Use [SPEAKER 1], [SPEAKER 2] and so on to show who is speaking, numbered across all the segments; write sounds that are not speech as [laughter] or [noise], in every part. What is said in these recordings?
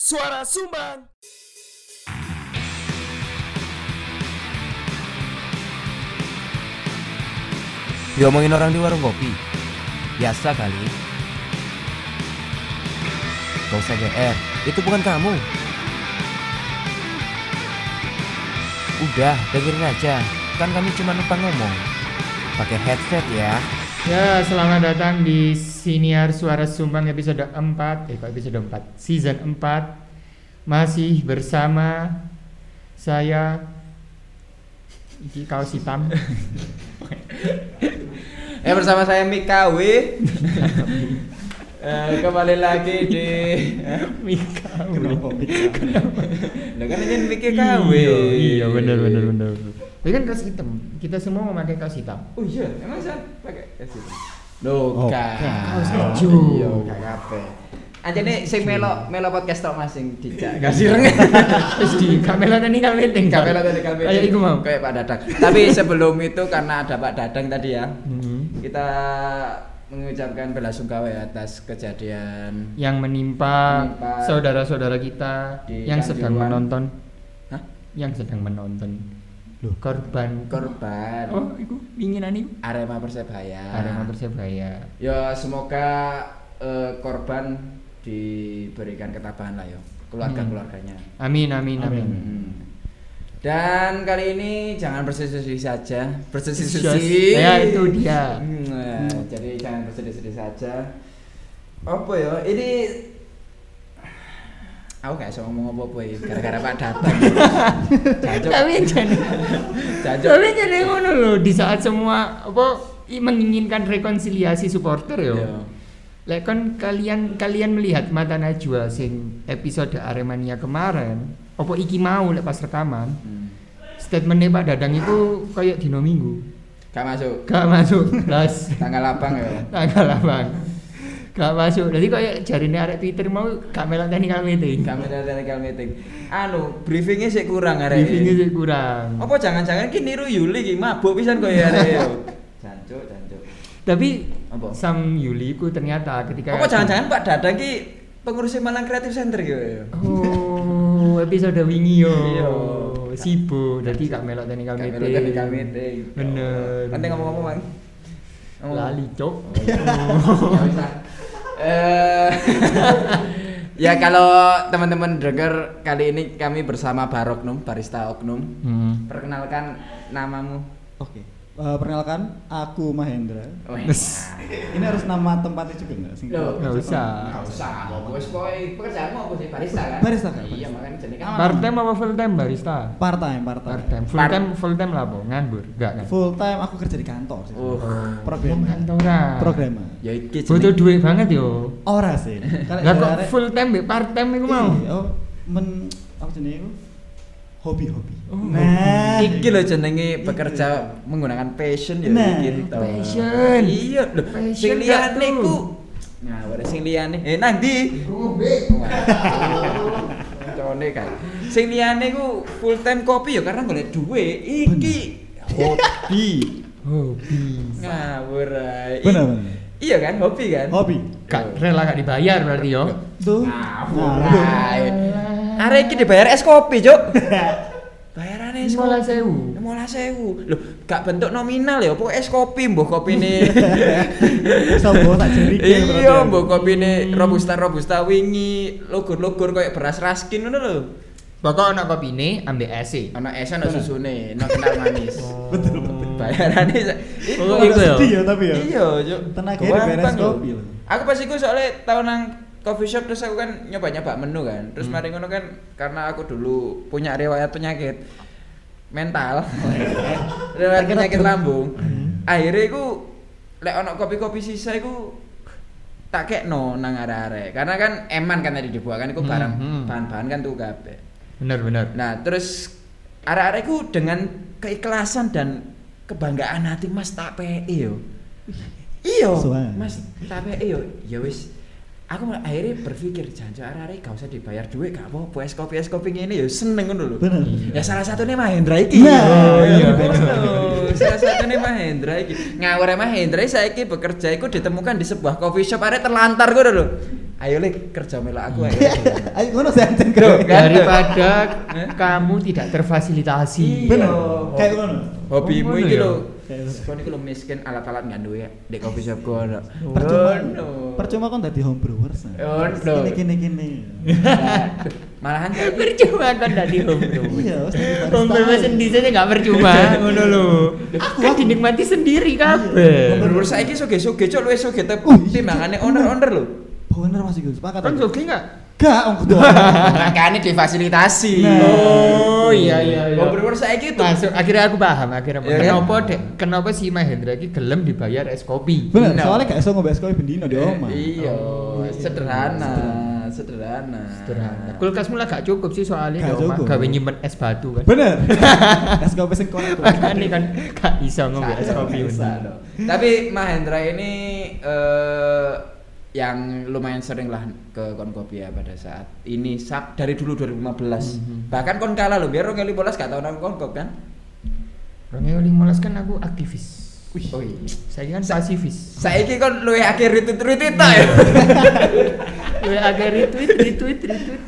[SPEAKER 1] Suara Sumbang.
[SPEAKER 2] Diomongin orang di warung kopi Biasa kali Gak usah GR Itu bukan kamu Udah, dengerin aja Kan kami cuma numpang ngomong Pakai headset ya
[SPEAKER 3] Ya, selamat datang di Siniar Suara Sumbang episode 4 Eh, kok episode 4? Season 4 Masih bersama saya Iki kaos hitam
[SPEAKER 4] Eh bersama saya
[SPEAKER 3] [laughs]
[SPEAKER 4] MKW. Eh, kembali lagi di
[SPEAKER 3] Mika
[SPEAKER 4] Lah kan ini MKW.
[SPEAKER 3] Iya, iya bener bener bener Tapi kan kaos hitam, kita semua memakai kaos hitam
[SPEAKER 4] Oh iya, emang saya pakai es itu. Oh, Loh,
[SPEAKER 3] Kaos
[SPEAKER 4] kan.
[SPEAKER 3] hijau
[SPEAKER 4] Aja nih sing melo melo podcast tok Mas sing dijak. Gak [laughs] sireng.
[SPEAKER 3] Terus di kamera tadi kamera tadi
[SPEAKER 4] Kapela tadi kapela.
[SPEAKER 3] Kayak iku mau
[SPEAKER 4] Kayak Pak Dadang. Tapi sebelum itu karena ada Pak Dadang tadi ya.
[SPEAKER 3] Hmm.
[SPEAKER 4] Kita mengucapkan belasungkawa ya atas kejadian
[SPEAKER 3] yang menimpa
[SPEAKER 4] Menimpa
[SPEAKER 3] saudara-saudara kita
[SPEAKER 4] di
[SPEAKER 3] yang sedang
[SPEAKER 4] Kanjuruan.
[SPEAKER 3] menonton
[SPEAKER 4] Hah?
[SPEAKER 3] yang sedang menonton korban
[SPEAKER 4] korban
[SPEAKER 3] oh itu pinginan itu
[SPEAKER 4] Arema Persebaya.
[SPEAKER 3] Arema Persebaya
[SPEAKER 4] Ya semoga eh, korban diberikan ketabahan lah yo keluarga-keluarganya.
[SPEAKER 3] amin amin amin,
[SPEAKER 4] Hmm. Dan kali ini jangan bersedih-sedih saja, bersedih-sedih.
[SPEAKER 3] ya itu dia
[SPEAKER 4] Hmm, ya, Jadi jangan bersedih-sedih saja. Apa ya? Ini Aku gak bisa ngomong apa-apa ya, gara-gara Pak
[SPEAKER 3] [laughs]
[SPEAKER 4] Datang. Jancuk,
[SPEAKER 3] tapi jadi
[SPEAKER 4] jancuk.
[SPEAKER 3] tapi jadi ngono loh di saat semua apa i- menginginkan rekonsiliasi supporter yo
[SPEAKER 4] Iya.
[SPEAKER 3] Lah kan kalian kalian melihat mata Najwa sing episode Aremania kemarin, apa iki mau lek pas rekaman?
[SPEAKER 4] Hmm.
[SPEAKER 3] statementnya Pak Dadang itu kayak dino minggu
[SPEAKER 4] Gak masuk.
[SPEAKER 3] gak masuk las [laughs]
[SPEAKER 4] Tanggal abang ya.
[SPEAKER 3] tanggal abang gak masuk jadi kayak jarinya arek Twitter mau gak melak technical meeting
[SPEAKER 4] Kami dari technical meeting. Anu, briefingnya sih kurang hari
[SPEAKER 3] briefingnya sih kurang
[SPEAKER 4] Apa jangan-jangan ki niru Yuli ki mabuk pisan kok ya arek yo. Jancuk, jancuk.
[SPEAKER 3] tapi
[SPEAKER 4] Apa?
[SPEAKER 3] Sam Yuli ku ternyata ketika
[SPEAKER 4] Apa jangan-jangan Pak Dadang ki pengurus Malang Creative Center ki yo.
[SPEAKER 3] oh episode wingi yo
[SPEAKER 4] Iya.
[SPEAKER 3] sibo jadi gak melak technical
[SPEAKER 4] Kami
[SPEAKER 3] meeting
[SPEAKER 4] dari kami meeting.
[SPEAKER 3] bener
[SPEAKER 4] iya. Nanti ngomong-ngomong, Bang. Ngomong.
[SPEAKER 3] lali cok
[SPEAKER 4] [laughs] Ya, bisa. Eh, [laughs] ya kalau teman-teman dengar kali ini kami bersama Baroknum, Barista Oknum.
[SPEAKER 3] hmm.
[SPEAKER 4] Perkenalkan namamu.
[SPEAKER 5] Oke. Eh, perkenalkan, aku Mahendra.
[SPEAKER 4] Wes.
[SPEAKER 5] Ini harus nama tempatnya juga enggak?
[SPEAKER 4] Loh,
[SPEAKER 3] nggak usah.
[SPEAKER 4] Gak usah, wes pokoknya pekerjaanmu apa sih barista kan?
[SPEAKER 5] Barista, kan?
[SPEAKER 4] Iya, makanya jadi kan.
[SPEAKER 3] part time apa full time barista
[SPEAKER 5] Part time, part time.
[SPEAKER 3] part time full
[SPEAKER 4] Part-
[SPEAKER 3] time full time lah po nganggur gak kan
[SPEAKER 5] Full time aku kerja di kantor sih.
[SPEAKER 4] Oh.
[SPEAKER 5] Programmer.
[SPEAKER 3] kantoran
[SPEAKER 5] Programmer.
[SPEAKER 4] Ya iki
[SPEAKER 3] butuh
[SPEAKER 4] jeneng-
[SPEAKER 3] duit banget yo
[SPEAKER 5] Ora sih.
[SPEAKER 3] lah kok full time mbek part time iku mau
[SPEAKER 5] Iya, men apa jenenge iku? Hobi-hobi. Nah,
[SPEAKER 3] Oh,
[SPEAKER 4] iki lho jenenge
[SPEAKER 5] Iki.
[SPEAKER 4] bekerja menggunakan passion ya
[SPEAKER 5] Nah.
[SPEAKER 4] iki to.
[SPEAKER 3] Passion.
[SPEAKER 4] Iya, lho.
[SPEAKER 3] Passion
[SPEAKER 4] Sing
[SPEAKER 3] gak
[SPEAKER 4] liyane
[SPEAKER 3] tuh?
[SPEAKER 4] ku. Nah, ora sing liyane. Eh, nang ndi? Cone kan. Sing liyane ku full time kopi ya karena golek duit. Iki hobi.
[SPEAKER 3] hobi
[SPEAKER 4] Ngawur ae.
[SPEAKER 5] Bener, bener.
[SPEAKER 4] Iya kan, hobi kan?
[SPEAKER 5] Hobi.
[SPEAKER 3] gak rela gak dibayar berarti yo
[SPEAKER 4] Ah,
[SPEAKER 5] Tuh.
[SPEAKER 4] Ngawur
[SPEAKER 5] Ngawur.
[SPEAKER 4] ae. Arek iki dibayar es kopi, Cuk. [laughs] Bayarane es
[SPEAKER 3] sekolah
[SPEAKER 4] kopi.
[SPEAKER 3] sewu
[SPEAKER 4] Mola sewu. Loh, gak bentuk nominal ya, pokoknya es kopi mbok [laughs] kopine.
[SPEAKER 5] Sombong tak jerike. berarti
[SPEAKER 4] iya,
[SPEAKER 5] aku.
[SPEAKER 4] mbok kopine
[SPEAKER 3] Hmm.
[SPEAKER 4] robusta robusta wingi, logor-logor koyo beras raskin ngono lho.
[SPEAKER 3] pokok ana kopine ambek es
[SPEAKER 4] Ana es ana susune, ana kental manis.
[SPEAKER 5] Betul, betul.
[SPEAKER 4] Bayarane sa-
[SPEAKER 3] Oh,
[SPEAKER 5] Agak
[SPEAKER 3] gitu ya?
[SPEAKER 5] sedih tapi ya.
[SPEAKER 4] Iya, Cuk.
[SPEAKER 5] Tenaganya dibayar es
[SPEAKER 4] Gampang, lho.
[SPEAKER 5] kopi lho.
[SPEAKER 4] Aku pas iku soalnya tahun nang coffee shop terus aku kan nyoba-nyoba menu kan. Terus mari ngono kan karena aku dulu punya riwayat penyakit mental. riwayat penyakit lambung. Akhirnya iku lek ono kopi-kopi sisa iku tak kekno nang arek-arek. Karena kan eman kan tadi dibuat kan iku
[SPEAKER 3] Hmm,
[SPEAKER 4] barang
[SPEAKER 3] hmm.
[SPEAKER 4] bahan-bahan kan tuh kabeh.
[SPEAKER 3] bener bener
[SPEAKER 4] Nah, terus arek-arek iku dengan keikhlasan dan kebanggaan hati Mas tak PE yo. Iya,
[SPEAKER 5] Soalnya.
[SPEAKER 4] Mas tak PE yo. Ya wis. Aku malah akhirnya berpikir janji arek-arek gak usah dibayar duit gak apa-apa es kopi es kopi ngene yo seneng ngono lho.
[SPEAKER 5] Bener.
[SPEAKER 4] Ya salah satunya Mahendra iki.
[SPEAKER 5] Nah,
[SPEAKER 4] Oh,
[SPEAKER 5] iya,
[SPEAKER 4] bener.
[SPEAKER 5] bener.
[SPEAKER 4] Salah satunya Mahendra e iki. Ngawur Mahendra saiki bekerja iku ditemukan di sebuah coffee shop arek terlantar ngono lho. ayo lek kerja melo aku ayo.
[SPEAKER 5] [laughs] [laughs] Ayo ngono senten
[SPEAKER 4] Bro,
[SPEAKER 3] kan?
[SPEAKER 5] kro.
[SPEAKER 4] Gak ada.
[SPEAKER 3] daripada kamu tidak
[SPEAKER 4] Iya.
[SPEAKER 3] terfasilitasi.
[SPEAKER 5] Bener. Kayak ngono.
[SPEAKER 4] Hobimu
[SPEAKER 3] Oh, ngono
[SPEAKER 4] iki
[SPEAKER 3] ya?
[SPEAKER 4] lho.
[SPEAKER 5] Kayak ngono.
[SPEAKER 4] Kon iki lho miskin alat-alat nggak duwe di coffee ya. shop ku ono.
[SPEAKER 5] Percuma.
[SPEAKER 4] Ono.
[SPEAKER 5] Percuma kon dadi home brewers.
[SPEAKER 4] Oh, no.
[SPEAKER 5] Kini kini kini.
[SPEAKER 4] [laughs] Malahan saiki
[SPEAKER 3] Percuma kan dari home
[SPEAKER 5] Iya, wis dadi barista.
[SPEAKER 3] Home brewer sendiri saja nggak percuma, ngono lho. Aku kan dinikmati sendiri
[SPEAKER 5] Iya,
[SPEAKER 3] kabeh.
[SPEAKER 5] home
[SPEAKER 4] Bener saiki soge-soge cok luwes soge tep
[SPEAKER 5] Oh, iya,
[SPEAKER 4] timbangane
[SPEAKER 5] Cok.
[SPEAKER 4] owner-owner lho.
[SPEAKER 5] Bener Mas Igun, sepakat.
[SPEAKER 3] Kan
[SPEAKER 5] aku.
[SPEAKER 3] jogging nggak?
[SPEAKER 5] Gak, om kudu.
[SPEAKER 4] Makane difasilitasi.
[SPEAKER 5] Nah.
[SPEAKER 3] Oh iya iya iya.
[SPEAKER 4] Over saiki tuh.
[SPEAKER 3] Masuk akhirnya aku paham akhirnya.
[SPEAKER 4] Iya kan?
[SPEAKER 3] kenapa dek? Kenapa si Mahendra iki gelem dibayar es kopi?
[SPEAKER 5] Bener,
[SPEAKER 4] Bener.
[SPEAKER 5] soalnya gak iso ngombe es kopi bendino di omah.
[SPEAKER 4] Iya,
[SPEAKER 3] Oh, iya.
[SPEAKER 4] sederhana, sederhana.
[SPEAKER 3] Sederhana. Kulkas mulai gak cukup sih soalnya
[SPEAKER 5] Gak
[SPEAKER 3] di omah
[SPEAKER 5] cukup.
[SPEAKER 3] gawe nyimpen es batu kan.
[SPEAKER 5] Bener. Es kopi sing korek.
[SPEAKER 3] Makanya kan gak iso
[SPEAKER 5] Oh,
[SPEAKER 3] ngombe es
[SPEAKER 4] Bisa,
[SPEAKER 3] kopi.
[SPEAKER 4] bisa,
[SPEAKER 3] bener.
[SPEAKER 4] dong. Tapi Mahendra ini eh, yang lumayan sering lah ke Konkopia pada saat ini sak dari dulu 2015.
[SPEAKER 5] Mm-hmm.
[SPEAKER 4] Bahkan kon kalah loh, biar 2015 gak tau nang Konkop kan.
[SPEAKER 3] Romeo Limolas kan aku aktivis.
[SPEAKER 4] Wih. Oh iya.
[SPEAKER 3] Saya kan pasifis.
[SPEAKER 4] Saiki kon luwe akhir retweet retweet ta
[SPEAKER 5] [laughs]
[SPEAKER 4] ya.
[SPEAKER 3] Gue agak retweet, retweet, retweet.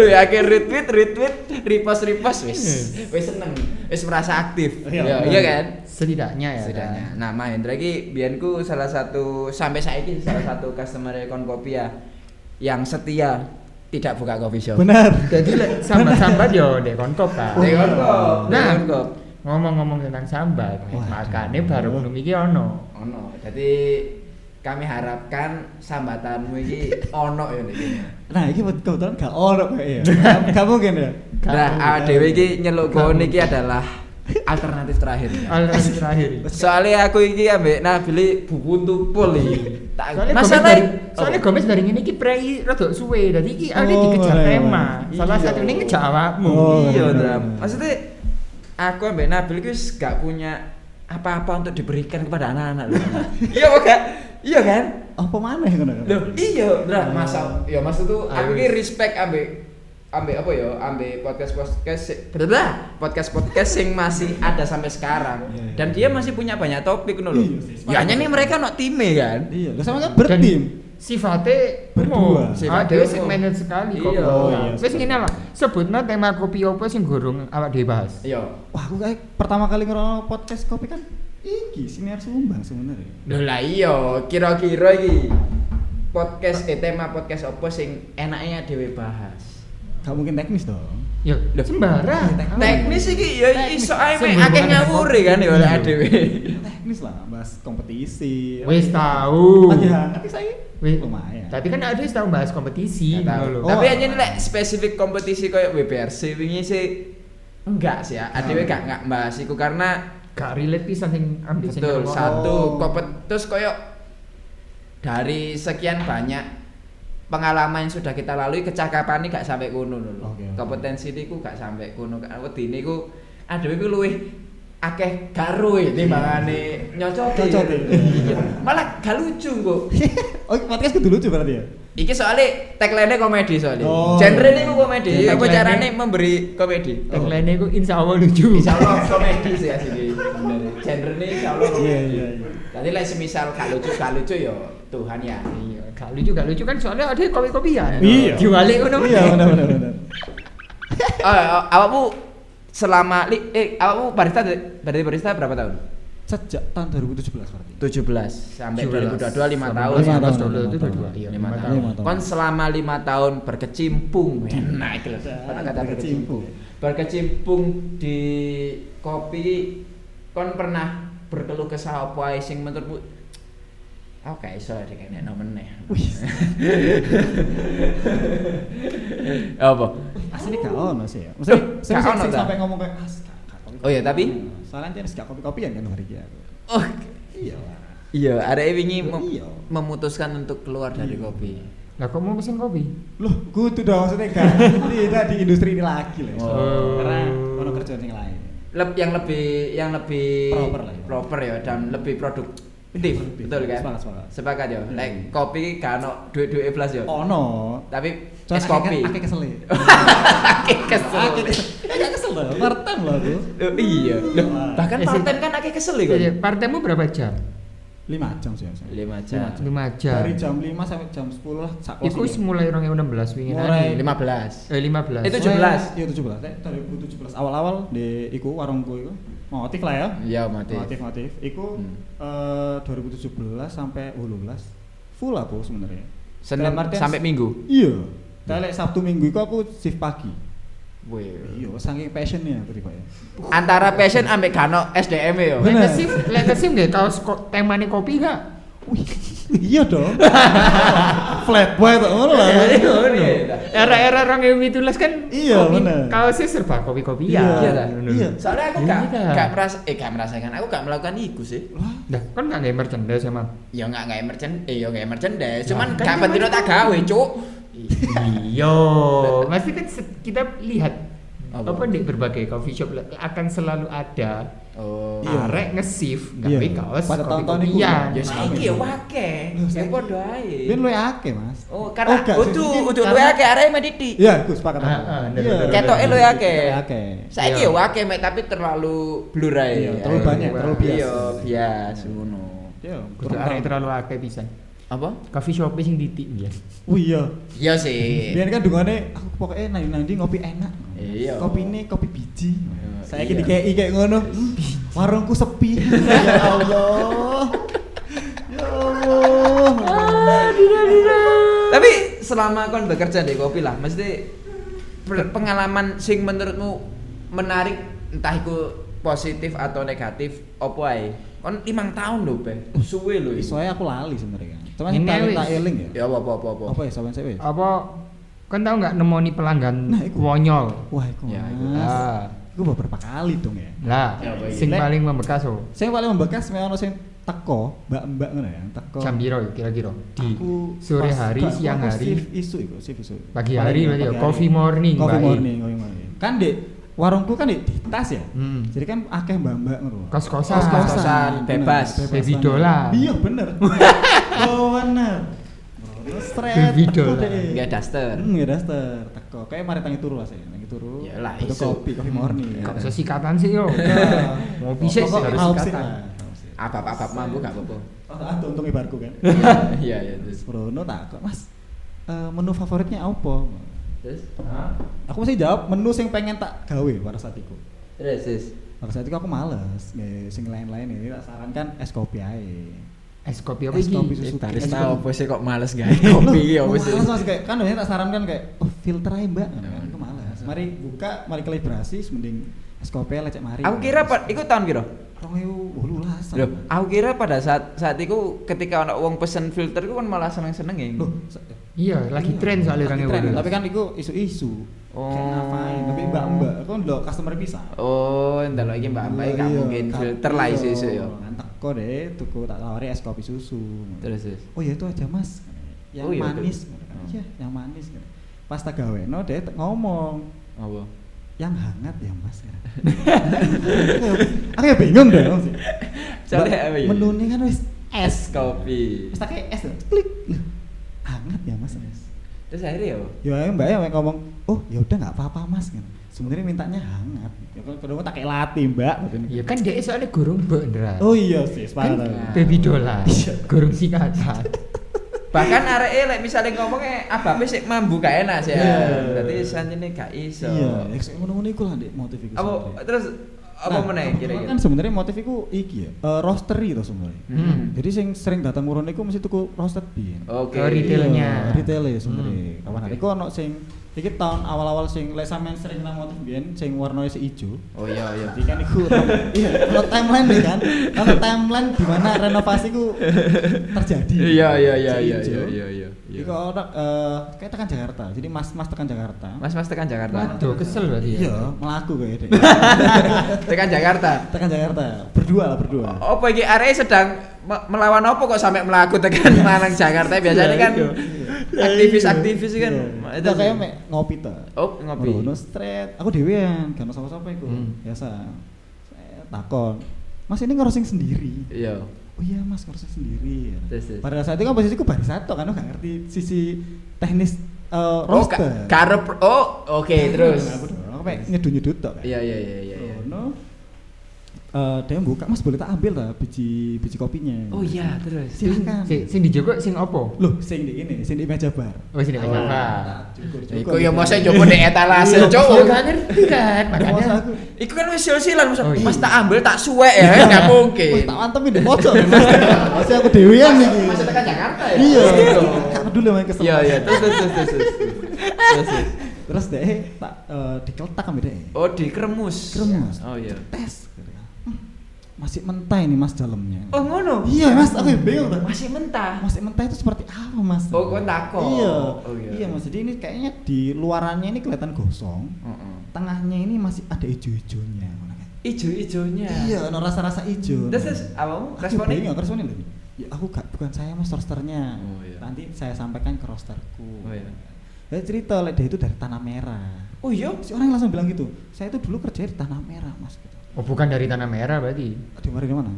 [SPEAKER 4] luwe akhir retweet retweet repost repost wis. Wis seneng, wis merasa aktif.
[SPEAKER 5] Iya,
[SPEAKER 4] Iya,
[SPEAKER 5] bener.
[SPEAKER 4] iya kan?
[SPEAKER 3] Setidaknya ya.
[SPEAKER 4] Setidaknya.
[SPEAKER 3] kan?
[SPEAKER 4] Nah, Mahendra iki biyenku salah satu sampai saiki salah satu customer Konkopia yang setia tidak buka coffee shop.
[SPEAKER 5] Bener.
[SPEAKER 3] Jadi lek sambat-sambat yo dek konkop kan.
[SPEAKER 5] Oh,
[SPEAKER 4] Dek
[SPEAKER 5] iya.
[SPEAKER 4] Konkop. Nah,
[SPEAKER 3] Nah.
[SPEAKER 4] Konkop.
[SPEAKER 3] Ngomong-ngomong tentang sambat,
[SPEAKER 5] Wah,
[SPEAKER 3] makane
[SPEAKER 5] jangan.
[SPEAKER 3] baru belum iki ono.
[SPEAKER 4] Ono. Jadi kami harapkan sambatanmu iki ono ya nek ini.
[SPEAKER 5] Nah, iki kebetulan gak ono kok ya. Gak mungkin ya.
[SPEAKER 4] Nah, awak dhewe iki nyeluk kowe iki adalah alternatif terakhir.
[SPEAKER 3] Alternatif terakhir.
[SPEAKER 4] Soalnya aku iki ambek Nabili buku tupul iki. Tak
[SPEAKER 3] Soalnya Gomez
[SPEAKER 4] masalah
[SPEAKER 3] dari, soalnya Gomez dari ini iki prei rada suwe. Dadi iki awake
[SPEAKER 5] Oh,
[SPEAKER 3] dikejar
[SPEAKER 5] boleh,
[SPEAKER 3] tema.
[SPEAKER 5] boleh.
[SPEAKER 3] Salah
[SPEAKER 5] Iya.
[SPEAKER 3] satu ini ngejar awakmu.
[SPEAKER 5] Oh,
[SPEAKER 4] iya
[SPEAKER 5] bener,
[SPEAKER 4] dram
[SPEAKER 5] bener.
[SPEAKER 4] maksudnya aku ambek Nabil itu wis gak punya apa-apa untuk diberikan kepada anak-anak
[SPEAKER 5] [laughs]
[SPEAKER 4] loh iya kok gak iya kan
[SPEAKER 5] Apa maneh ngono?
[SPEAKER 4] loh iya
[SPEAKER 5] Ah.
[SPEAKER 4] dram masa ya maksud tuh aku
[SPEAKER 3] Ayo.
[SPEAKER 4] ini respect ambek ambek apa ya ambek podcast podcast podcast podcast yang masih ada sampai sekarang
[SPEAKER 5] Iya, iya.
[SPEAKER 4] dan dia masih punya banyak topik no loh
[SPEAKER 5] Iya.
[SPEAKER 4] ya hanya nih mereka no time kan
[SPEAKER 5] Iya, lho sama kan
[SPEAKER 3] Dan
[SPEAKER 5] bertim.
[SPEAKER 3] sifatnya
[SPEAKER 5] Berdua.
[SPEAKER 3] Sifat
[SPEAKER 4] Sifatnya
[SPEAKER 3] dhewe
[SPEAKER 4] umum.
[SPEAKER 3] sing manage sekali kok.
[SPEAKER 4] Iya.
[SPEAKER 5] Oh, iya.
[SPEAKER 3] Wis ngene lah. Sebutna tema kopi opo sing gorong awak dhewe bahas.
[SPEAKER 4] iya
[SPEAKER 5] Wah, aku kayak pertama kali ngerono podcast kopi kan iki siniar Sumbang sebenarnya.
[SPEAKER 4] Lho lah iya, kira-kira iki podcast eh tema podcast apa sing enaknya dhewe bahas.
[SPEAKER 5] Gak mungkin teknis dong.
[SPEAKER 3] Ya,
[SPEAKER 4] Loh.
[SPEAKER 3] sembarang.
[SPEAKER 4] Teknis iki ya
[SPEAKER 3] Teknis.
[SPEAKER 4] iso ae mek akeh
[SPEAKER 3] Sing berhubungan
[SPEAKER 4] ngawure kan ya oleh
[SPEAKER 3] Iya.
[SPEAKER 4] dhewe.
[SPEAKER 5] Teknis lah, bahas kompetisi.
[SPEAKER 3] Wis tahu.
[SPEAKER 5] Iya, tapi saya
[SPEAKER 3] Wih,
[SPEAKER 5] lumayan.
[SPEAKER 3] Tapi kan ada yang tahu bahas kompetisi,
[SPEAKER 4] Nggak tahu.
[SPEAKER 3] ngono lho.
[SPEAKER 5] Oh,
[SPEAKER 4] Tapi
[SPEAKER 5] ah.
[SPEAKER 4] hanya nih lek spesifik kompetisi koyo WBRC wingi sih enggak sih ya.
[SPEAKER 5] Nah.
[SPEAKER 4] Adewe gak enggak bahas iku karena
[SPEAKER 3] Gak relate pisan sing ambil sing
[SPEAKER 4] betul
[SPEAKER 3] ngomong.
[SPEAKER 4] satu
[SPEAKER 5] Oh.
[SPEAKER 4] kompet terus koyo dari sekian banyak pengalaman yang sudah kita lalui kecakapan ini gak sampai kuno lho.
[SPEAKER 5] Oke, oke.
[SPEAKER 4] Kompetensi ini ku gak sampai kuno. Wedine ku adewe ku luwih akeh garuwe timbangane
[SPEAKER 5] Iya.
[SPEAKER 4] nyocot.
[SPEAKER 5] Nyocote.
[SPEAKER 4] Malah gak lucu kok.
[SPEAKER 5] [laughs] Oh, podcast kudu lucu berarti ya?
[SPEAKER 4] Iki soalnya tagline komedi soalnya.
[SPEAKER 5] Oh.
[SPEAKER 4] Genre ini ku komedi.
[SPEAKER 3] Dan
[SPEAKER 4] Apa
[SPEAKER 3] tagline-nya-
[SPEAKER 4] carane memberi komedi?
[SPEAKER 3] Tagline iku insya Allah lucu.
[SPEAKER 4] Insya Allah komedi sih asik iki. Bener. Genre ini insya Allah komedi.
[SPEAKER 5] Iya, iya, iya.
[SPEAKER 4] Tadi lah semisal gak lucu gak lucu yo Tuhan ya.
[SPEAKER 3] Iya, gak lucu, gak lucu kan soalnya ada kopi-kopian.
[SPEAKER 5] Iya.
[SPEAKER 3] Diwalik ngono.
[SPEAKER 5] Iya, benar benar benar.
[SPEAKER 4] Oh, oh, awakmu selama li, eh awakmu barista berarti barista berapa tahun?
[SPEAKER 5] Sejak tahun 2017 berarti.
[SPEAKER 4] 17 sampai 2022 lima
[SPEAKER 3] 17. Sama
[SPEAKER 4] tahun.
[SPEAKER 5] lima
[SPEAKER 4] Lima
[SPEAKER 5] tahun.
[SPEAKER 4] tahun.
[SPEAKER 3] Dulu itu dua.
[SPEAKER 5] Lima tahun.
[SPEAKER 3] Iya,
[SPEAKER 4] Lima
[SPEAKER 3] lima
[SPEAKER 4] tahun.
[SPEAKER 5] Lima tahun.
[SPEAKER 4] Kon selama lima tahun berkecimpung. Nah, itu
[SPEAKER 5] [laughs] Nah,
[SPEAKER 4] kata berkecimpung.
[SPEAKER 5] berkecimpung.
[SPEAKER 4] Berkecimpung di kopi kon pernah berkeluh kesah apa ae sing menurutmu Aku gak iso dikene meneh.
[SPEAKER 5] Wih,
[SPEAKER 4] [laughs] Apa?
[SPEAKER 5] asli gak ono sih ya. Maksudnya,
[SPEAKER 4] Loh,
[SPEAKER 5] serius
[SPEAKER 4] gak ono
[SPEAKER 5] sih
[SPEAKER 4] ta?
[SPEAKER 5] sampai ngomong kayak as gak- gak kopi-kopian."
[SPEAKER 4] Oh iya, tapi?
[SPEAKER 5] soalnya harus gak kopi-kopian kan hari ini aku.
[SPEAKER 4] Oh,
[SPEAKER 5] Iya lah.
[SPEAKER 4] iya, arek wingi
[SPEAKER 5] Loh,
[SPEAKER 4] mem-
[SPEAKER 5] iya.
[SPEAKER 4] memutuskan untuk keluar dari
[SPEAKER 5] Iya.
[SPEAKER 4] kopi.
[SPEAKER 3] Lah kok mau pesen kopi?
[SPEAKER 5] Loh, kudu dong maksudnya gak tidak di industri ini lagi lah. ya.
[SPEAKER 4] Oh.
[SPEAKER 5] Karena ono kerjaan yang lain.
[SPEAKER 4] Leb- yang lebih yang lebih
[SPEAKER 5] Proper lah ya.
[SPEAKER 4] proper ya dan lebih produktif
[SPEAKER 5] Iya, produktif.
[SPEAKER 4] betul kan
[SPEAKER 5] Sepakat, sepakat.
[SPEAKER 4] sepakat ya
[SPEAKER 5] Hmm.
[SPEAKER 4] like kopi kan duit duit plus ya
[SPEAKER 5] Ono.
[SPEAKER 4] tapi
[SPEAKER 5] Cuman
[SPEAKER 4] es
[SPEAKER 5] akeh-
[SPEAKER 4] kopi
[SPEAKER 5] Akeh kesel
[SPEAKER 4] [laughs]
[SPEAKER 5] ya.
[SPEAKER 4] Akeh kesel.
[SPEAKER 5] Akeh kesel. Ya, gak kesel loh, Martin loh aku.
[SPEAKER 4] Loh, iya Loh, bahkan
[SPEAKER 3] Eh, sih.
[SPEAKER 4] parten kan akeh kesel ya
[SPEAKER 3] Iya,
[SPEAKER 4] kan
[SPEAKER 3] partemu berapa jam?
[SPEAKER 5] lima jam sih biasanya.
[SPEAKER 4] Lima jam.
[SPEAKER 3] Lumajang.
[SPEAKER 5] dari jam 5 sampai jam 10 lah sak
[SPEAKER 3] Iku wis mulai 2016 wingi nani.
[SPEAKER 5] Mulai.
[SPEAKER 4] 15.
[SPEAKER 3] Eh 15.
[SPEAKER 4] Itu- 17.
[SPEAKER 5] iya 17 eh, 2017 awal-awal di iku warungku iku motif lah ya
[SPEAKER 4] Iya, mati.
[SPEAKER 5] motif motif iku
[SPEAKER 4] Hmm.
[SPEAKER 5] eh, 2017 sampai 18 full aku sebenarnya
[SPEAKER 4] Senin
[SPEAKER 5] Dalam artian-
[SPEAKER 4] sampai Minggu. Hmm.
[SPEAKER 5] iya Tapi like Sabtu Minggu itu aku shift pagi.
[SPEAKER 4] Wih.
[SPEAKER 5] Iya, saking passionnya aku tiba
[SPEAKER 4] [laughs]
[SPEAKER 5] ya.
[SPEAKER 4] Antara passion ambek kano SDM ya.
[SPEAKER 5] Bener.
[SPEAKER 3] Legacy, legacy nggih kaos ko, temane kopi gak?
[SPEAKER 5] Wih, iya
[SPEAKER 4] [laughs]
[SPEAKER 5] dong. Flat boy tuh, ngono lah.
[SPEAKER 4] Iya,
[SPEAKER 3] Iya, Era-era 2017 kan
[SPEAKER 5] Iya,
[SPEAKER 3] kopi-
[SPEAKER 5] bener.
[SPEAKER 3] Kaosnya serba kopi-kopian.
[SPEAKER 5] Iya,
[SPEAKER 4] iya lah.
[SPEAKER 5] Iya.
[SPEAKER 4] Soalnya aku
[SPEAKER 3] Iya,
[SPEAKER 4] gak,
[SPEAKER 3] iya.
[SPEAKER 4] gak merasa, eh gak merasakan, aku gak melakukan itu sih.
[SPEAKER 5] Lah,
[SPEAKER 3] Nah, kan gak nggak merchandise emang.
[SPEAKER 4] Ya gak gak merchandise, eh ya gak merchandise, cuman
[SPEAKER 3] Nah, kan
[SPEAKER 4] gak
[SPEAKER 3] cuman
[SPEAKER 4] penting
[SPEAKER 3] itu.
[SPEAKER 4] tak gawe, cuk.
[SPEAKER 3] Iya, pasti kan se- kita lihat
[SPEAKER 4] Apa?
[SPEAKER 3] apa di berbagai coffee shop lah, akan selalu ada
[SPEAKER 4] Oh.
[SPEAKER 5] Iya.
[SPEAKER 3] arek ngesif
[SPEAKER 5] Iya.
[SPEAKER 3] gawe kaos Iya,
[SPEAKER 5] Pada tahun-tahun itu. Nah, iya.
[SPEAKER 3] kopi-kopian.
[SPEAKER 4] Ya saiki ya wake.
[SPEAKER 5] Loh,
[SPEAKER 4] Ya
[SPEAKER 5] saiki.
[SPEAKER 4] podo ae.
[SPEAKER 5] ben lu akeh, Mas.
[SPEAKER 4] Oh, karena
[SPEAKER 5] gak,
[SPEAKER 4] kudu
[SPEAKER 5] mungkin
[SPEAKER 4] kudu
[SPEAKER 5] karena-
[SPEAKER 4] luwe akeh arek mediti.
[SPEAKER 5] Iya, aku sepakat.
[SPEAKER 3] Ah,
[SPEAKER 5] aku.
[SPEAKER 3] ah, bener,
[SPEAKER 5] Iya.
[SPEAKER 3] bener, bener.
[SPEAKER 4] Ketoke luwe akeh.
[SPEAKER 5] Luwe akeh.
[SPEAKER 4] Saiki
[SPEAKER 3] Iya.
[SPEAKER 4] ya wake mek tapi terlalu blur ae.
[SPEAKER 5] Iya, terlalu
[SPEAKER 4] Ayo.
[SPEAKER 5] banyak, terlalu bias.
[SPEAKER 4] Iya, bias ngono.
[SPEAKER 5] Iya,
[SPEAKER 3] Kudu arek terlalu akeh pisan.
[SPEAKER 4] Apa?
[SPEAKER 3] Coffee shop sing titik ya.
[SPEAKER 5] Wih, iya.
[SPEAKER 4] Iya sih.
[SPEAKER 5] Biar kan dungane aku pokoknya nang nanti ngopi enak.
[SPEAKER 4] Iya.
[SPEAKER 5] Kopi ini kopi biji.
[SPEAKER 4] Iya.
[SPEAKER 5] Saya kira kayak kayak ngono. Hmm, Warungku sepi. ya Allah. Ya Allah.
[SPEAKER 4] Tapi selama kon bekerja di kopi lah, mesti per- pengalaman sing menurutmu menarik entah itu positif atau negatif opo ae. Kon limang tahun lho, Be. Suwe lho. iku.
[SPEAKER 5] Soalnya aku lali sebenarnya. Cuman
[SPEAKER 3] Ini
[SPEAKER 5] tak
[SPEAKER 3] wis.
[SPEAKER 5] tak eling ya.
[SPEAKER 4] Ya apa apa apa. apa.
[SPEAKER 5] Apa ya sampean saya?
[SPEAKER 3] Apa kan tau nggak nemoni pelanggan
[SPEAKER 5] Nah, iku.
[SPEAKER 3] wonyol.
[SPEAKER 5] Wah, iku.
[SPEAKER 4] Ya, iku.
[SPEAKER 5] Mas.
[SPEAKER 3] Nah,
[SPEAKER 5] Iku beberapa kali dong ya.
[SPEAKER 3] lah
[SPEAKER 4] Ya, apa iki?
[SPEAKER 3] sing
[SPEAKER 5] Lek.
[SPEAKER 3] paling membekas oh.
[SPEAKER 5] Saya paling membekas memang ono sing teko, mbak-mbak ngono ya, yang teko.
[SPEAKER 3] Jam piro ya kira-kira? Di
[SPEAKER 5] Aku
[SPEAKER 3] sore
[SPEAKER 5] pas-
[SPEAKER 3] hari,
[SPEAKER 5] aku-
[SPEAKER 3] siang
[SPEAKER 5] aku
[SPEAKER 3] hari.
[SPEAKER 5] shift isu iku, shift isu.
[SPEAKER 3] Pagi hari berarti ya, coffee morning,
[SPEAKER 5] Coffee
[SPEAKER 3] Mbak.
[SPEAKER 5] morning, coffee morning. Kan di warungku kan di, di tas ya.
[SPEAKER 3] Hmm.
[SPEAKER 5] Jadi kan akeh mbak-mbak ngono.
[SPEAKER 3] Kos-kosan.
[SPEAKER 4] Kos-kosan, bebas.
[SPEAKER 3] Baby dolan.
[SPEAKER 5] Iya
[SPEAKER 3] [laughs]
[SPEAKER 5] bener. Oh bener. Stret.
[SPEAKER 3] Baby
[SPEAKER 5] teko
[SPEAKER 3] dolan.
[SPEAKER 5] deh.
[SPEAKER 4] Nggak duster. [laughs]
[SPEAKER 5] Hmm, ya daster, teko. Kayak mari tangi turu lah saya, tangi turu.
[SPEAKER 4] Yalah,
[SPEAKER 5] Itu
[SPEAKER 4] isu.
[SPEAKER 5] kopi, kopi morning. Iya.
[SPEAKER 3] Kok bisa sikatan sih yo. Iya. Mau bisa sih
[SPEAKER 5] Pokok
[SPEAKER 3] harus
[SPEAKER 5] mau sih
[SPEAKER 3] sikatan.
[SPEAKER 5] lah, mau sih.
[SPEAKER 4] Apa-apa mampu gak apa-apa.
[SPEAKER 5] Oh, ah, untung ibarku kan.
[SPEAKER 3] [laughs]
[SPEAKER 4] Iya iya terus.
[SPEAKER 5] Bruno takut, Mas. eh, menu favoritnya apa?
[SPEAKER 4] Terus
[SPEAKER 5] Aku mesti jawab menu sing pengen tak gawe pada saat itu.
[SPEAKER 4] terus. terus.
[SPEAKER 5] Pada saat itu aku males, nggak sing lain-lain ini tak sarankan es kopi ae.
[SPEAKER 3] Es kopi apa
[SPEAKER 5] Es
[SPEAKER 3] iki?
[SPEAKER 5] kopi
[SPEAKER 4] Eh,
[SPEAKER 5] susu
[SPEAKER 4] barista
[SPEAKER 5] es
[SPEAKER 4] opo sih kok males gawe kopi
[SPEAKER 5] [laughs]
[SPEAKER 4] ya, iki
[SPEAKER 5] Loh,
[SPEAKER 4] opo sih?
[SPEAKER 5] males mas kayak kan biasanya tak sarankan kayak oh filter aja mbak,
[SPEAKER 4] Ya,
[SPEAKER 5] kan aku males. Mari buka, mari kalibrasi, mending es kopi ae lecek mari.
[SPEAKER 4] Aku kira pa- iku tahun kira.
[SPEAKER 5] Rongewu wolulas.
[SPEAKER 4] Loh, aku kira pada saat saat itu ketika ono wong pesen filter ku kan malah seneng-seneng ya.
[SPEAKER 5] Loh, se-
[SPEAKER 3] Iya, lagi tren soalnya orang
[SPEAKER 5] Lagi tren,
[SPEAKER 3] yang
[SPEAKER 5] Tapi kan itu isu-isu.
[SPEAKER 4] Oh.
[SPEAKER 5] Kayak ngapain? Tapi mbak-mbak, kan lo customer pisah.
[SPEAKER 4] Oh, ndelok iki Mbak Mbak gak
[SPEAKER 5] Iya,
[SPEAKER 4] mungkin
[SPEAKER 5] gak-
[SPEAKER 4] filter lah
[SPEAKER 5] iya.
[SPEAKER 4] isu-isu ya.
[SPEAKER 5] Ngantek kok deh, tuku tak tawari es kopi susu.
[SPEAKER 4] Terus terus.
[SPEAKER 5] Oh ya itu aja mas,
[SPEAKER 4] Oh,
[SPEAKER 5] yang
[SPEAKER 4] iya,
[SPEAKER 5] manis.
[SPEAKER 4] betul.
[SPEAKER 5] Iya, yang manis. Pas tak gawe, no deh tak ngomong
[SPEAKER 4] Apa?
[SPEAKER 5] yang hangat ya
[SPEAKER 4] [laughs]
[SPEAKER 5] mas aku ya bingung dong
[SPEAKER 4] Soalnya apa ya?
[SPEAKER 5] menu ini kan wis
[SPEAKER 4] Es kopi.
[SPEAKER 5] wis tak kayak es klik Loh, hangat ya mas
[SPEAKER 4] Terus akhirnya ya. apa?
[SPEAKER 5] ya akhirnya mbak ya ngomong oh ya udah nggak apa-apa mas kan sebenarnya mintanya hangat ya kan kedua tak kayak latih mbak
[SPEAKER 3] Iya kan dia soalnya gurung beneran.
[SPEAKER 5] oh iya sih
[SPEAKER 3] kan
[SPEAKER 5] sepakat aku.
[SPEAKER 3] baby dolan. Gurung sikatan.
[SPEAKER 5] [laughs]
[SPEAKER 4] Bahkan areke lek misale ngomongnya abape sik mambu gak enak sih.
[SPEAKER 5] Iya.
[SPEAKER 4] ya. Berarti sanjene gak iso.
[SPEAKER 5] iya ya sih ngono-ngono iku lah Dek, motif iku
[SPEAKER 4] Apa
[SPEAKER 5] sebenarnya.
[SPEAKER 4] terus apa
[SPEAKER 5] Nah,
[SPEAKER 4] meneh
[SPEAKER 5] kebetulan
[SPEAKER 4] kira-kira?
[SPEAKER 5] kan sebenarnya motif iku iki ya eh, roastery to sebenarnya
[SPEAKER 4] Hmm.
[SPEAKER 5] jadi sing sering datang urun iku mesti tuku roasted bean
[SPEAKER 4] Oke.
[SPEAKER 3] Oh, retail. Retailnya.
[SPEAKER 5] Iya, retailnya sebenarnya
[SPEAKER 3] Hmm.
[SPEAKER 5] kapan
[SPEAKER 4] Oke.
[SPEAKER 5] hari iku ono sing iki tahun awal-awal sing lek sampean sering nang motif biyen sing warnane sing ijo
[SPEAKER 4] Oh iya iya.
[SPEAKER 5] Jadi kan iku
[SPEAKER 4] [laughs]
[SPEAKER 5] iya, kalau timeline nih kan. Kalau timeline di mana renovasi ku terjadi.
[SPEAKER 4] Iya iya iya iya
[SPEAKER 5] Seijo.
[SPEAKER 4] iya iya iya.
[SPEAKER 5] Iku orang eh kayak tekan Jakarta. Jadi mas-mas tekan Jakarta.
[SPEAKER 4] Mas-mas tekan Jakarta.
[SPEAKER 3] Waduh, kesel berarti ya.
[SPEAKER 5] Iya, melaku kayak deh.
[SPEAKER 4] Tekan
[SPEAKER 5] [laughs]
[SPEAKER 4] Jakarta. Oh,
[SPEAKER 5] tekan Jakarta. Berdua lah berdua.
[SPEAKER 4] Apa iki areke sedang me- melawan apa kok sampai melaku tekan
[SPEAKER 5] Iya.
[SPEAKER 4] Malang Jakarta biasanya kan aktivis-aktivis kan.
[SPEAKER 5] Itu iya. kayak mek ngopi ta.
[SPEAKER 4] Oh, ngopi.
[SPEAKER 5] Ngono straight. Aku dhewean, gak ono sapa-sapa iku.
[SPEAKER 3] Hmm.
[SPEAKER 5] Biasa. Saya Takon. Mas ini ngerosing sendiri.
[SPEAKER 4] Iya.
[SPEAKER 5] oh iya mas kursus sendiri
[SPEAKER 4] Terus, terus.
[SPEAKER 5] pada saat itu kan posisiku barisato kan aku gak ngerti sisi teknis uh,
[SPEAKER 4] Oh,
[SPEAKER 5] roster
[SPEAKER 4] ka-
[SPEAKER 5] Nah,
[SPEAKER 4] karep oh oke terus.
[SPEAKER 5] aku dong aku kayak nyedut nyedut tok kan
[SPEAKER 4] Iya iya iya iya. iya.
[SPEAKER 5] Rono, eh, dia buka mas boleh tak ambil lah biji biji kopinya
[SPEAKER 4] Oh iya, terus.
[SPEAKER 5] silakan
[SPEAKER 3] Sing, sing dijogo sing opo?
[SPEAKER 5] loh sing di ini sing di meja
[SPEAKER 4] Ah,
[SPEAKER 5] bar Nah, gitu.
[SPEAKER 3] Oh sing nek apa?
[SPEAKER 5] cukur
[SPEAKER 2] Iku ya mau saya coba di etalase
[SPEAKER 5] Iya,
[SPEAKER 3] Ya
[SPEAKER 2] cowok.
[SPEAKER 3] gak ngerti
[SPEAKER 5] [laughs]
[SPEAKER 3] kan, makanya
[SPEAKER 5] makanya aku
[SPEAKER 4] Iku kan wis silsilan masa
[SPEAKER 3] Oh, iya.
[SPEAKER 4] Mas tak ambil tak
[SPEAKER 5] kan-
[SPEAKER 4] suwek ya, [laughs] enggak
[SPEAKER 5] Wah,
[SPEAKER 4] mungkin.
[SPEAKER 5] tak antemin di
[SPEAKER 4] [laughs]
[SPEAKER 5] pojok ya, Mas. Masih aku dewean iki.
[SPEAKER 2] Masih tekan Jakarta ya?
[SPEAKER 5] kan Iya. Gak peduli main kesel.
[SPEAKER 4] Iya, iya, terus terus terus terus. terus. Terus, terus.
[SPEAKER 5] Terus deh tak eh, dikeletak ambil deh.
[SPEAKER 4] Oh, dikremus.
[SPEAKER 5] Kremus.
[SPEAKER 4] Oh iya.
[SPEAKER 5] Tes. Hmm, Masih mentah ini Mas dalamnya.
[SPEAKER 4] Oh, ngono.
[SPEAKER 5] Iya Mas, aku yang bingung. Mas,
[SPEAKER 4] Masih mentah.
[SPEAKER 5] masih mentah itu seperti apa Mas?
[SPEAKER 4] Oh, kau takut.
[SPEAKER 5] Iya.
[SPEAKER 4] Oh, iya.
[SPEAKER 5] Iya Mas, jadi ini kayaknya di luarannya ini kelihatan gosong.
[SPEAKER 4] Heeh.
[SPEAKER 5] Tengahnya ini masih ada ijo-ijonya. ngono kan.
[SPEAKER 4] Ijo-ijonya.
[SPEAKER 5] Iya, ono rasa-rasa ijo.
[SPEAKER 4] Terus terus awamu
[SPEAKER 5] Aku
[SPEAKER 4] responnya?
[SPEAKER 5] bingung, responnya lho. Ya aku gak, bukan saya mas rosternya.
[SPEAKER 4] Oh, iya.
[SPEAKER 5] Nanti saya sampaikan ke rosterku.
[SPEAKER 4] Oh, iya.
[SPEAKER 5] Saya cerita lah dia itu dari tanah merah.
[SPEAKER 4] Oh iya.
[SPEAKER 5] Si orang yang langsung bilang gitu. Saya itu dulu kerja di tanah merah mas. Gitu.
[SPEAKER 3] Oh bukan dari tanah merah berarti.
[SPEAKER 5] Di mana di mana?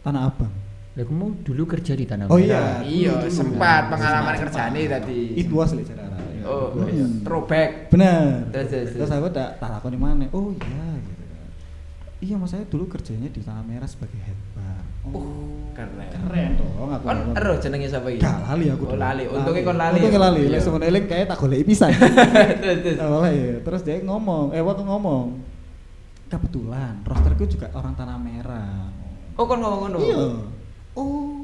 [SPEAKER 5] Tanah Abang.
[SPEAKER 3] Lah kamu dulu kerja di tanah merah.
[SPEAKER 5] Oh iya.
[SPEAKER 4] Iya,
[SPEAKER 5] Dulu, dulu.
[SPEAKER 4] sempat pengalaman
[SPEAKER 5] Sempat.
[SPEAKER 4] kerjane tadi.
[SPEAKER 5] Itu was lek saudara. Ya,
[SPEAKER 4] Oh,
[SPEAKER 5] it was.
[SPEAKER 4] iya. Throwback.
[SPEAKER 5] Bener.
[SPEAKER 4] Terus, terus,
[SPEAKER 5] Terus
[SPEAKER 4] terus.
[SPEAKER 5] aku tak tak takoni mana. Oh iya gitu. kan. Iya mas saya dulu kerjanya di tanah merah sebagai head bar.
[SPEAKER 4] Oh, keren.
[SPEAKER 5] keren dong aku.
[SPEAKER 4] Kon Kan ero jenenge sapa iki?
[SPEAKER 5] Iya. Gak lali aku.
[SPEAKER 4] Oh,
[SPEAKER 5] dulu.
[SPEAKER 4] lali. Untungnya kon lali.
[SPEAKER 5] Untungnya lali.
[SPEAKER 4] Iya.
[SPEAKER 5] Lek semono eling kayak tak goleki
[SPEAKER 4] [laughs]
[SPEAKER 5] pisan.
[SPEAKER 4] Terus, terus.
[SPEAKER 5] Tak goleki. Terus dia ngomong, eh waktu ngomong. Kebetulan rosterku juga orang tanah merah.
[SPEAKER 4] Oh, kon ngomong ngono.
[SPEAKER 5] Iya. Oh,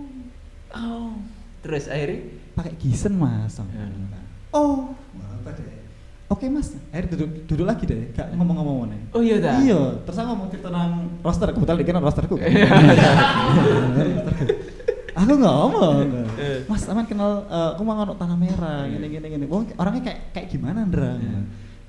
[SPEAKER 4] Oh. Terus akhirnya
[SPEAKER 5] pakai gisen mas.
[SPEAKER 4] Iya.
[SPEAKER 5] Oh. Oke mas, akhirnya duduk, duduk lagi deh, gak ngomong-ngomong mana.
[SPEAKER 4] Oh iya dah.
[SPEAKER 5] Iya, terus aku ngomong cerita tentang roster, kebetulan
[SPEAKER 4] [laughs]
[SPEAKER 5] dikira rosterku kan.
[SPEAKER 4] Iya.
[SPEAKER 5] [laughs] aku ngomong.
[SPEAKER 4] Eh.
[SPEAKER 5] Mas, aman kenal eh, aku mau ngono tanah merah, gini gini gini. Wong orangnya kayak kayak gimana, Ndra?
[SPEAKER 4] Iya.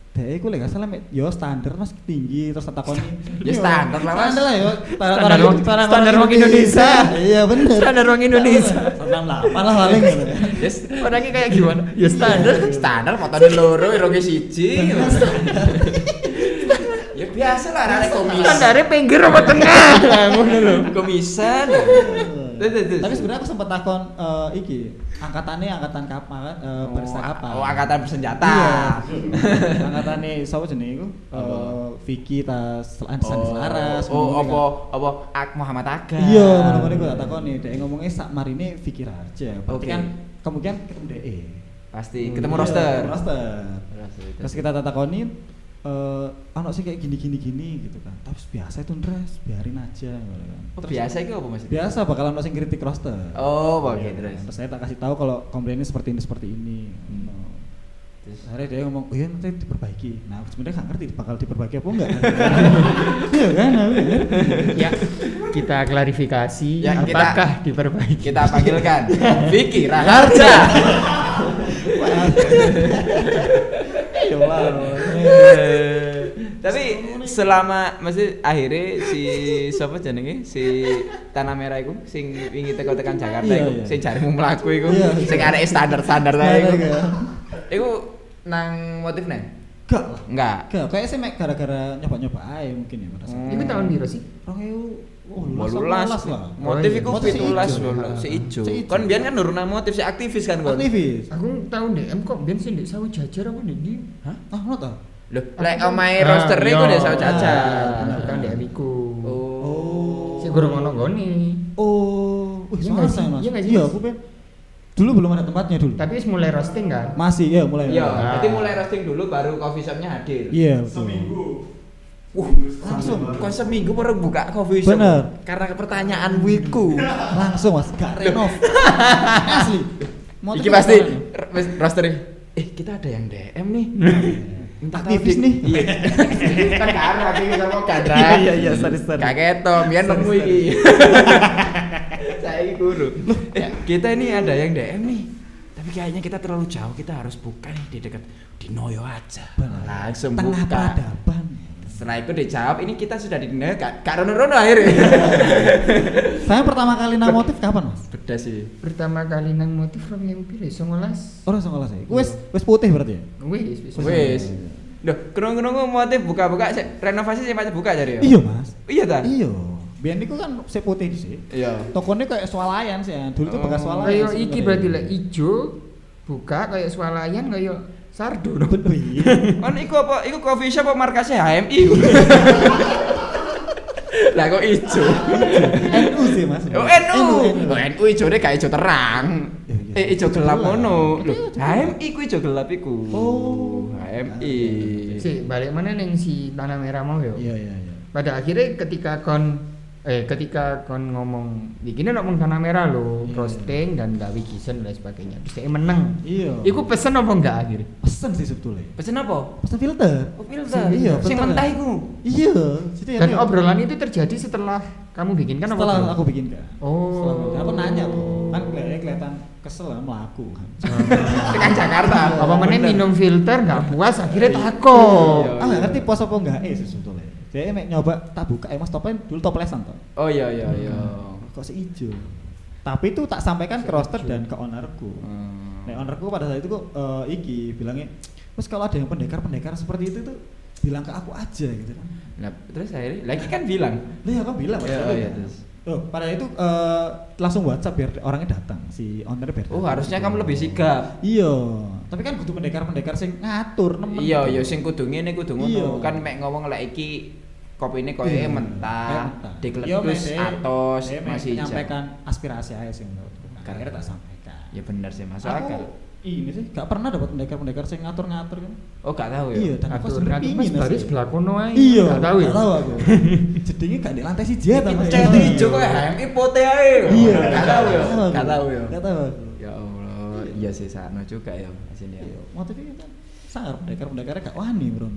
[SPEAKER 5] Dek, aku lagi salah, Mek. yo standar mas tinggi terus tak takoni.
[SPEAKER 4] Ya, standar lah, Mas.
[SPEAKER 5] Standar lah yo.
[SPEAKER 3] Standar wong- standar wong Indonesia.
[SPEAKER 5] Iya bener.
[SPEAKER 3] Standar wong Indonesia.
[SPEAKER 5] Standar lah, malah paling. gitu.
[SPEAKER 4] Yes, orangnya kayak gimana?
[SPEAKER 3] Ya standar.
[SPEAKER 4] Standar motone loro, irunge
[SPEAKER 5] Iya.
[SPEAKER 4] siji. iya. [laughs] ya biasa lah anak komis.
[SPEAKER 3] Standarnya pinggir apa tengah? Lah, [laughs] Ngono lho.
[SPEAKER 4] komisan. Terus, terus, terus.
[SPEAKER 5] Iya. Tapi sebenarnya aku sempat takon eh, iki angkatannya angkatan kapan eh,
[SPEAKER 4] Oh,
[SPEAKER 5] bersa kapan?
[SPEAKER 4] Oh, angkatan bersenjata. [laughs]
[SPEAKER 5] Iya. Angkatane sapa jenenge iku?
[SPEAKER 4] Apa?
[SPEAKER 5] Eh, Vicky tas Selaras Selaras.
[SPEAKER 4] Oh, oh, apa apa Ak Muhammad Aga.
[SPEAKER 5] Iya, ngono-ngono iku tak takoni. Dek ngomongnya sak marine Vicky Raja. Berarti
[SPEAKER 4] Oke.
[SPEAKER 5] kan kemungkinan ketemu DE.
[SPEAKER 4] Pasti ketemu
[SPEAKER 5] Iya,
[SPEAKER 4] roster.
[SPEAKER 5] ketemu Roster.
[SPEAKER 4] Roster.
[SPEAKER 5] Terus kita tak takoni eh anak sih kayak gini-gini gini gitu kan. Tapi biasa itu Ndres, biarin aja gitu kan.
[SPEAKER 4] Oh,
[SPEAKER 5] Terus-
[SPEAKER 4] biasa itu apa Mas?
[SPEAKER 5] biasa bakalan ada yang kritik roster
[SPEAKER 4] Oh, oke,
[SPEAKER 5] Iya,
[SPEAKER 4] terus.
[SPEAKER 5] terus saya tak kasih tahu kalau komplainnya seperti ini seperti ini No.
[SPEAKER 4] Terus.
[SPEAKER 5] terus akhirnya dia ngomong oh iya nanti diperbaiki nah aku sebenarnya nggak ngerti bakal diperbaiki apa enggak [laughs] iya kan aku nggak ngerti.
[SPEAKER 3] Ya, kita klarifikasi
[SPEAKER 4] Ya, kita-
[SPEAKER 3] apakah diperbaiki.
[SPEAKER 4] Kita
[SPEAKER 5] [laughs]
[SPEAKER 4] panggilkan Vicky
[SPEAKER 5] Iya.
[SPEAKER 4] Raharja.
[SPEAKER 5] Wah.
[SPEAKER 4] Ya
[SPEAKER 5] iya lah
[SPEAKER 4] Tapi selama mesti akhirnya si siapa jenenge si tanah merah iku sing wingi teko tekan Jakarta
[SPEAKER 5] Iya,
[SPEAKER 4] iku
[SPEAKER 5] iya.
[SPEAKER 4] sing jarimu mlaku iku
[SPEAKER 5] Iya.
[SPEAKER 4] sing arek standar-standar ta iku.
[SPEAKER 5] Standar, iya.
[SPEAKER 4] Iku nang motifne?
[SPEAKER 5] enggak lah
[SPEAKER 4] Enggak.
[SPEAKER 5] enggak kayaknya sih Mek, gara-gara nyoba-nyoba aja mungkin ya pada saat
[SPEAKER 3] Iku tahun biru sih?
[SPEAKER 5] Roheu, oh,
[SPEAKER 4] Walulas.
[SPEAKER 5] lah. Oh, iya.
[SPEAKER 4] Motif iku
[SPEAKER 5] Motif si
[SPEAKER 4] pitulas
[SPEAKER 5] ijo.
[SPEAKER 4] walulas, si ijo.
[SPEAKER 5] Si ijo.
[SPEAKER 4] Kon biyen kan nurunan motif si aktivis kan kon.
[SPEAKER 5] Aktivis.
[SPEAKER 3] Aku tahun DM kok ben sih ndek sawu jajar apa ndek ndi? Hah?
[SPEAKER 5] Ah, ngono ta?
[SPEAKER 4] Loh, lek omahe roster iku
[SPEAKER 3] iya.
[SPEAKER 4] ndek sawu jajar.
[SPEAKER 5] Ah.
[SPEAKER 3] Aku tahun DM iku.
[SPEAKER 4] Oh.
[SPEAKER 3] Sing gurung ono nggone.
[SPEAKER 5] Oh, wih,
[SPEAKER 3] Iya
[SPEAKER 5] soalnya
[SPEAKER 3] nggak sih?
[SPEAKER 5] saya, mas.
[SPEAKER 3] Iya nggak sih,
[SPEAKER 5] Iya,
[SPEAKER 3] Mas?
[SPEAKER 5] aku pengen. Dulu belum ada tempatnya dulu.
[SPEAKER 3] Tapi wis mulai roasting kan?
[SPEAKER 5] Masih, ya mulai.
[SPEAKER 4] Iya,
[SPEAKER 3] Nah.
[SPEAKER 4] berarti mulai roasting dulu baru coffee shopnya hadir.
[SPEAKER 5] Iya, betul.
[SPEAKER 4] Wah, langsung kok seminggu baru buka coffee shop.
[SPEAKER 5] Bener.
[SPEAKER 4] Karena pertanyaan wiku.
[SPEAKER 5] Langsung, Mas. Gak renov. Asli.
[SPEAKER 4] Iki
[SPEAKER 5] Motif
[SPEAKER 4] pasti
[SPEAKER 5] apa?
[SPEAKER 4] r- wis rosternya. Eh, kita ada yang DM nih. Entah tahu
[SPEAKER 5] Aktivis
[SPEAKER 4] di-
[SPEAKER 5] nih.
[SPEAKER 4] Iya. [laughs] Kan karo aktivis sama kadra.
[SPEAKER 5] Iya, iya, iya, sorry, sorry.
[SPEAKER 4] Kaget to, biar nemu
[SPEAKER 5] sorry.
[SPEAKER 4] iki. [laughs] Saya iki guru. Eh, kita ini ada yang DM nih. Tapi kayaknya kita terlalu jauh, kita harus buka nih di dekat di Noyo aja.
[SPEAKER 5] Bener.
[SPEAKER 4] Langsung
[SPEAKER 5] Tengah
[SPEAKER 4] buka.
[SPEAKER 5] peradaban.
[SPEAKER 4] Setelah itu dijawab, ini kita sudah di Noyo, Kak. Kak Rono-Rono [laughs] akhirnya.
[SPEAKER 5] Saya pertama kali nang motif kapan, Mas?
[SPEAKER 4] Beda sih.
[SPEAKER 3] Pertama kali nang motif from yang pilih 19.
[SPEAKER 5] Orang sekolah saya. Wes, wes putih berarti ya?
[SPEAKER 3] Wis, wis.
[SPEAKER 4] Wis. Duh, kerung-kerung motif buka-buka sik. renovasi sih pancen buka jare ya?
[SPEAKER 5] Iya, Mas.
[SPEAKER 4] Iya ta?
[SPEAKER 5] Iya. Biar niku kan saya putih sih.
[SPEAKER 4] Iya.
[SPEAKER 5] Tokonya kayak swalayan sih ya. Dulu tuh
[SPEAKER 4] Oh.
[SPEAKER 5] bekas swalayan.
[SPEAKER 3] Kayak iki
[SPEAKER 5] sebenarnya.
[SPEAKER 3] berarti lek ijo buka kayak swalayan kayak sardo.
[SPEAKER 5] Betul. iya.
[SPEAKER 4] [laughs] Kan iku apa? Iku coffee shop apa markasnya HMI? Lah kok ijo?
[SPEAKER 5] NU sih mas.
[SPEAKER 4] Oh NU.
[SPEAKER 5] NU.
[SPEAKER 4] Oh NU ijone gak ijo terang.
[SPEAKER 5] Iya, iya.
[SPEAKER 4] Eh ijo gelap
[SPEAKER 5] Gelap.
[SPEAKER 4] ngono. Lho, HMI ku ijo gelap iku.
[SPEAKER 5] Oh.
[SPEAKER 4] HMI.
[SPEAKER 3] Si balik mana neng si tanah merah mau yo.
[SPEAKER 5] Iya iya iya.
[SPEAKER 3] Pada akhirnya ketika kon eh ketika kon ngomong begini ngomong tanah merah lo,
[SPEAKER 5] Iya.
[SPEAKER 3] roasting dan gawi kisen dan sebagainya. Terus dia menang.
[SPEAKER 5] Iya.
[SPEAKER 3] Iku pesen apa enggak akhirnya?
[SPEAKER 5] pesen sih sebetulnya.
[SPEAKER 4] Pesen apa?
[SPEAKER 5] Pesen filter.
[SPEAKER 4] Oh filter.
[SPEAKER 5] Iya,
[SPEAKER 4] Sing
[SPEAKER 5] filter.
[SPEAKER 4] mentah iku.
[SPEAKER 5] Iya. Jadi
[SPEAKER 3] Dan
[SPEAKER 5] akhirnya-
[SPEAKER 3] obrolan itu terjadi setelah kamu bikin kan apa?
[SPEAKER 5] setelah
[SPEAKER 3] belum?
[SPEAKER 5] aku bikin kak. Setelah
[SPEAKER 3] Oh.
[SPEAKER 5] aku- aku
[SPEAKER 3] [laughs]
[SPEAKER 5] nanya tuh, kan kelihatannya kelihatan kesel sama aku kan.
[SPEAKER 4] Tekan Jakarta.
[SPEAKER 3] Apa meneh
[SPEAKER 5] Iya, Bener.
[SPEAKER 3] minum filter nggak puas akhirnya
[SPEAKER 4] Iya.
[SPEAKER 3] takut.
[SPEAKER 5] Ah nggak ngerti pos apa enggak eh sih sebetulnya. Dia emek nyoba tak buka emang topnya dulu toplesan toh.
[SPEAKER 4] Oh iya iya iya.
[SPEAKER 5] Kok seijo. Tapi itu tak sampaikan ke roster dan ke ownerku.
[SPEAKER 4] Hmm.
[SPEAKER 5] Nah ownerku pada saat itu kok eh, iki bilangnya, terus kalau ada yang pendekar-pendekar seperti itu tuh bilang ke aku aja gitu kan.
[SPEAKER 4] Nah, terus akhirnya lagi kan bilang.
[SPEAKER 5] Lah ya kan bilang
[SPEAKER 4] Iya,
[SPEAKER 5] waktu itu
[SPEAKER 4] iya,
[SPEAKER 5] kan.
[SPEAKER 4] terus.
[SPEAKER 5] Loh, pada itu eh, langsung WhatsApp biar orangnya datang si owner biar.
[SPEAKER 4] Oh,
[SPEAKER 5] datang.
[SPEAKER 4] harusnya kamu lebih sigap.
[SPEAKER 5] Iya. Tapi kan kudu pendekar-pendekar sing ngatur nemen. gitu.
[SPEAKER 4] Iya, ya sing kudu ngene kudu ngono.
[SPEAKER 5] Iya.
[SPEAKER 4] Kan mek ngomong lek iki kopine koyo
[SPEAKER 5] Iya. Kayak
[SPEAKER 4] mentah,
[SPEAKER 5] mentah. Iya,
[SPEAKER 4] dikletus
[SPEAKER 5] Mas, eh.
[SPEAKER 4] atos
[SPEAKER 5] Saya memang
[SPEAKER 4] masih
[SPEAKER 5] menyampaikan
[SPEAKER 4] hijau.
[SPEAKER 5] aspirasi aja sih menurutku. Akhirnya tak sampaikan.
[SPEAKER 4] Ya bener sih masuk
[SPEAKER 5] Aku
[SPEAKER 4] akal.
[SPEAKER 5] ini sih gak pernah dapat pendekar-pendekar sing ngatur-ngatur kan.
[SPEAKER 4] Oh, gak tahu ya.
[SPEAKER 5] Iya, dan aku
[SPEAKER 3] Atur
[SPEAKER 5] sebenarnya
[SPEAKER 3] nanti mas
[SPEAKER 5] pingin asli.
[SPEAKER 3] baris belakono ae.
[SPEAKER 5] Iya,
[SPEAKER 3] Nggak tahu ya.
[SPEAKER 5] nggak tahu
[SPEAKER 4] [laughs]
[SPEAKER 5] aku. Jadinya gak di lantai si Jet
[SPEAKER 4] Iki
[SPEAKER 5] apa ya?
[SPEAKER 4] Cet ijo koyo HMI pote ae.
[SPEAKER 5] Iya,
[SPEAKER 4] Gak tahu ya.
[SPEAKER 5] aku.
[SPEAKER 4] Gak tahu ya.
[SPEAKER 5] Gak tahu. aku.
[SPEAKER 4] Ya Allah, iya sih sano juga ya sini ya.
[SPEAKER 5] Iya, motifnya kan sangar pendekar-pendekarnya gak wani, Bro.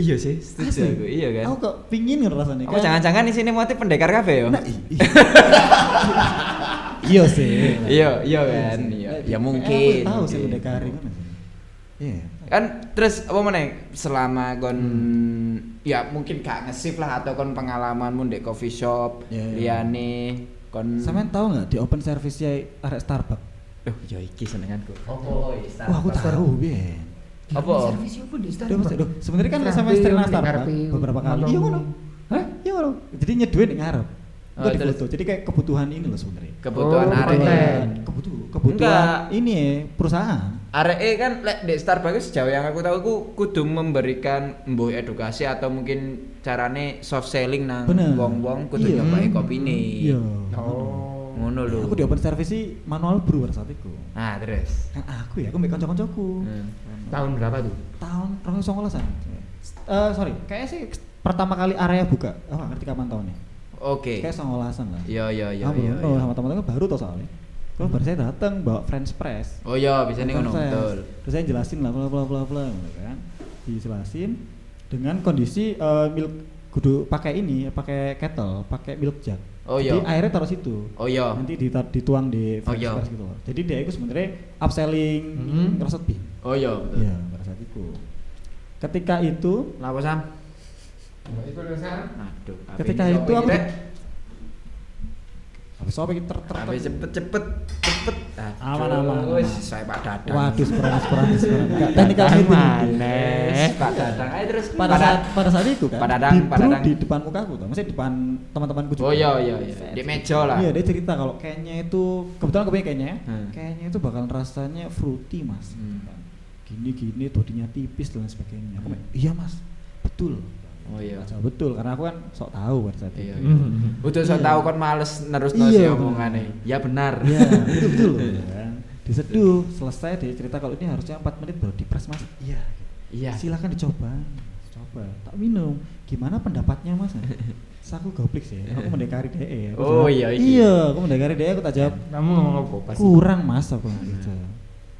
[SPEAKER 4] Iya sih, setuju
[SPEAKER 5] Asli.
[SPEAKER 4] aku. Iya kan.
[SPEAKER 5] Aku kok pingin ngerasanya
[SPEAKER 4] Oh, jangan-jangan di sini motif pendekar kafe ya?
[SPEAKER 5] Nah, i- i- iya sih.
[SPEAKER 4] [laughs] Iya, iya kan.
[SPEAKER 5] sih.
[SPEAKER 4] Iya, ya
[SPEAKER 5] Eh, aku
[SPEAKER 4] mungkin.
[SPEAKER 5] Tahu
[SPEAKER 4] mungkin.
[SPEAKER 5] sih pendekari kan. Iya.
[SPEAKER 4] kan terus apa mana selama kon ya mungkin gak ngesip lah atau kon pengalamanmu di coffee shop
[SPEAKER 5] Ya, ya.
[SPEAKER 4] iya. liane kon
[SPEAKER 5] Sampean tahu nggak di open service ya arek Starbucks?
[SPEAKER 4] Duh, ya iki senenganku
[SPEAKER 3] Apa?
[SPEAKER 5] Wah, aku tahu, iya. Ben.
[SPEAKER 4] apa
[SPEAKER 3] Servis yo pun di
[SPEAKER 5] Duh,
[SPEAKER 3] Starbucks.
[SPEAKER 5] Mas, duh, sebenarnya kan
[SPEAKER 3] Ngarepe,
[SPEAKER 5] sama istri nang Starbucks
[SPEAKER 3] ngarepe,
[SPEAKER 5] beberapa kali.
[SPEAKER 3] ngomong.
[SPEAKER 5] Iya ngono. Hah? Iya ngono. Jadi nyeduin di ngarep. Untuk
[SPEAKER 4] Oh, terus.
[SPEAKER 5] difoto. Jadi kayak kebutuhan ini loh sebenarnya.
[SPEAKER 4] kebutuhan
[SPEAKER 3] Oh,
[SPEAKER 4] arek
[SPEAKER 3] konten.
[SPEAKER 5] Kebutuhan kebutuhan
[SPEAKER 4] Enggak.
[SPEAKER 5] ini ya, perusahaan.
[SPEAKER 4] arek kan lek di Starbucks sejauh yang aku tahu aku kudu memberikan mbuh edukasi atau mungkin carane soft selling nang
[SPEAKER 5] Bener.
[SPEAKER 4] wong-wong kudu
[SPEAKER 5] Iya.
[SPEAKER 4] nyobai kopi ini
[SPEAKER 5] Iya.
[SPEAKER 3] Oh.
[SPEAKER 4] ngono lho
[SPEAKER 5] Aku di open service sih manual brew pada saat itu.
[SPEAKER 4] nah terus
[SPEAKER 5] Kan aku ya, aku mbek kanca-kancaku.
[SPEAKER 4] Hmm.
[SPEAKER 3] Tahun berapa tuh?
[SPEAKER 5] Tahun 2019 an. Eh sorry, kayaknya sih pertama kali area buka. Aku nggak ngerti kapan tahunnya.
[SPEAKER 4] oke
[SPEAKER 5] Kayak 19-an lah.
[SPEAKER 4] iya iya iya
[SPEAKER 5] Aku
[SPEAKER 4] iya
[SPEAKER 5] belum tahu sama teman-teman baru tau soalnya. Terus baru saya datang bawa French press.
[SPEAKER 4] oh iya bisa nih
[SPEAKER 5] French
[SPEAKER 4] ngono
[SPEAKER 5] press.
[SPEAKER 4] betul
[SPEAKER 5] Terus saya jelasin lah bla bla bla bla gitu kan. Dijelasin dengan kondisi eh, milk kudu pakai ini, pakai kettle, pakai milk jug.
[SPEAKER 4] Oh,
[SPEAKER 5] Jadi
[SPEAKER 4] iya.
[SPEAKER 5] airnya taruh situ.
[SPEAKER 4] oh iya
[SPEAKER 5] Nanti dita- dituang di
[SPEAKER 4] Oh,
[SPEAKER 5] French
[SPEAKER 4] iya.
[SPEAKER 5] press gitu loh. Jadi dia itu sebenarnya upselling
[SPEAKER 3] Mhm.
[SPEAKER 5] roasted bean.
[SPEAKER 4] Oh iya betul.
[SPEAKER 5] Iya, pada saat itu. Ketika itu,
[SPEAKER 4] Lapa sam?
[SPEAKER 3] Iku lho Sam.
[SPEAKER 4] Aduh. HP
[SPEAKER 5] ketika
[SPEAKER 4] ini
[SPEAKER 5] itu
[SPEAKER 4] kok
[SPEAKER 5] aku
[SPEAKER 4] ini, Rek?
[SPEAKER 5] habis apa ter ter
[SPEAKER 4] HP cepet cepet cepet. Aduh,
[SPEAKER 5] Aman, aman,
[SPEAKER 4] Wis
[SPEAKER 5] aman.
[SPEAKER 4] saya Pak Dadang.
[SPEAKER 5] Waduh, sporan sporan sporan. Enggak technical
[SPEAKER 3] Datang
[SPEAKER 5] meeting.
[SPEAKER 3] maneh.
[SPEAKER 4] Wis, Pak Dadang. Ayo terus
[SPEAKER 5] eh. Pada saat pada saat itu kan.
[SPEAKER 4] Pada dang,
[SPEAKER 5] di-
[SPEAKER 4] pada
[SPEAKER 5] dulu
[SPEAKER 4] dang.
[SPEAKER 5] di depan muka aku tuh, maksudnya depan teman-temanku juga.
[SPEAKER 4] Oh iya iya iya. Di meja lah.
[SPEAKER 5] Iya, dia cerita kalau kayaknya itu kebetulan aku punya kayaknya. ya.
[SPEAKER 4] Hmm.
[SPEAKER 5] Kayaknya itu bakal rasanya fruity, Mas.
[SPEAKER 4] Hmm.
[SPEAKER 5] Gini-gini todinya tipis dan sebagainya. Aku
[SPEAKER 4] Hmm.
[SPEAKER 5] bilang, iya, Mas. Betul.
[SPEAKER 4] Oh iya.
[SPEAKER 5] Gak jawab betul karena aku kan sok tahu pada saat itu.
[SPEAKER 4] Iya.
[SPEAKER 3] Hmm.
[SPEAKER 4] Udah saya
[SPEAKER 5] Iya.
[SPEAKER 4] tahu kan males nerus nerus
[SPEAKER 5] Iya,
[SPEAKER 4] omongane. Ya benar.
[SPEAKER 5] Iya, itu betul loh.
[SPEAKER 4] [laughs]
[SPEAKER 5] ya. Diseduh, selesai dia cerita kalau ini harusnya 4 menit baru dipres mas. Iya.
[SPEAKER 4] Iya.
[SPEAKER 5] Silahkan dicoba. Coba. Tak minum. Gimana pendapatnya
[SPEAKER 4] [laughs]
[SPEAKER 5] mas? Terus aku goblik sih. Aku mendekari DE. Aku
[SPEAKER 4] Oh,
[SPEAKER 5] jawab,
[SPEAKER 4] iya, iki.
[SPEAKER 5] Iya, aku mendekari DE. Aku tak jawab.
[SPEAKER 3] Kamu ngomong apa pas?
[SPEAKER 5] Kurang mas aku bilang
[SPEAKER 4] Nah.
[SPEAKER 5] gitu.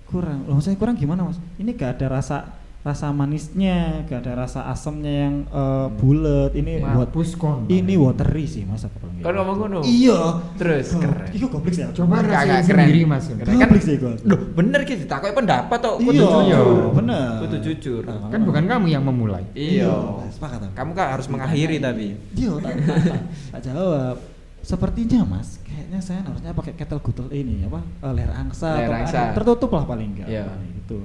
[SPEAKER 5] Kurang. Loh maksudnya kurang gimana mas? Ini gak ada rasa rasa manisnya, gak ada rasa asamnya yang
[SPEAKER 4] Hmm.
[SPEAKER 5] eh, bulat. Ini buat
[SPEAKER 3] Mampus kon.
[SPEAKER 5] ini watery sih mas aku
[SPEAKER 4] Kan
[SPEAKER 5] bilang. gitu.
[SPEAKER 4] ngomong ngono.
[SPEAKER 5] Iya.
[SPEAKER 4] Terus
[SPEAKER 5] Go-
[SPEAKER 4] keren.
[SPEAKER 5] Iku goblik sih. aku.
[SPEAKER 3] Coba
[SPEAKER 4] Enggak,
[SPEAKER 3] rasain
[SPEAKER 4] enggak, keren.
[SPEAKER 3] sendiri Mas.
[SPEAKER 4] Keren. kan?
[SPEAKER 5] Goblik sih gua.
[SPEAKER 4] Loh, bener ki ditakoki pendapat tok. Kudu
[SPEAKER 5] Iya,
[SPEAKER 4] jujur. ya?
[SPEAKER 5] bener.
[SPEAKER 4] Kudu jujur.
[SPEAKER 5] Nah,
[SPEAKER 3] Kan bukan kamu yang memulai.
[SPEAKER 4] Iya.
[SPEAKER 5] sepakat. aku.
[SPEAKER 4] Kamu kan harus mengakhiri tapi.
[SPEAKER 5] Iya, tak, tak, tak- tak jawab. Sepertinya Mas, kayaknya saya harusnya pakai kettle gutel ini apa eh, leher angsa
[SPEAKER 4] Leher
[SPEAKER 5] atau
[SPEAKER 4] angsa.
[SPEAKER 5] ada- tertutup lah paling enggak.
[SPEAKER 4] Iya.
[SPEAKER 5] Gitu.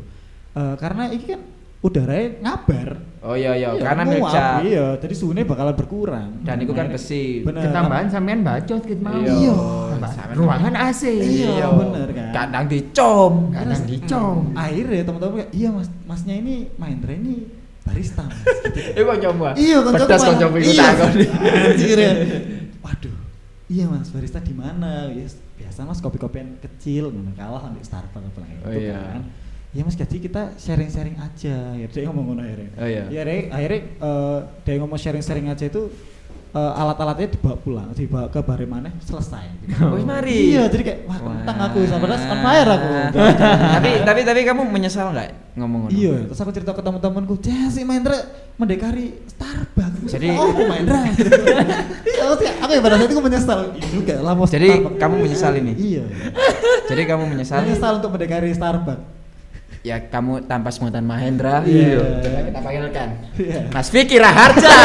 [SPEAKER 5] Eh, karena ini kan udaranya ngabar.
[SPEAKER 4] Oh iya iya, karena
[SPEAKER 5] nguap,
[SPEAKER 4] milcap.
[SPEAKER 5] Iya, jadi suhunya bakalan berkurang.
[SPEAKER 4] Dan itu kan besi.
[SPEAKER 5] Bener.
[SPEAKER 3] Ketambahan sampean bacot ket mau.
[SPEAKER 4] Iya.
[SPEAKER 3] Tambah-
[SPEAKER 4] Sampean-
[SPEAKER 3] Ruangan AC.
[SPEAKER 5] Iya, bener kan.
[SPEAKER 4] Kadang dicom.
[SPEAKER 3] Kadang dicong.
[SPEAKER 5] ya, Akhirnya teman-teman kayak, iya Mas, Masnya ini main ini barista Mas. Gitu.
[SPEAKER 4] [laughs] Eh kok nyoba?
[SPEAKER 5] Iya, koncoku
[SPEAKER 4] Pedas
[SPEAKER 5] malah-
[SPEAKER 4] koncoku iku
[SPEAKER 5] iya.
[SPEAKER 4] takon.
[SPEAKER 5] Anjir
[SPEAKER 4] [laughs]
[SPEAKER 5] ya. Waduh. Iya Mas, barista di mana? Ya, s- biasa Mas kopi-kopian kecil ngono kalah sampai Starbucks apa gitu
[SPEAKER 4] Oh, iya.
[SPEAKER 5] kan. Iya Mas, jadi kita sharing-sharing aja. Ya dia ngomong ngono akhirnya.
[SPEAKER 4] Oh, iya.
[SPEAKER 5] Ya Rek, akhirnya eh, dia ngomong sharing-sharing aja itu eh, alat-alatnya dibawa pulang, dibawa ke bare maneh selesai.
[SPEAKER 4] [laughs] Wis Oh, mari.
[SPEAKER 5] Iya, jadi kayak wah kentang aku, sebenarnya on
[SPEAKER 4] Wah.
[SPEAKER 5] fire aku.
[SPEAKER 4] [laughs]
[SPEAKER 5] gitu.
[SPEAKER 4] tapi tapi tapi kamu menyesal nggak ngomong ngono?
[SPEAKER 5] Iya, terus aku cerita ke teman-temanku, "Jas, si Mahendra mendekari Starbucks."
[SPEAKER 4] Jadi-
[SPEAKER 5] oh, Bu Mahendra. [laughs] Iya, maksudnya aku yang pada saat itu menyesal Iya juga lah mau
[SPEAKER 4] Jadi
[SPEAKER 5] Starbucks.
[SPEAKER 4] kamu menyesal ini?
[SPEAKER 5] Iya.
[SPEAKER 4] Jadi kamu menyesal?
[SPEAKER 5] Menyesal untuk mendekari Starbucks.
[SPEAKER 4] Ya kamu tanpa semutan Mahendra.
[SPEAKER 5] Iya.
[SPEAKER 4] Coba kita panggilkan.
[SPEAKER 5] Iya.
[SPEAKER 4] Mas Vicky Raharja.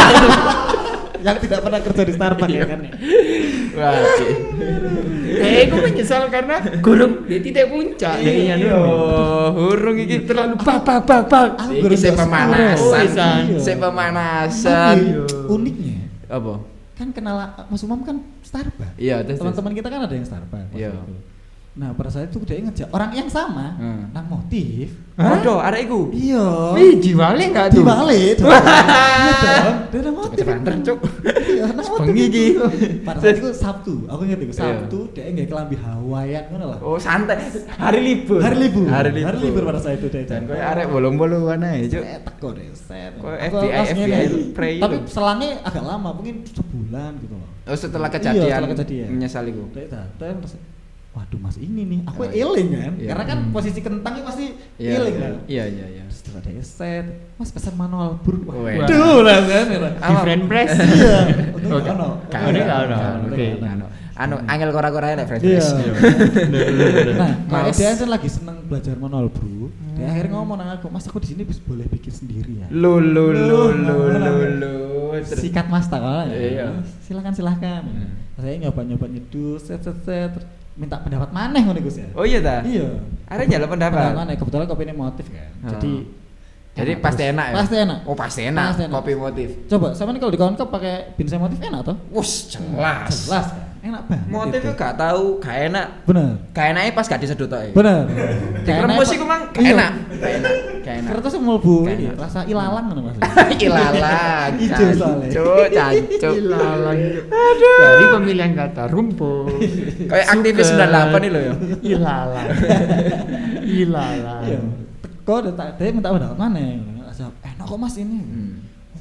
[SPEAKER 5] Yang tidak pernah kerja di Starbucks ya kan. ya?
[SPEAKER 4] [laughs] Wah. Ci.
[SPEAKER 3] Eh, aku menyesal karena gurung di titik puncak.
[SPEAKER 4] Iya,
[SPEAKER 3] Jadi,
[SPEAKER 4] hurung
[SPEAKER 3] Ini
[SPEAKER 4] iki
[SPEAKER 3] terlalu bak bak bak bak.
[SPEAKER 5] Aku
[SPEAKER 4] Iki
[SPEAKER 5] baru
[SPEAKER 4] sing
[SPEAKER 3] Oh,
[SPEAKER 5] ndak
[SPEAKER 4] pemanasan.
[SPEAKER 5] sepuluh. Iya.
[SPEAKER 4] Sing
[SPEAKER 5] Tapi,
[SPEAKER 4] pemanasan.
[SPEAKER 5] Uniknya
[SPEAKER 4] Apa?
[SPEAKER 5] kan kenal Mas Umam kan Starbucks.
[SPEAKER 4] Iya, terus-
[SPEAKER 5] Teman-teman kita kan ada yang Starbucks. waktu
[SPEAKER 4] Iya.
[SPEAKER 5] itu. Nah, pada saat itu dia ngejak orang yang sama,
[SPEAKER 4] Hmm.
[SPEAKER 5] nang motif.
[SPEAKER 4] Waduh, arek iku.
[SPEAKER 5] Iya.
[SPEAKER 3] Wih, wale enggak tuh?
[SPEAKER 5] dibalik
[SPEAKER 4] [laughs]
[SPEAKER 5] dong. Iya dong. Dia ada motif.
[SPEAKER 4] Cepet banter, Cuk.
[SPEAKER 5] Iya, ada motif.
[SPEAKER 4] Bengi iki. Iya.
[SPEAKER 5] Pada
[SPEAKER 4] [laughs]
[SPEAKER 5] saat itu Sabtu, aku ingat itu Sabtu dia nggak kelambi Hawaiian ngono lah.
[SPEAKER 4] Oh, santai. Hari libur.
[SPEAKER 5] Hari libur.
[SPEAKER 4] Hari libur.
[SPEAKER 5] pada saat itu dia.
[SPEAKER 4] Dan kowe arek bolong-bolongan ae, Cuk.
[SPEAKER 5] Cetak kok deh, set.
[SPEAKER 4] Kok
[SPEAKER 5] Aku
[SPEAKER 4] FBI,
[SPEAKER 5] langsung
[SPEAKER 4] FBI
[SPEAKER 5] ngene.
[SPEAKER 4] pray
[SPEAKER 5] Tapi
[SPEAKER 4] itu.
[SPEAKER 5] selangnya agak lama, mungkin sebulan gitu loh.
[SPEAKER 4] Oh, setelah
[SPEAKER 5] Iya,
[SPEAKER 4] kejadian,
[SPEAKER 5] setelah kejadian.
[SPEAKER 4] menyesal iku.
[SPEAKER 5] Dia datang terus Waduh mas ini nih,
[SPEAKER 4] Oh,
[SPEAKER 5] aku
[SPEAKER 4] iya.
[SPEAKER 5] eling kan,
[SPEAKER 4] Iya.
[SPEAKER 5] karena kan posisi kentangnya pasti eling kan.
[SPEAKER 4] Iya, iya, iya.
[SPEAKER 5] Terus setelah dia set, mas pesan manual buruk.
[SPEAKER 4] Weh.
[SPEAKER 5] Waduh, rasanya. lah. kan, ya,
[SPEAKER 3] Di friend press.
[SPEAKER 5] Iya. Untungnya
[SPEAKER 3] Oke.
[SPEAKER 5] nggak ono.
[SPEAKER 3] Nggak
[SPEAKER 5] Iya.
[SPEAKER 3] ono, nggak ono.
[SPEAKER 5] Nggak ono,
[SPEAKER 3] Oke.
[SPEAKER 5] nggak ono.
[SPEAKER 4] Anu, anu angel kora-kora nek French
[SPEAKER 5] Hmm. Iya.
[SPEAKER 4] press.
[SPEAKER 5] Nah, kalau
[SPEAKER 4] Males.
[SPEAKER 5] dia kan lagi seneng belajar manual bro. Dia
[SPEAKER 3] Hmm.
[SPEAKER 5] akhirnya ngomong nang aku, mas aku di sini bisa- boleh bikin sendiri ya.
[SPEAKER 4] Lu lu lu lu lu lu. Terus-
[SPEAKER 5] Sikat mas tak kalau ya.
[SPEAKER 4] Iya.
[SPEAKER 5] Silakan silakan.
[SPEAKER 4] Hmm.
[SPEAKER 5] Saya nyoba nyoba nyedul, set set set. Minta pendapat maneh ngono Gus ya.
[SPEAKER 4] Oh iya ta?
[SPEAKER 5] Iya.
[SPEAKER 4] Arek nyala pendapat.
[SPEAKER 5] Pendapat maneh kebetulan kopi ini motif kan.
[SPEAKER 4] Hmm.
[SPEAKER 5] Jadi
[SPEAKER 4] Jadi
[SPEAKER 5] enak
[SPEAKER 4] pasti
[SPEAKER 5] terus.
[SPEAKER 4] enak ya?
[SPEAKER 5] Pasti enak.
[SPEAKER 4] Oh pasti
[SPEAKER 5] Pasti
[SPEAKER 4] enak,
[SPEAKER 5] enak.
[SPEAKER 4] kopi motif
[SPEAKER 5] Coba sama nih kalau di kawan-kawan pakai bins motif enak toh?
[SPEAKER 4] Wus, jelas
[SPEAKER 5] Jelas kan. Enak banget.
[SPEAKER 4] Motif
[SPEAKER 5] itu.
[SPEAKER 4] itu gak tau, gak enak
[SPEAKER 5] Bener.
[SPEAKER 4] Gak enaknya pas gak disedot aja
[SPEAKER 5] Bener.
[SPEAKER 4] Dikremes iku mang gak
[SPEAKER 5] Iya.
[SPEAKER 4] enak Gak enak, gak enak
[SPEAKER 5] Kertas mulbu
[SPEAKER 4] Gak
[SPEAKER 5] ini
[SPEAKER 4] enak. Iya.
[SPEAKER 5] rasa ilalang kan mas.
[SPEAKER 4] [laughs] Ilalang
[SPEAKER 5] Ijo soalnya.
[SPEAKER 4] Cancuk, cancuk
[SPEAKER 3] Ilalang. Aduh. Dari pemilihan kata rumput.
[SPEAKER 4] Kayak aktivis 98 nih lo ya
[SPEAKER 3] Ilalang. Ilalang.
[SPEAKER 5] [laughs] Iya. Teko dia tak dia minta pendapat mana? Nggak Jawab "Eh, enak kok mas ini.
[SPEAKER 4] Hmm.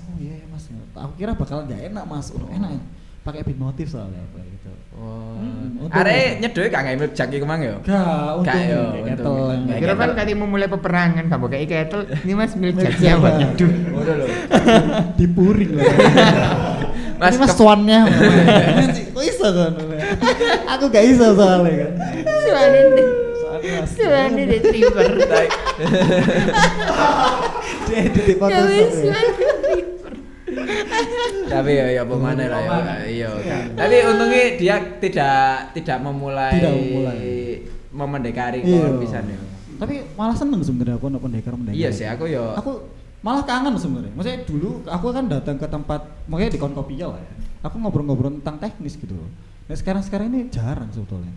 [SPEAKER 5] Oh iya iya, mas. Aku kira bakalan gak enak mas. Oh, enak. Pakai bin motif soalnya apa gitu. Hmm, untung ya.
[SPEAKER 4] Are nyedoe gak nggak milk jaki kemang ya?
[SPEAKER 5] Gak, untung
[SPEAKER 4] Gak, yo,
[SPEAKER 5] kayak gitu.
[SPEAKER 4] untung.
[SPEAKER 5] ketel.
[SPEAKER 4] Kayak
[SPEAKER 3] Kira kan tadi memulai peperangan kamu kayak ketel. Ini Mas milik
[SPEAKER 5] Iya,
[SPEAKER 3] Jacknya buat nyeduh.
[SPEAKER 4] Udah lo.
[SPEAKER 5] [laughs] dipuring loh.
[SPEAKER 4] Mas,
[SPEAKER 5] Mas, mas
[SPEAKER 4] ke- [laughs]
[SPEAKER 5] tuannya. Kok iso kan? Aku gak iso soalnya kan.
[SPEAKER 3] Suara ini.
[SPEAKER 5] Soalnya mas.
[SPEAKER 3] Suara ini
[SPEAKER 4] [laughs]
[SPEAKER 3] retriever.
[SPEAKER 5] Dia di
[SPEAKER 3] Kamu
[SPEAKER 5] podcast.
[SPEAKER 4] Tapi ya ya pemane lah ya. Iya. Kak. Tapi untungnya dia tidak tidak memulai
[SPEAKER 5] Tidak memulai.
[SPEAKER 4] memendekari
[SPEAKER 5] Iya.
[SPEAKER 4] kon pisan ya.
[SPEAKER 5] Tapi malah seneng sebenarnya aku nonton pendekar pendekar.
[SPEAKER 4] Iya sih aku ya.
[SPEAKER 5] Aku malah kangen sebenarnya. Maksudnya dulu aku kan datang ke tempat, makanya di Konkopia lah ya. Aku ngobrol-ngobrol tentang teknis gitu loh. Nah sekarang-sekarang ini jarang sebetulnya.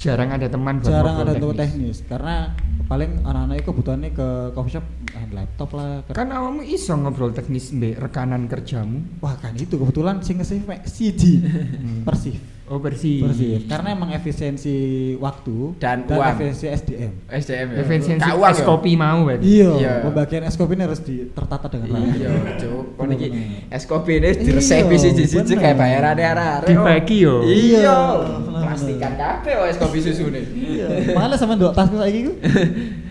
[SPEAKER 3] Jarang ada teman buat
[SPEAKER 5] jarang
[SPEAKER 3] ngobrol
[SPEAKER 5] ada teknis. teknis karena paling anak-anak itu kebutuhannya ke coffee shop, main laptop lah. ke-
[SPEAKER 3] Kan awakmu iso ngobrol teknis mbek rekanan kerjamu.
[SPEAKER 5] Wah kan itu kebetulan sing nge-save mek siji
[SPEAKER 4] Hmm.
[SPEAKER 5] persif.
[SPEAKER 3] Oh bersih.
[SPEAKER 5] Persif. Karena emang efisiensi waktu
[SPEAKER 4] Iya. Dan uang.
[SPEAKER 5] efisiensi SDM.
[SPEAKER 4] SDM ya.
[SPEAKER 3] Efisiensi
[SPEAKER 4] Kak uang
[SPEAKER 3] es
[SPEAKER 4] ya?
[SPEAKER 3] eh, kopi mau berarti.
[SPEAKER 5] Iya,
[SPEAKER 4] Iya.
[SPEAKER 5] pembagian es kopi ini harus di- tertata dengan rapi.
[SPEAKER 4] Iya, cuk. Kon iki
[SPEAKER 5] Bener-bener.
[SPEAKER 4] es kopi ini
[SPEAKER 5] Iya,
[SPEAKER 4] diresepi siji-siji
[SPEAKER 5] bener.
[SPEAKER 4] kayak bayarane arek-arek.
[SPEAKER 3] Dibagi yo.
[SPEAKER 4] Iya.
[SPEAKER 5] Bener-bener.
[SPEAKER 4] Plastikan kabeh wae es kopi susune.
[SPEAKER 5] Iya. Males sama ndok tasku saiki
[SPEAKER 4] [laughs]
[SPEAKER 5] ku.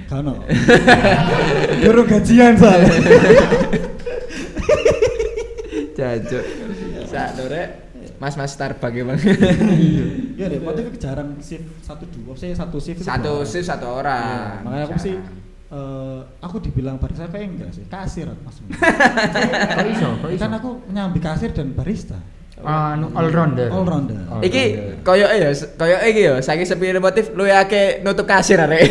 [SPEAKER 5] Gak ono. Durung gajian
[SPEAKER 4] [laughs]
[SPEAKER 5] soalnya.
[SPEAKER 4] Jancuk. Sak lore mas-mas Starbucks ya,
[SPEAKER 5] [laughs]
[SPEAKER 4] Bang.
[SPEAKER 5] Iya deh, motif jarang shift satu dua, saya satu shift. itu
[SPEAKER 4] Satu
[SPEAKER 5] jarang.
[SPEAKER 4] shift satu
[SPEAKER 5] Iya,
[SPEAKER 4] orang.
[SPEAKER 5] Makanya aku sih
[SPEAKER 4] Jarang.
[SPEAKER 5] eh, aku dibilang barista kayak enggak sih, kasir
[SPEAKER 4] [laughs]
[SPEAKER 5] mas.
[SPEAKER 3] Kok iso? Kok iso?
[SPEAKER 5] kan aku nyambi kasir dan barista,
[SPEAKER 3] anu all rounder.
[SPEAKER 5] all rounder.
[SPEAKER 3] Oh.
[SPEAKER 4] Iki koyoke ya, koyoke iki ya, saking sepi motif luwe akeh nutup kasir
[SPEAKER 5] [laughs]
[SPEAKER 4] arek.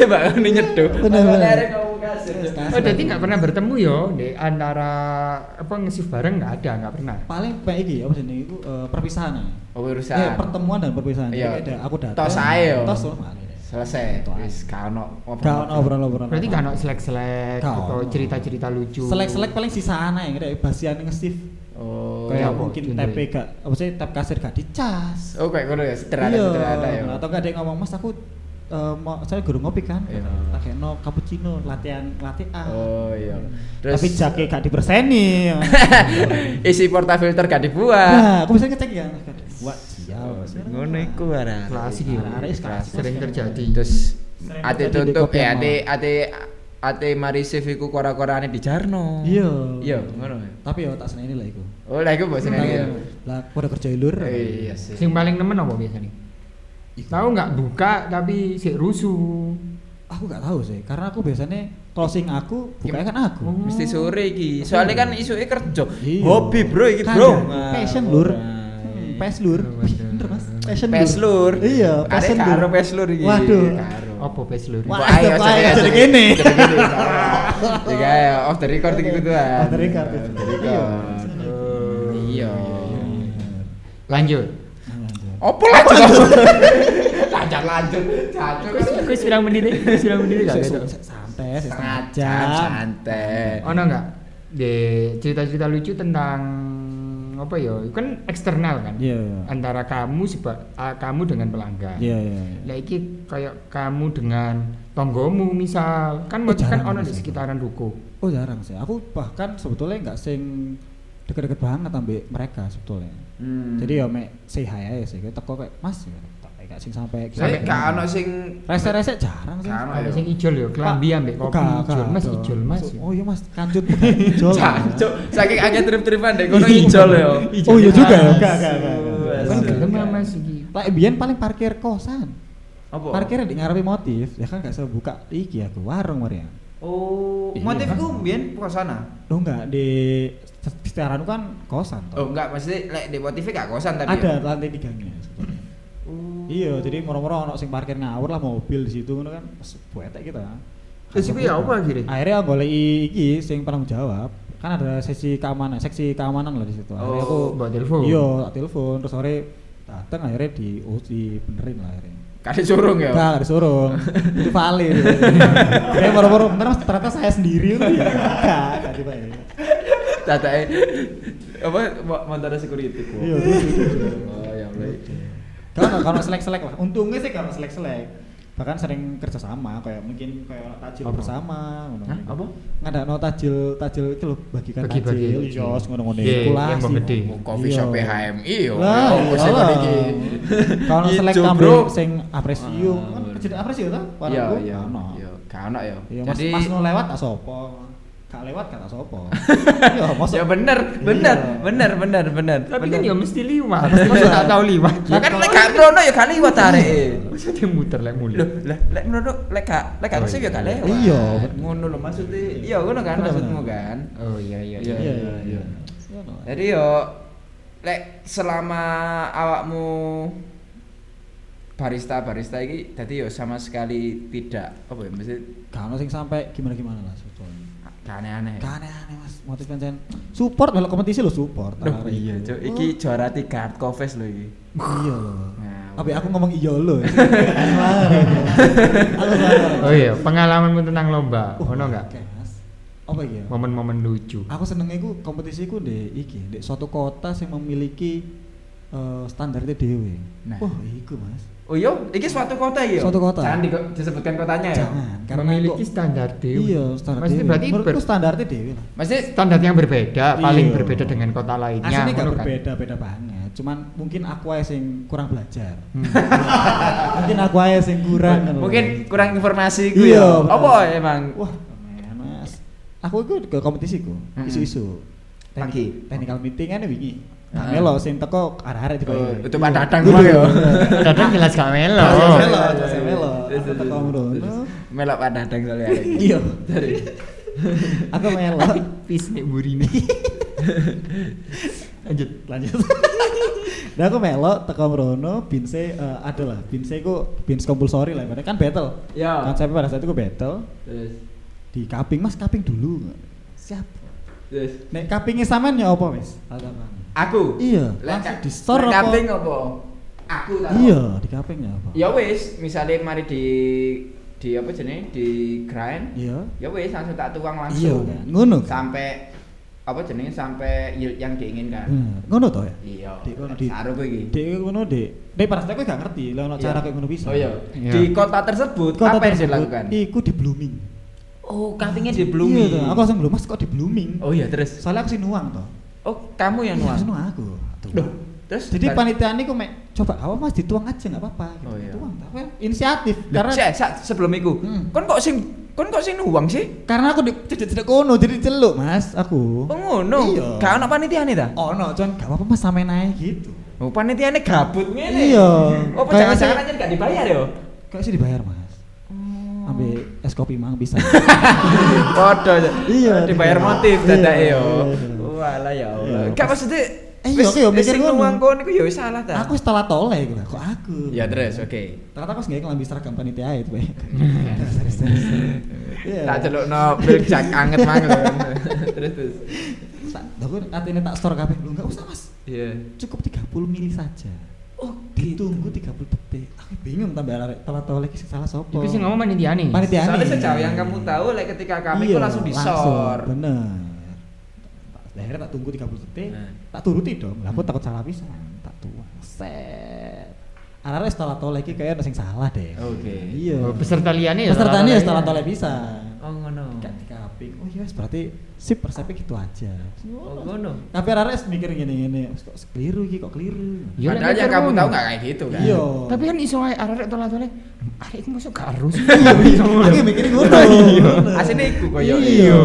[SPEAKER 4] Ya Mbak ini nyeduh.
[SPEAKER 5] Bener, bener.
[SPEAKER 4] Arek ngomong kasir.
[SPEAKER 5] Yes, kasir.
[SPEAKER 3] Oh, jadi nggak pernah bertemu yo di antara apa ngesif bareng nggak ada, nggak pernah.
[SPEAKER 5] Paling kayak iki apa sih itu eh, perpisahan ya.
[SPEAKER 4] Oh, urusan.
[SPEAKER 5] Eh, pertemuan dan perpisahan.
[SPEAKER 4] Iya.
[SPEAKER 5] Jadi ada aku datang.
[SPEAKER 4] Tos ae yo.
[SPEAKER 5] Tos loh, malah.
[SPEAKER 4] selesai
[SPEAKER 5] Itu aja.
[SPEAKER 4] wis gak ono
[SPEAKER 5] Gak ono obrolan-obrolan.
[SPEAKER 3] Berarti gak ono selek-selek
[SPEAKER 5] Gak
[SPEAKER 3] atau
[SPEAKER 5] ono.
[SPEAKER 3] cerita-cerita lucu.
[SPEAKER 5] Selek-selek paling sisaan ae kayak basian nge-shift.
[SPEAKER 4] oh
[SPEAKER 5] Kayak
[SPEAKER 3] apa?
[SPEAKER 5] mungkin
[SPEAKER 3] Contohnya?
[SPEAKER 5] TP gak apa sih tap kasir gak dicas. Iya.
[SPEAKER 4] oh kayak ngono ya sederhana sederhana ya
[SPEAKER 5] Atau gak ada yang ngomong Mas aku eh, mau saya guru ngopi kan.
[SPEAKER 4] Iya.
[SPEAKER 5] Tak kena cappuccino latihan latihan.
[SPEAKER 4] oh iya
[SPEAKER 5] Tapi jake gak
[SPEAKER 4] [laughs]
[SPEAKER 5] diperseni.
[SPEAKER 4] isi portafilter gak dibuat
[SPEAKER 5] Nah, aku bisa ngecek ya. Buat sial. Mas.
[SPEAKER 4] ngono iku barang
[SPEAKER 3] Klasik ya.
[SPEAKER 5] Arek-arek klasik.
[SPEAKER 3] Sering terjadi.
[SPEAKER 4] terus
[SPEAKER 5] Sering
[SPEAKER 4] ate
[SPEAKER 5] terjadi di
[SPEAKER 4] tutup
[SPEAKER 5] kopi
[SPEAKER 4] eh
[SPEAKER 5] amal.
[SPEAKER 4] ate ate ate mari save iku kora-korane dijarno
[SPEAKER 5] Iya.
[SPEAKER 4] iya ngono ya
[SPEAKER 5] Tapi ya tak seneni lah iku.
[SPEAKER 4] oh lah iku mbok seneni ya
[SPEAKER 5] Lah, aku udah kerja ilur.
[SPEAKER 4] iya sih
[SPEAKER 3] Sing paling nemen apa biasanya? Tahu nggak buka tapi si rusuh.
[SPEAKER 5] Aku gak tahu sih, karena aku biasanya closing aku bukanya kan aku.
[SPEAKER 3] Oh.
[SPEAKER 4] mesti sore iki soalnya kan isuke kerja
[SPEAKER 5] Iya.
[SPEAKER 4] hobi bro iki
[SPEAKER 5] Kan,
[SPEAKER 4] bro
[SPEAKER 5] Passion lur.
[SPEAKER 4] Hmm,
[SPEAKER 5] Pes lur.
[SPEAKER 3] Bener, bener.
[SPEAKER 5] Bener Mas. Passion lur.
[SPEAKER 4] Pes lur.
[SPEAKER 5] Iya,
[SPEAKER 4] Arek
[SPEAKER 5] passion lur.
[SPEAKER 4] karo pes lur iki.
[SPEAKER 5] Waduh.
[SPEAKER 4] Karo.
[SPEAKER 3] Apa pes lur?
[SPEAKER 5] Wah.
[SPEAKER 4] Mbok ayo
[SPEAKER 5] Wah,
[SPEAKER 4] jadi
[SPEAKER 5] jadi gini. Nah,
[SPEAKER 4] Jadi iya, gini. Jadi ayo off the record iki kuduan.
[SPEAKER 5] Off the record. gitu.
[SPEAKER 4] Off the record. Oh, Iya.
[SPEAKER 3] Lanjut.
[SPEAKER 4] Opo lanjut? [laughs] Lanjut lanjut. Jancuk.
[SPEAKER 3] Kuis kuis pirang menit deh, kuis pirang menit gak gitu.
[SPEAKER 4] Setengah
[SPEAKER 5] Santai, setengah
[SPEAKER 4] jam
[SPEAKER 5] jam.
[SPEAKER 4] santai.
[SPEAKER 3] Ono nggak? Di cerita-cerita lucu tentang apa ya? Kan eksternal kan.
[SPEAKER 5] Iya, iya.
[SPEAKER 3] Antara kamu seba, ah, kamu dengan pelanggan.
[SPEAKER 5] Iya, iya.
[SPEAKER 3] Lah iki kayak kamu dengan tonggomu misal, kan
[SPEAKER 5] Oh,
[SPEAKER 3] kan
[SPEAKER 5] jarang
[SPEAKER 3] ono di
[SPEAKER 5] biasanya.
[SPEAKER 3] sekitaran ruko.
[SPEAKER 5] Oh, jarang sih. Aku bahkan sebetulnya nggak sing deket-deket banget ambek mereka sebetulnya.
[SPEAKER 4] Hmm.
[SPEAKER 5] Jadi ya mek say hi aja sih. Kayak teko kayak Mas ya. tak kayak gak sing sampai
[SPEAKER 4] Soalnya gak ono sing
[SPEAKER 5] Rese-rese jarang sih.
[SPEAKER 4] Jarang.
[SPEAKER 3] Ada
[SPEAKER 4] Ayo.
[SPEAKER 3] sing ijol ya, kelambi ambek kopi ijol, Mas
[SPEAKER 5] Kak.
[SPEAKER 3] ijol, Mas. ya.
[SPEAKER 5] Oh iya Mas, kancut bukan
[SPEAKER 4] [laughs]
[SPEAKER 5] ijol. Iya.
[SPEAKER 4] Jancuk. Saking akeh trip-tripan dek kono ijol Iya. yo.
[SPEAKER 5] Oh iya juga ya,
[SPEAKER 4] Mas.
[SPEAKER 5] enggak enggak enggak.
[SPEAKER 3] Kan
[SPEAKER 5] Iya.
[SPEAKER 4] Asli.
[SPEAKER 3] gelem lah, Mas iki.
[SPEAKER 5] Lah biyen paling parkir kosan.
[SPEAKER 4] Apa?
[SPEAKER 5] Parkirnya di ngarepe motif, ya kan gak sebuka iki aku warung ya. Maria.
[SPEAKER 4] Oh,
[SPEAKER 5] Iya.
[SPEAKER 4] motifku mbiyen sana.
[SPEAKER 5] Lo enggak di setiaran kan kosan toh.
[SPEAKER 4] Oh, enggak maksudnya lek di motifnya gak kosan tadi.
[SPEAKER 5] Ada
[SPEAKER 4] ya?
[SPEAKER 5] lantai tiganya. sebetulnya.
[SPEAKER 4] Oh.
[SPEAKER 5] Iya, jadi moro-moro ono sing parkir ngawur lah mobil di situ ngono kan pas buetek kita.
[SPEAKER 3] Terus iku ya apa akhirnya?
[SPEAKER 5] Akhirnya aku golek iki sing penanggung jawab. Kan ada sesi keamanan, seksi keamanan lah di situ. Akhirnya
[SPEAKER 4] Oh,
[SPEAKER 5] aku
[SPEAKER 3] Mbak telepon.
[SPEAKER 5] Iya, tak telepon terus sore dateng akhirnya di oh, dibenerin lah akhirnya.
[SPEAKER 4] Kade curung
[SPEAKER 3] Iya.
[SPEAKER 4] ya.
[SPEAKER 5] Enggak, ada
[SPEAKER 3] [laughs]
[SPEAKER 5] sorong. Itu vale. Saya baru-baru bentar mas ternyata saya sendiri itu ya. Enggak, enggak dibayar.
[SPEAKER 4] Tatake apa mo- motor security ku.
[SPEAKER 5] Iya, terus
[SPEAKER 4] Oh, ya boleh.
[SPEAKER 5] Kalau enggak kalau selek-selek lah. Untungnya sih kalau selek-selek. Bahkan sering kerja sama kayak mungkin kayak orang tajil
[SPEAKER 3] Apa?
[SPEAKER 5] bersama ngono.
[SPEAKER 3] Hah? Apa?
[SPEAKER 5] Enggak ada no tajil tajil itu loh bagikan
[SPEAKER 3] Bagi-bagi.
[SPEAKER 5] tajil. Iya, ngono-ngono
[SPEAKER 3] Iya, yang
[SPEAKER 5] kulasi.
[SPEAKER 3] gede.
[SPEAKER 4] Mau coffee shop
[SPEAKER 5] Iya.
[SPEAKER 4] HMI yo.
[SPEAKER 5] Lah,
[SPEAKER 4] Apa sih
[SPEAKER 5] iyalah.
[SPEAKER 4] iki?
[SPEAKER 5] [laughs] Kalau
[SPEAKER 4] Ijo,
[SPEAKER 5] selek
[SPEAKER 4] bro.
[SPEAKER 5] kamu sing apresium,
[SPEAKER 4] Ah,
[SPEAKER 5] kan
[SPEAKER 4] bener.
[SPEAKER 5] kerja apresium tuh?
[SPEAKER 4] Iya, iya. Iya, gak ono ya.
[SPEAKER 5] Iya, mas,
[SPEAKER 4] Jadi
[SPEAKER 5] mas mau lewat tak sopo. Gak lewat gak tak
[SPEAKER 4] [laughs]
[SPEAKER 5] sopo. Iya, masa Iya.
[SPEAKER 4] Ya bener, bener, bener, bener, bener.
[SPEAKER 3] Tapi
[SPEAKER 4] bener.
[SPEAKER 3] kan ya mesti liwat. Masa tak tahu liwat.
[SPEAKER 5] Iya.
[SPEAKER 4] Lah kan lek gak rono ya gak liwat areke.
[SPEAKER 3] Masa dia muter lek muli.
[SPEAKER 4] Loh, lah lek menurut lek gak lek gak
[SPEAKER 3] Oh,
[SPEAKER 4] resep ya gak
[SPEAKER 3] iya.
[SPEAKER 4] lewat.
[SPEAKER 5] Iya.
[SPEAKER 4] Ngono lho maksudnya. Iya, ngono kan
[SPEAKER 5] Bener,
[SPEAKER 4] maksudmu
[SPEAKER 5] bener.
[SPEAKER 4] kan.
[SPEAKER 3] Oh iya iya
[SPEAKER 4] Iya, iya,
[SPEAKER 5] Iya, iya.
[SPEAKER 4] iya. Jadi yo lek selama awakmu barista barista ini jadi yo sama sekali tidak apa ya mesti
[SPEAKER 5] Gak ono sing sampai gimana-gimana lah sebetulnya.
[SPEAKER 4] aneh
[SPEAKER 3] Eh.
[SPEAKER 4] aneh
[SPEAKER 5] Gak aneh-aneh mas, motif pancen support kalau kompetisi lo support.
[SPEAKER 4] Loh,
[SPEAKER 5] arek
[SPEAKER 4] iya
[SPEAKER 5] itu.
[SPEAKER 4] cok iki juara tiga hard covers lho iki
[SPEAKER 5] Oh, Iya lo.
[SPEAKER 4] Nah,
[SPEAKER 5] Tapi aku ngomong iya
[SPEAKER 3] [laughs]
[SPEAKER 5] lo. ya. Salah, ya. Aku salah.
[SPEAKER 3] Oh iya, pengalamanmu tentang lomba,
[SPEAKER 5] Oh,
[SPEAKER 3] ono nggak?
[SPEAKER 5] oke, Mas. Apa iki ya?
[SPEAKER 3] Momen-momen lucu.
[SPEAKER 5] Aku senengnya ku kompetisi ku di iki, di suatu kota yang memiliki eh, standarnya dewe.
[SPEAKER 4] Nah.
[SPEAKER 5] Wah, iku mas.
[SPEAKER 4] oh iya iki suatu kota iya
[SPEAKER 5] Suatu kota.
[SPEAKER 4] jangan di- disebutkan kotanya ya
[SPEAKER 5] Jangan, karena
[SPEAKER 3] Eh, Memiliki
[SPEAKER 5] kok-
[SPEAKER 3] standar dewi.
[SPEAKER 5] Iya, standar
[SPEAKER 3] Maksudnya
[SPEAKER 5] dewe.
[SPEAKER 3] berarti
[SPEAKER 5] menurutku
[SPEAKER 3] ber-
[SPEAKER 5] standarnya dewe lah.
[SPEAKER 4] maksudnya
[SPEAKER 3] standar yang berbeda, paling
[SPEAKER 5] Iya.
[SPEAKER 3] berbeda dengan kota lainnya.
[SPEAKER 5] Aslinya gak
[SPEAKER 3] ngono kan?
[SPEAKER 5] berbeda, beda banget. Cuman mungkin aku aja sing kurang belajar.
[SPEAKER 3] Hmm.
[SPEAKER 5] [laughs] mungkin aku aja sing kurang. kan lho.
[SPEAKER 4] mungkin kurang informasi ku
[SPEAKER 5] Iya.
[SPEAKER 4] ya
[SPEAKER 5] bener.
[SPEAKER 4] apa emang
[SPEAKER 5] Wah, men, mas. Aku itu ke kompetisi ku,
[SPEAKER 4] Mm-mm.
[SPEAKER 5] isu-isu. Teknik-
[SPEAKER 4] Pagi.
[SPEAKER 5] Technical meeting kan wingi.
[SPEAKER 4] Ah.
[SPEAKER 5] Tak melo sing teko arah-arah tiba
[SPEAKER 4] Oh, itu Pak Dadang kuwi ya.
[SPEAKER 3] Dadang jelas gak melo.
[SPEAKER 5] Jelas gak melo.
[SPEAKER 4] Terus,
[SPEAKER 5] jelas melo.
[SPEAKER 4] Iya, terus,
[SPEAKER 5] Aku
[SPEAKER 4] terus,
[SPEAKER 5] teko mrono.
[SPEAKER 4] terus. melok padang soalnya hari ini.
[SPEAKER 5] [laughs] Iya. [laughs] Aku melo.
[SPEAKER 3] Pis nek burine.
[SPEAKER 5] Lanjut, lanjut. [laughs] Nah aku melo teko mrono binse eh, ada lah binse ku bins compulsory lah ibaratnya kan battle.
[SPEAKER 4] Ya.
[SPEAKER 5] Konsepnya pada saat itu ku battle
[SPEAKER 4] terus
[SPEAKER 5] di kaping Mas kaping dulu. Siap.
[SPEAKER 4] terus
[SPEAKER 5] Nek kapingnya sampean ya apa wis? Ada apa?
[SPEAKER 4] Aku.
[SPEAKER 5] Iya,
[SPEAKER 4] Lek
[SPEAKER 5] langsung
[SPEAKER 4] ka-
[SPEAKER 5] di store
[SPEAKER 4] lek
[SPEAKER 5] apa?
[SPEAKER 4] Kaping apa? aku tau.
[SPEAKER 5] Iya, di kapengnya apa?
[SPEAKER 4] ya wis misalnya mari di di apa jenis di grind
[SPEAKER 5] Iya.
[SPEAKER 4] ya wis langsung tak tuang
[SPEAKER 5] Iya
[SPEAKER 4] langsung
[SPEAKER 5] kan. Ngono kan.
[SPEAKER 4] sampai apa jenis sampai yield yang diinginkan
[SPEAKER 5] Bener. Ngono to ya?
[SPEAKER 4] iya
[SPEAKER 5] Di kono, di-
[SPEAKER 4] saru kowe iki
[SPEAKER 5] Dek ngono, Dek. Dek pasti kowe gak ngerti lah ono
[SPEAKER 4] Iya.
[SPEAKER 5] cara kowe ngono bisa.
[SPEAKER 4] oh iya
[SPEAKER 3] Iya.
[SPEAKER 4] di kota tersebut
[SPEAKER 5] Kota
[SPEAKER 4] apa yang
[SPEAKER 5] tersebut,
[SPEAKER 4] dilakukan
[SPEAKER 5] Iku di blooming.
[SPEAKER 4] oh kambingnya di blooming
[SPEAKER 5] Iya, toh. aku langsung belum mas kok di blooming.
[SPEAKER 4] oh iya terus
[SPEAKER 5] Soalnya aku sih nuang toh.
[SPEAKER 4] oh kamu yang
[SPEAKER 5] Iya,
[SPEAKER 4] nuang
[SPEAKER 5] aku sih nuang aku. Tuh.
[SPEAKER 4] Duh, terus
[SPEAKER 5] Jadi panitia ini kok mek coba apa mas dituang aja nggak apa-apa. Gitu.
[SPEAKER 4] Oh, iya.
[SPEAKER 5] Tuang, tapi inisiatif
[SPEAKER 4] karena
[SPEAKER 5] karena
[SPEAKER 4] Cek, sak, sebelum itu
[SPEAKER 5] Hmm.
[SPEAKER 4] kon kok sing kon kok sing nuang sih
[SPEAKER 5] karena aku di cedek-cedek kono jadi celuk mas aku.
[SPEAKER 4] oh ngono
[SPEAKER 5] Iya.
[SPEAKER 4] gak ono panitiane ta
[SPEAKER 5] Oh no, cuman gak apa-apa mas samain naik gitu.
[SPEAKER 4] oh panitiane gabut ngene
[SPEAKER 5] Iya.
[SPEAKER 4] oh
[SPEAKER 5] Kayaknya
[SPEAKER 4] jangan-jangan
[SPEAKER 5] sih-
[SPEAKER 4] aja gak dibayar yo
[SPEAKER 5] Kayak sih dibayar mas.
[SPEAKER 4] Oh.
[SPEAKER 5] Ambil es kopi mang
[SPEAKER 4] [laughs]
[SPEAKER 5] bisa.
[SPEAKER 4] Waduh.
[SPEAKER 5] Iya,
[SPEAKER 4] Dibayar
[SPEAKER 5] dibayar.
[SPEAKER 4] motif
[SPEAKER 5] Iya,
[SPEAKER 4] dadake
[SPEAKER 5] iya,
[SPEAKER 4] yo.
[SPEAKER 5] iya.
[SPEAKER 4] Walah ya
[SPEAKER 5] Iya,
[SPEAKER 4] Allah.
[SPEAKER 5] pas-
[SPEAKER 4] Gak maksudnya
[SPEAKER 5] Eh, iya, oke, yo, mikir
[SPEAKER 4] sing
[SPEAKER 5] ngono.
[SPEAKER 4] nuang kon iku yo wis salah ta.
[SPEAKER 5] aku setelah toleh gitu. Kok aku?
[SPEAKER 4] Ya terus oke.
[SPEAKER 5] Ternyata aku nggak ngelambi seragam panitia itu. Bay.
[SPEAKER 4] [laughs]
[SPEAKER 5] Serius, serius, serius. Iya.
[SPEAKER 4] Tak celukno miljak anget mang lho. [laughs] Terus terus.
[SPEAKER 5] Tak- Aku katanya tak store kabeh. Lu nggak usah mas.
[SPEAKER 4] Iya.
[SPEAKER 5] Cukup 30 mili saja.
[SPEAKER 4] Oh,
[SPEAKER 5] Ditunggu 30 detik. Aku bingung tambah arek telat toleh iki sing salah sapa.
[SPEAKER 3] Itu sih ngomong panitia nih.
[SPEAKER 5] panitia.
[SPEAKER 4] Soalnya sejauh yang kamu tahu, like ketika kami
[SPEAKER 5] Iya,
[SPEAKER 4] itu langsung disor.
[SPEAKER 5] Bener. Tak- Akhirnya tak tunggu 30 detik,
[SPEAKER 4] Nah.
[SPEAKER 5] tak turuti dong. Lah aku takut salah pisan, tak tuang. Set. Arek setelah toleh iki kayak ada sing salah deh.
[SPEAKER 4] Oke.
[SPEAKER 5] Iya.
[SPEAKER 3] Oh, peserta liane ya.
[SPEAKER 5] Pesertanya ya setelah
[SPEAKER 3] toleh.
[SPEAKER 5] toleh pisan.
[SPEAKER 4] Oh ngono.
[SPEAKER 5] Kayak dikaping. Oh iya, berarti si persepnya gitu aja.
[SPEAKER 4] Oh ngono.
[SPEAKER 5] Tapi arek mikir gini-gini, "Wes, kok keliru iki, kok keliru.
[SPEAKER 4] Padahal
[SPEAKER 3] Iya, lek
[SPEAKER 4] yang
[SPEAKER 3] mikir
[SPEAKER 4] kamu
[SPEAKER 3] ngono.
[SPEAKER 4] tahu nggak kayak gitu kan?
[SPEAKER 5] kan Iya.
[SPEAKER 3] Tapi kan iso ae arek toleh toleh. Arek iku masuk gak harus.
[SPEAKER 5] Iya, Aku mikir ngono.
[SPEAKER 4] Aslinya Iya. iku koyo
[SPEAKER 5] Iya.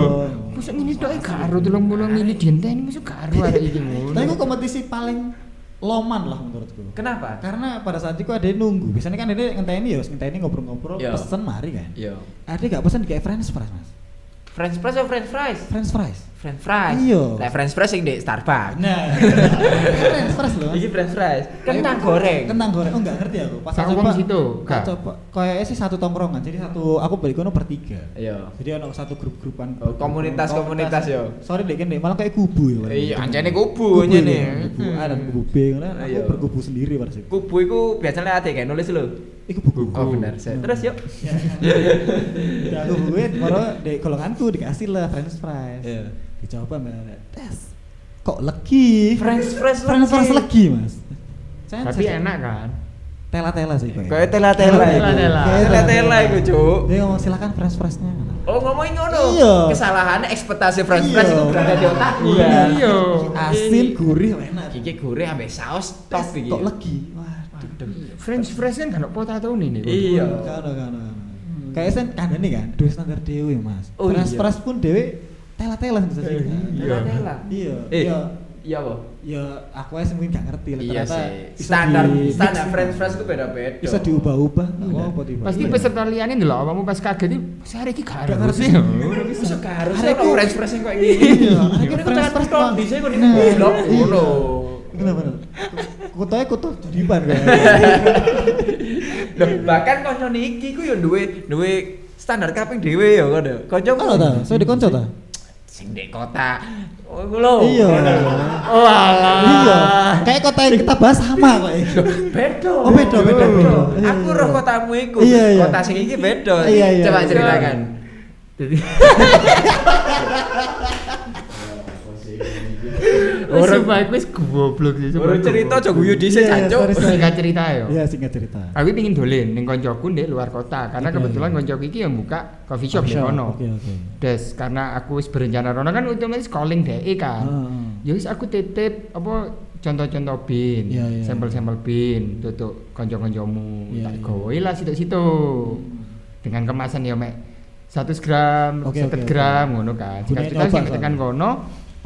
[SPEAKER 3] Masuk ngene tok e gak harus 30 mili dienteni masuk gak harus arek iki ngono.
[SPEAKER 4] Nah,
[SPEAKER 5] Tapi aku kompetisi paling loman lah menurutku.
[SPEAKER 4] Kenapa?
[SPEAKER 5] Karena pada saat itu ada yang nunggu. Biasanya kan ada yang ngenteni ya, ngenteni ngobrol-ngobrol,
[SPEAKER 4] Iya.
[SPEAKER 5] pesen mari kan.
[SPEAKER 4] Yo.
[SPEAKER 5] Ada gak pesen kayak french fries, Mas?
[SPEAKER 4] French fries atau French fries?
[SPEAKER 5] French fries.
[SPEAKER 4] French fries.
[SPEAKER 5] Iya.
[SPEAKER 4] Lah French fries yang di Starbucks.
[SPEAKER 5] Nah, [laughs] french fries loh. Mas.
[SPEAKER 4] Iki French fries. Iya. Kentang goreng.
[SPEAKER 5] Kentang Iya. goreng. Oh, enggak ngerti aku. Pas
[SPEAKER 3] Kak Wong situ,
[SPEAKER 5] tak
[SPEAKER 3] Kak.
[SPEAKER 5] coba. Kayaknya sih satu tongkrongan. Jadi satu aku balik kono bertiga.
[SPEAKER 4] Iya.
[SPEAKER 5] Jadi ono satu grup-grupan.
[SPEAKER 4] Oh, komunitas- komunitas, yo.
[SPEAKER 5] Sorry deh, kan deh, malah kayak kubu ya.
[SPEAKER 4] Iya, anjane kubu anjane.
[SPEAKER 5] Kubu
[SPEAKER 4] Hmm.
[SPEAKER 5] A dan kubu B ngono. Aku
[SPEAKER 4] Iya.
[SPEAKER 5] berkubu sendiri ya. pada situ.
[SPEAKER 4] Kubu iku biasanya ada kayak nulis lho.
[SPEAKER 5] Iku buku.
[SPEAKER 4] Oh benar. Saya. Terus yuk.
[SPEAKER 5] Iya. Ya aku bukuin, moro di golonganku dikasih lah french fries.
[SPEAKER 4] Iya.
[SPEAKER 5] Dicoba mbak, tes. Kok legi?
[SPEAKER 4] French fries
[SPEAKER 5] French fries
[SPEAKER 4] legi.
[SPEAKER 5] legi mas. Saya-
[SPEAKER 3] Tapi
[SPEAKER 5] saya-
[SPEAKER 3] enak kan?
[SPEAKER 5] Tela-tela sih kayak.
[SPEAKER 4] Kayak tela-tela
[SPEAKER 3] iku.
[SPEAKER 5] Tela-tela.
[SPEAKER 4] Tela-tela iku, Cuk.
[SPEAKER 5] Dia ngomong silakan french friesnya.
[SPEAKER 4] Oh ngomongin ngono.
[SPEAKER 5] Iya.
[SPEAKER 4] Kesalahannya ekspektasi French fries
[SPEAKER 5] Iya.
[SPEAKER 4] itu berada di otakku.
[SPEAKER 5] Iya.
[SPEAKER 4] kan.
[SPEAKER 3] Iya.
[SPEAKER 5] Asin, gurih, enak.
[SPEAKER 4] Gigi goreng ambek saus
[SPEAKER 5] Tes,
[SPEAKER 4] top iki.
[SPEAKER 5] Tok legi. Waduh.
[SPEAKER 3] French fries kan gak ono potato nih. Niku.
[SPEAKER 4] Iya.
[SPEAKER 5] Kano kano.
[SPEAKER 3] Hmm.
[SPEAKER 5] Kayak sen kandang nih kan, dua standar dewe mas.
[SPEAKER 4] Oh,
[SPEAKER 5] french
[SPEAKER 4] iya.
[SPEAKER 5] fries pun dewe tela-tela bisa sih.
[SPEAKER 3] Iya.
[SPEAKER 4] Tela-tela.
[SPEAKER 5] Iya.
[SPEAKER 4] Eh.
[SPEAKER 5] Iya.
[SPEAKER 4] Iya apa?
[SPEAKER 5] Ya aku aja mungkin gak ngerti lah
[SPEAKER 4] Iya
[SPEAKER 5] ternyata
[SPEAKER 4] sih.
[SPEAKER 5] bisa
[SPEAKER 4] Standar
[SPEAKER 5] di-
[SPEAKER 4] standar
[SPEAKER 5] mix.
[SPEAKER 4] French fries itu beda-beda.
[SPEAKER 5] bisa diubah-ubah nggak
[SPEAKER 3] Iya.
[SPEAKER 5] apa-apa tiba
[SPEAKER 3] Pasti peserta liane ndelok awakmu pas kaget iki hari iki gak
[SPEAKER 5] Gak
[SPEAKER 3] harus.
[SPEAKER 5] ngerti.
[SPEAKER 3] ya. [laughs]
[SPEAKER 4] Bisa harus
[SPEAKER 5] Hari
[SPEAKER 4] ora
[SPEAKER 5] ku-
[SPEAKER 4] French fries yang kayak gini.
[SPEAKER 5] Iya, hari ku
[SPEAKER 4] Ini
[SPEAKER 5] French
[SPEAKER 4] kan
[SPEAKER 5] fries
[SPEAKER 4] top
[SPEAKER 5] doang.
[SPEAKER 4] bisa kok
[SPEAKER 5] Nah.
[SPEAKER 4] diblok ngono.
[SPEAKER 5] benar-benar kutoe kutu judiban kan
[SPEAKER 4] Iya. Loh, bahkan kanca niki ku yo duwe duwe standar kaping dhewe yo ngono. Kanca
[SPEAKER 5] Kalau ta, saya dikonco ta?
[SPEAKER 4] sing di kota. Oh, iku lho.
[SPEAKER 5] Iya.
[SPEAKER 3] Oh alah.
[SPEAKER 5] Iya. Kayak kota yang kita bahas sama kok. ya.
[SPEAKER 4] Beda.
[SPEAKER 5] Oh, beda, beda, beda.
[SPEAKER 4] Aku roh kotamu iku.
[SPEAKER 5] Iya, iya.
[SPEAKER 4] Kota sing iki beda.
[SPEAKER 5] Iya, iya,
[SPEAKER 4] Coba
[SPEAKER 5] iya.
[SPEAKER 4] ceritakan.
[SPEAKER 3] Wis
[SPEAKER 4] Orang-
[SPEAKER 3] baik wis goblok sih.
[SPEAKER 4] Baru cerita aja guyu dhisik
[SPEAKER 5] Iya, iya, sorry,
[SPEAKER 4] jancuk.
[SPEAKER 5] sorry.
[SPEAKER 3] Singkat cerita yo.
[SPEAKER 5] Iya, singkat cerita.
[SPEAKER 3] Aku pingin dolen ning koncoku ndek luar kota karena
[SPEAKER 5] Oke.
[SPEAKER 3] kebetulan koncoku iki yang buka coffee shop di kono.
[SPEAKER 5] Oke, oke.
[SPEAKER 3] Des karena aku wis berencana rono kan otomatis calling DE kan. Ya
[SPEAKER 5] Heeh.
[SPEAKER 3] wis aku titip apa contoh-contoh bin,
[SPEAKER 5] Iya, iya.
[SPEAKER 3] sampel-sampel bin tutuk kanca-kancamu.
[SPEAKER 5] Iya,
[SPEAKER 3] tak
[SPEAKER 5] iya.
[SPEAKER 3] gawai lah situ-situ. Dengan kemasan ya mek 100 gram,
[SPEAKER 5] Oke,
[SPEAKER 3] 50
[SPEAKER 5] oke, oke.
[SPEAKER 3] gram ngono kan.
[SPEAKER 5] Gunanya
[SPEAKER 3] Singkat cerita
[SPEAKER 5] nyoba
[SPEAKER 3] sing tekan
[SPEAKER 5] soalnya.
[SPEAKER 3] kono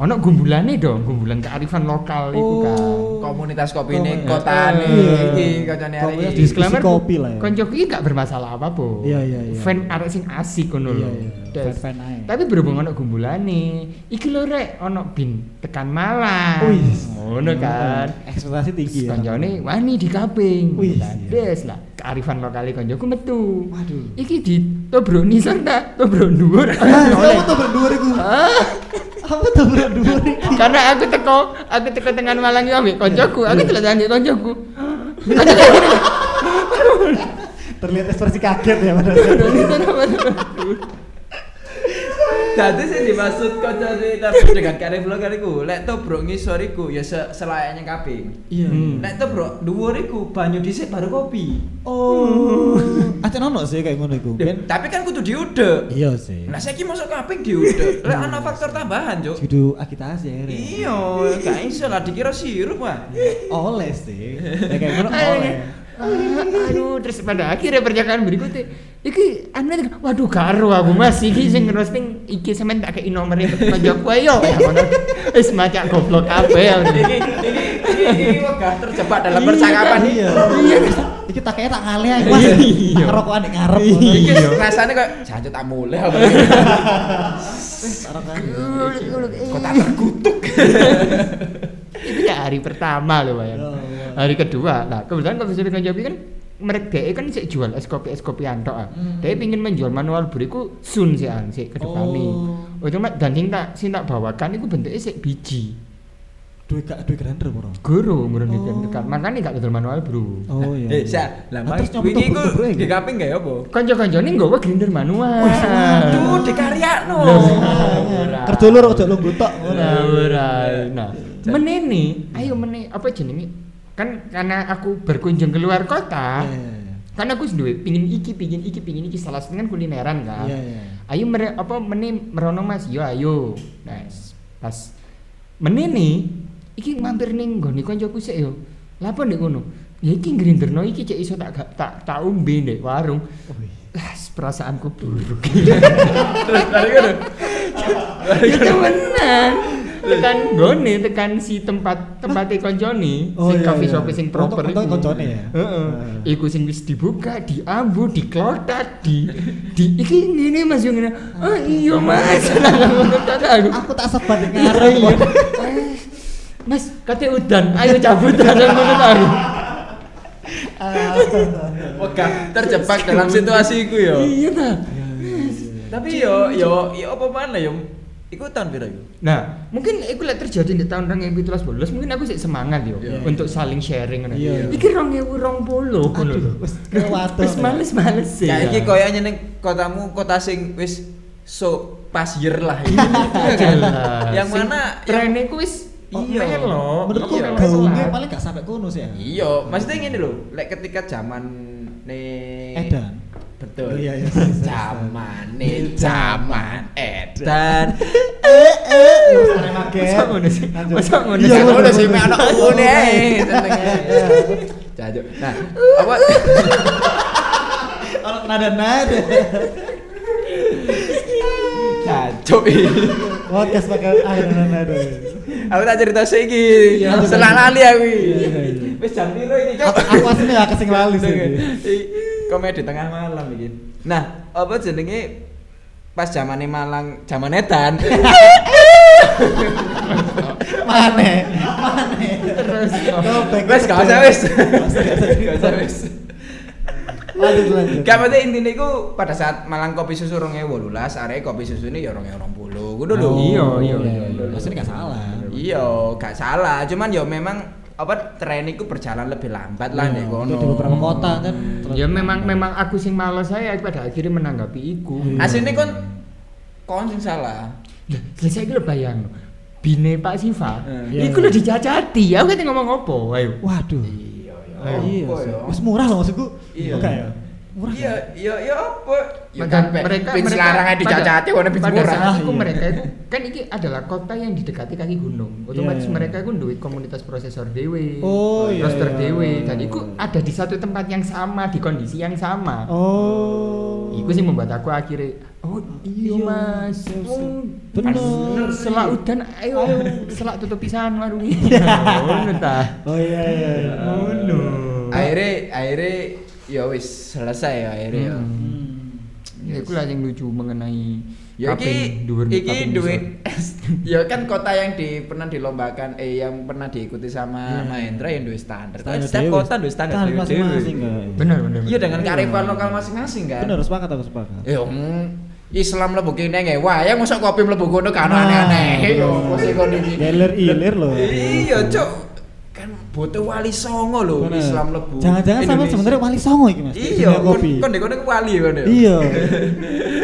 [SPEAKER 3] ono gumbulane dong, gumbulan kearifan lokal iku
[SPEAKER 5] Oh.
[SPEAKER 3] kan.
[SPEAKER 4] Komunitas kopi ini
[SPEAKER 5] Komunitas.
[SPEAKER 4] kota
[SPEAKER 5] Iya.
[SPEAKER 4] nih, iki kocone hari
[SPEAKER 5] Komunitas
[SPEAKER 4] ini.
[SPEAKER 5] diskusi Iya, kopi lah ya.
[SPEAKER 3] Koncoku iki gak bermasalah apapun.
[SPEAKER 5] Iya, iya, iya.
[SPEAKER 3] Fan arek sing asik ngono
[SPEAKER 5] Iya,
[SPEAKER 3] lho.
[SPEAKER 5] iya.
[SPEAKER 3] Des.
[SPEAKER 5] Fan-fan ae.
[SPEAKER 3] Tapi berhubung ono gumbulane, iki lho rek ono bin tekan malam.
[SPEAKER 5] Wih.
[SPEAKER 3] Ngono kan.
[SPEAKER 5] Ekspektasi tinggi ya.
[SPEAKER 3] Konjone wani dikaping.
[SPEAKER 5] Wih. iya.
[SPEAKER 3] Lah, Des lah kearifan lokale konjoku metu.
[SPEAKER 5] Waduh.
[SPEAKER 3] Iki di tobrok nisor ta, tobrok
[SPEAKER 5] [laughs]
[SPEAKER 3] dhuwur.
[SPEAKER 5] Ah,
[SPEAKER 3] Oleh.
[SPEAKER 5] Apa tuh berdua ribu?
[SPEAKER 3] Ah,
[SPEAKER 5] Apa tuh berdua ribu? Iya.
[SPEAKER 3] Karena aku teko, aku teko tengah malang iki ambek konjoku, aku telat ambek konjoku.
[SPEAKER 5] Terlihat ekspresi kaget ya pada.
[SPEAKER 4] Jadi sih dimaksud kancane
[SPEAKER 5] [laughs]
[SPEAKER 4] tapi dengan karep vlogger iku, lek tobrok ngisor iku ya se selayaknya kaping.
[SPEAKER 1] Iya.
[SPEAKER 5] Hmm.
[SPEAKER 4] Lek tobrok dhuwur iku banyu dhisik baru kopi.
[SPEAKER 5] Oh. Acen ono sih kayak ngono iku. Ben-
[SPEAKER 4] Tapi kan kudu diudek.
[SPEAKER 5] Iya sih.
[SPEAKER 4] Lah saiki masuk kaping diudek. Lek ana faktor tambahan, Cuk.
[SPEAKER 5] Kudu akitasi ya. Re.
[SPEAKER 4] Iya, gak iso lah dikira sirup mah.
[SPEAKER 5] Iya. Oleh sih. Ya, Kayak ngono
[SPEAKER 1] Ayo,
[SPEAKER 5] oleh.
[SPEAKER 3] oh, eh. aduh terus pada akhirnya perjalanan berikutnya iki anu tadi, waduh karo aku mas iki sing roasting iki semen tak kei nomere Pak Jokowi yo ya ngono wis macak goblok kabeh ya
[SPEAKER 4] Ini ini ini ini wegah terjebak dalam percakapan.
[SPEAKER 5] Iya. Iki tak kayak tak ngalih ae, Mas.
[SPEAKER 3] Iya.
[SPEAKER 5] Tak rokokan ning ngarep.
[SPEAKER 4] Iki nah, rasane kok jancuk tak mulai apa. ya?
[SPEAKER 5] Iya,
[SPEAKER 3] Iya,
[SPEAKER 4] Kok tak
[SPEAKER 3] [laughs]
[SPEAKER 4] terkutuk.
[SPEAKER 3] itu ya hari pertama loh bayang
[SPEAKER 5] Ya Allah.
[SPEAKER 3] hari kedua nah kebetulan kalau sudah Jokowi kan mereka DE kan sih jual es kopi es kopi antok ah
[SPEAKER 5] Hmm.
[SPEAKER 3] DE pingin menjual manual beriku sun sih an sih ke depan nih
[SPEAKER 5] Oh.
[SPEAKER 3] oh cuma dan sing tak sing tak bawakan itu bentuknya sih biji
[SPEAKER 5] Duwe gak duwe grander bro.
[SPEAKER 3] guru ngurun oh.
[SPEAKER 5] Oh.
[SPEAKER 3] dekat makanya gak betul manual bro
[SPEAKER 5] Oh iya.
[SPEAKER 4] Eh, Sa,
[SPEAKER 5] iya.
[SPEAKER 4] lah
[SPEAKER 5] Nah, terus
[SPEAKER 4] Mas,
[SPEAKER 5] nyoba
[SPEAKER 4] wingi iku
[SPEAKER 5] tubruk-tubruk ya,
[SPEAKER 4] di
[SPEAKER 5] Ki?
[SPEAKER 4] kaping gak ya apa?
[SPEAKER 3] Konco-konco ini gue grinder manual.
[SPEAKER 4] Aduh, dikaryakno.
[SPEAKER 5] Kerja lu ojo lu nggutok ngono.
[SPEAKER 3] Nah, ora. Nah, menene, ayo mene apa jenenge? Kan karena aku berkunjung keluar kota,
[SPEAKER 5] Iya, iya, iya.
[SPEAKER 3] kan aku duwe pingin iki, pingin iki, pingin iki salah satu kan kulineran kan.
[SPEAKER 5] Iya, iya.
[SPEAKER 3] Ayo mere, apa mene merono Mas, yo ayo. Nah, s- pas menene iki mampir ning nggone koncoku sik yo. Lah apa ndek ngono? Ya iki ngrinderno iki cek iso tak gak- tak tak umbe ndek warung.
[SPEAKER 5] Wih.
[SPEAKER 3] Lah, perasaanku buruk. [laughs]
[SPEAKER 4] Terus balik ngono.
[SPEAKER 5] Iya
[SPEAKER 3] Ya
[SPEAKER 5] kan?
[SPEAKER 3] temenan. Tekan gone, tekan si tempat tempatnya konjoni,
[SPEAKER 5] Oh,
[SPEAKER 3] sing
[SPEAKER 5] iya,
[SPEAKER 3] coffee
[SPEAKER 5] iya.
[SPEAKER 3] shop sing proper.
[SPEAKER 5] Untung- untung
[SPEAKER 3] iku.
[SPEAKER 5] koncone ya?
[SPEAKER 3] Heeh.
[SPEAKER 5] Heeh.
[SPEAKER 3] Iku sing wis dibuka, diambu, diklotak, di di iki ngene Mas yo ngene. Oh iya
[SPEAKER 5] [laughs]
[SPEAKER 3] Mas. Lah, ngono kata aku.
[SPEAKER 5] Aku tak sebat ning
[SPEAKER 3] Ngare,
[SPEAKER 5] ngarep.
[SPEAKER 3] iya. Eh, Mas, kate udan, ayo cabut aja ngono ta aku.
[SPEAKER 4] Wegah terjebak dalam situasi iku ya. yo.
[SPEAKER 3] Iya ta.
[SPEAKER 4] Tapi yo yo yo apa mana yo? Iku tahun pira yo?
[SPEAKER 3] Nah, mungkin itu lah terjadi di tahun 2017 mungkin aku sih semangat yo
[SPEAKER 4] Iya.
[SPEAKER 3] untuk saling sharing ngono.
[SPEAKER 5] Iya, iya.
[SPEAKER 3] Iki 2020 ngono lho.
[SPEAKER 5] Aduh, wis kelewatan.
[SPEAKER 3] Wis males-males sih.
[SPEAKER 4] Ya iki
[SPEAKER 3] ya.
[SPEAKER 4] koyoknya ning kotamu kota sing wis so pas year lah ini. [laughs]
[SPEAKER 3] Jelas.
[SPEAKER 4] Yang
[SPEAKER 3] Sing
[SPEAKER 4] mana yang-
[SPEAKER 3] trennya ku wis
[SPEAKER 4] Iya.
[SPEAKER 3] melo.
[SPEAKER 5] Menurutku
[SPEAKER 4] Iya.
[SPEAKER 5] gaungnya paling gak sampai kono sih ya.
[SPEAKER 4] Iya, maksudnya ngene lho, lek ketika zaman nih
[SPEAKER 5] Edan.
[SPEAKER 4] Betul.
[SPEAKER 5] Iya, iya.
[SPEAKER 4] Zaman nih zaman [laughs] edan. Eh,
[SPEAKER 3] Masa ngono sih? Masa ngono
[SPEAKER 5] Iya,
[SPEAKER 3] sih?
[SPEAKER 5] ngono.
[SPEAKER 4] Udah sih anak ngene ae, senengnya. Jajuk. Nah, [laughs] apa
[SPEAKER 5] Orang nada nada.
[SPEAKER 4] Jancuk iki. [laughs]
[SPEAKER 5] Podcast pakai ah nada nada.
[SPEAKER 4] Aku tak cerita siki.
[SPEAKER 5] Iya.
[SPEAKER 4] Selang lali aku. iki.
[SPEAKER 5] Iya, iya, iya.
[SPEAKER 4] Wis jam piro iki, Cok?
[SPEAKER 5] Aku aku aslinya gak kesing lali sih.
[SPEAKER 4] Iki Komedi tengah malam iki. Nah, apa jenenge pas zamane Malang, zaman
[SPEAKER 5] [laughs]
[SPEAKER 4] edan.
[SPEAKER 5] Mana? Mana?
[SPEAKER 3] Terus
[SPEAKER 5] Throwback.
[SPEAKER 4] Wes gak usah wes.
[SPEAKER 5] Gak usah, gak usah.
[SPEAKER 4] Gak usah wes.
[SPEAKER 5] Lanjut lanjut. Iya,
[SPEAKER 4] Gak penting intine iku pada saat Malang kopi susu 2018, arek kopi susune ya 2020. Kudu lho.
[SPEAKER 5] Oh,
[SPEAKER 3] Iya, iya, iya.
[SPEAKER 5] Maksudnya gak salah.
[SPEAKER 4] Iya, gak salah. Cuman ya memang apa tren itu berjalan lebih lambat lah nek ya, kono.
[SPEAKER 5] Iya. Di beberapa kota kan.
[SPEAKER 3] Hmm. ya memang memang aku sing males saya pada akhirnya menanggapi iku. Ah,
[SPEAKER 5] Iya.
[SPEAKER 4] Aslinya kon kon sing salah.
[SPEAKER 3] Lah, selesai iki lho bayang. Bine Pak Siva.
[SPEAKER 4] Eh,
[SPEAKER 3] Iku
[SPEAKER 5] iya.
[SPEAKER 3] lho dicacati. Aku kate ngomong apa? Ayo.
[SPEAKER 5] Waduh.
[SPEAKER 4] Iya,
[SPEAKER 5] Iya.
[SPEAKER 4] apa
[SPEAKER 5] sih.
[SPEAKER 4] ya?
[SPEAKER 5] Wes murah loh maksudku.
[SPEAKER 4] Iya.
[SPEAKER 5] Oke ya. Murah.
[SPEAKER 4] Iya, iya, iya apa? Ya
[SPEAKER 3] Mereka-
[SPEAKER 4] kan mereka pin selarang ae dicacati
[SPEAKER 3] pada-
[SPEAKER 4] ono pin
[SPEAKER 3] pada
[SPEAKER 4] murah.
[SPEAKER 3] saat itu
[SPEAKER 5] Iya.
[SPEAKER 3] mereka itu kan ini adalah kota yang didekati kaki gunung otomatis
[SPEAKER 5] Iya, iya.
[SPEAKER 3] mereka itu duit komunitas prosesor dewe
[SPEAKER 5] Oh, iya,
[SPEAKER 3] roster
[SPEAKER 5] iya.
[SPEAKER 3] dewe dan itu ada di satu tempat yang sama di kondisi yang sama
[SPEAKER 5] Oh.
[SPEAKER 3] itu sih membuat aku akhirnya oh iya
[SPEAKER 5] Iya,
[SPEAKER 3] mas
[SPEAKER 5] iya,
[SPEAKER 3] Oh,
[SPEAKER 5] iya.
[SPEAKER 3] pas
[SPEAKER 5] Bener.
[SPEAKER 3] selak udan ayo selak tutup pisan warung
[SPEAKER 5] [laughs]
[SPEAKER 3] ini
[SPEAKER 5] Iya. Oh iya iya. iya.
[SPEAKER 4] Akhirnya akhirnya ya wis selesai ya akhirnya. ya.
[SPEAKER 5] Hmm.
[SPEAKER 3] ya itu lah yang lucu mengenai
[SPEAKER 4] Ya
[SPEAKER 3] kaping
[SPEAKER 4] iki
[SPEAKER 3] dhuwur- kaping
[SPEAKER 4] iki duwe
[SPEAKER 3] ngisor.
[SPEAKER 4] [laughs] ya kan kota yang di, pernah dilombakan eh yang pernah diikuti sama
[SPEAKER 5] Iya.
[SPEAKER 4] Mahendra yang duwe standar.
[SPEAKER 5] Standar
[SPEAKER 4] Setiap
[SPEAKER 5] dewe.
[SPEAKER 4] kota duwe standar dewe.
[SPEAKER 5] masing-masing kan.
[SPEAKER 3] benar benar
[SPEAKER 4] Iya
[SPEAKER 3] benar.
[SPEAKER 4] dengan kearifan lokal masing-masing kan.
[SPEAKER 5] Bener sepakat aku sepakat.
[SPEAKER 3] Eh,
[SPEAKER 4] Ya mm, Islam mlebu kene nge, wah ya mosok kopi mlebu kono kan aneh-aneh.
[SPEAKER 5] Nah,
[SPEAKER 4] Yo, apa sih kon iki?
[SPEAKER 5] Geler ilir loh.
[SPEAKER 4] Iya, Cuk. Iya, Kan bote wali songo lho
[SPEAKER 5] Bener.
[SPEAKER 4] Islam lebu.
[SPEAKER 5] Jangan-jangan sampean
[SPEAKER 4] Indonesia.
[SPEAKER 5] sebenarnya wali songo iki Mas. di
[SPEAKER 4] Iya,
[SPEAKER 5] dunia
[SPEAKER 4] kon
[SPEAKER 5] kopi.
[SPEAKER 4] kon ndek kono ku wali kon ya. [laughs]
[SPEAKER 5] Iya.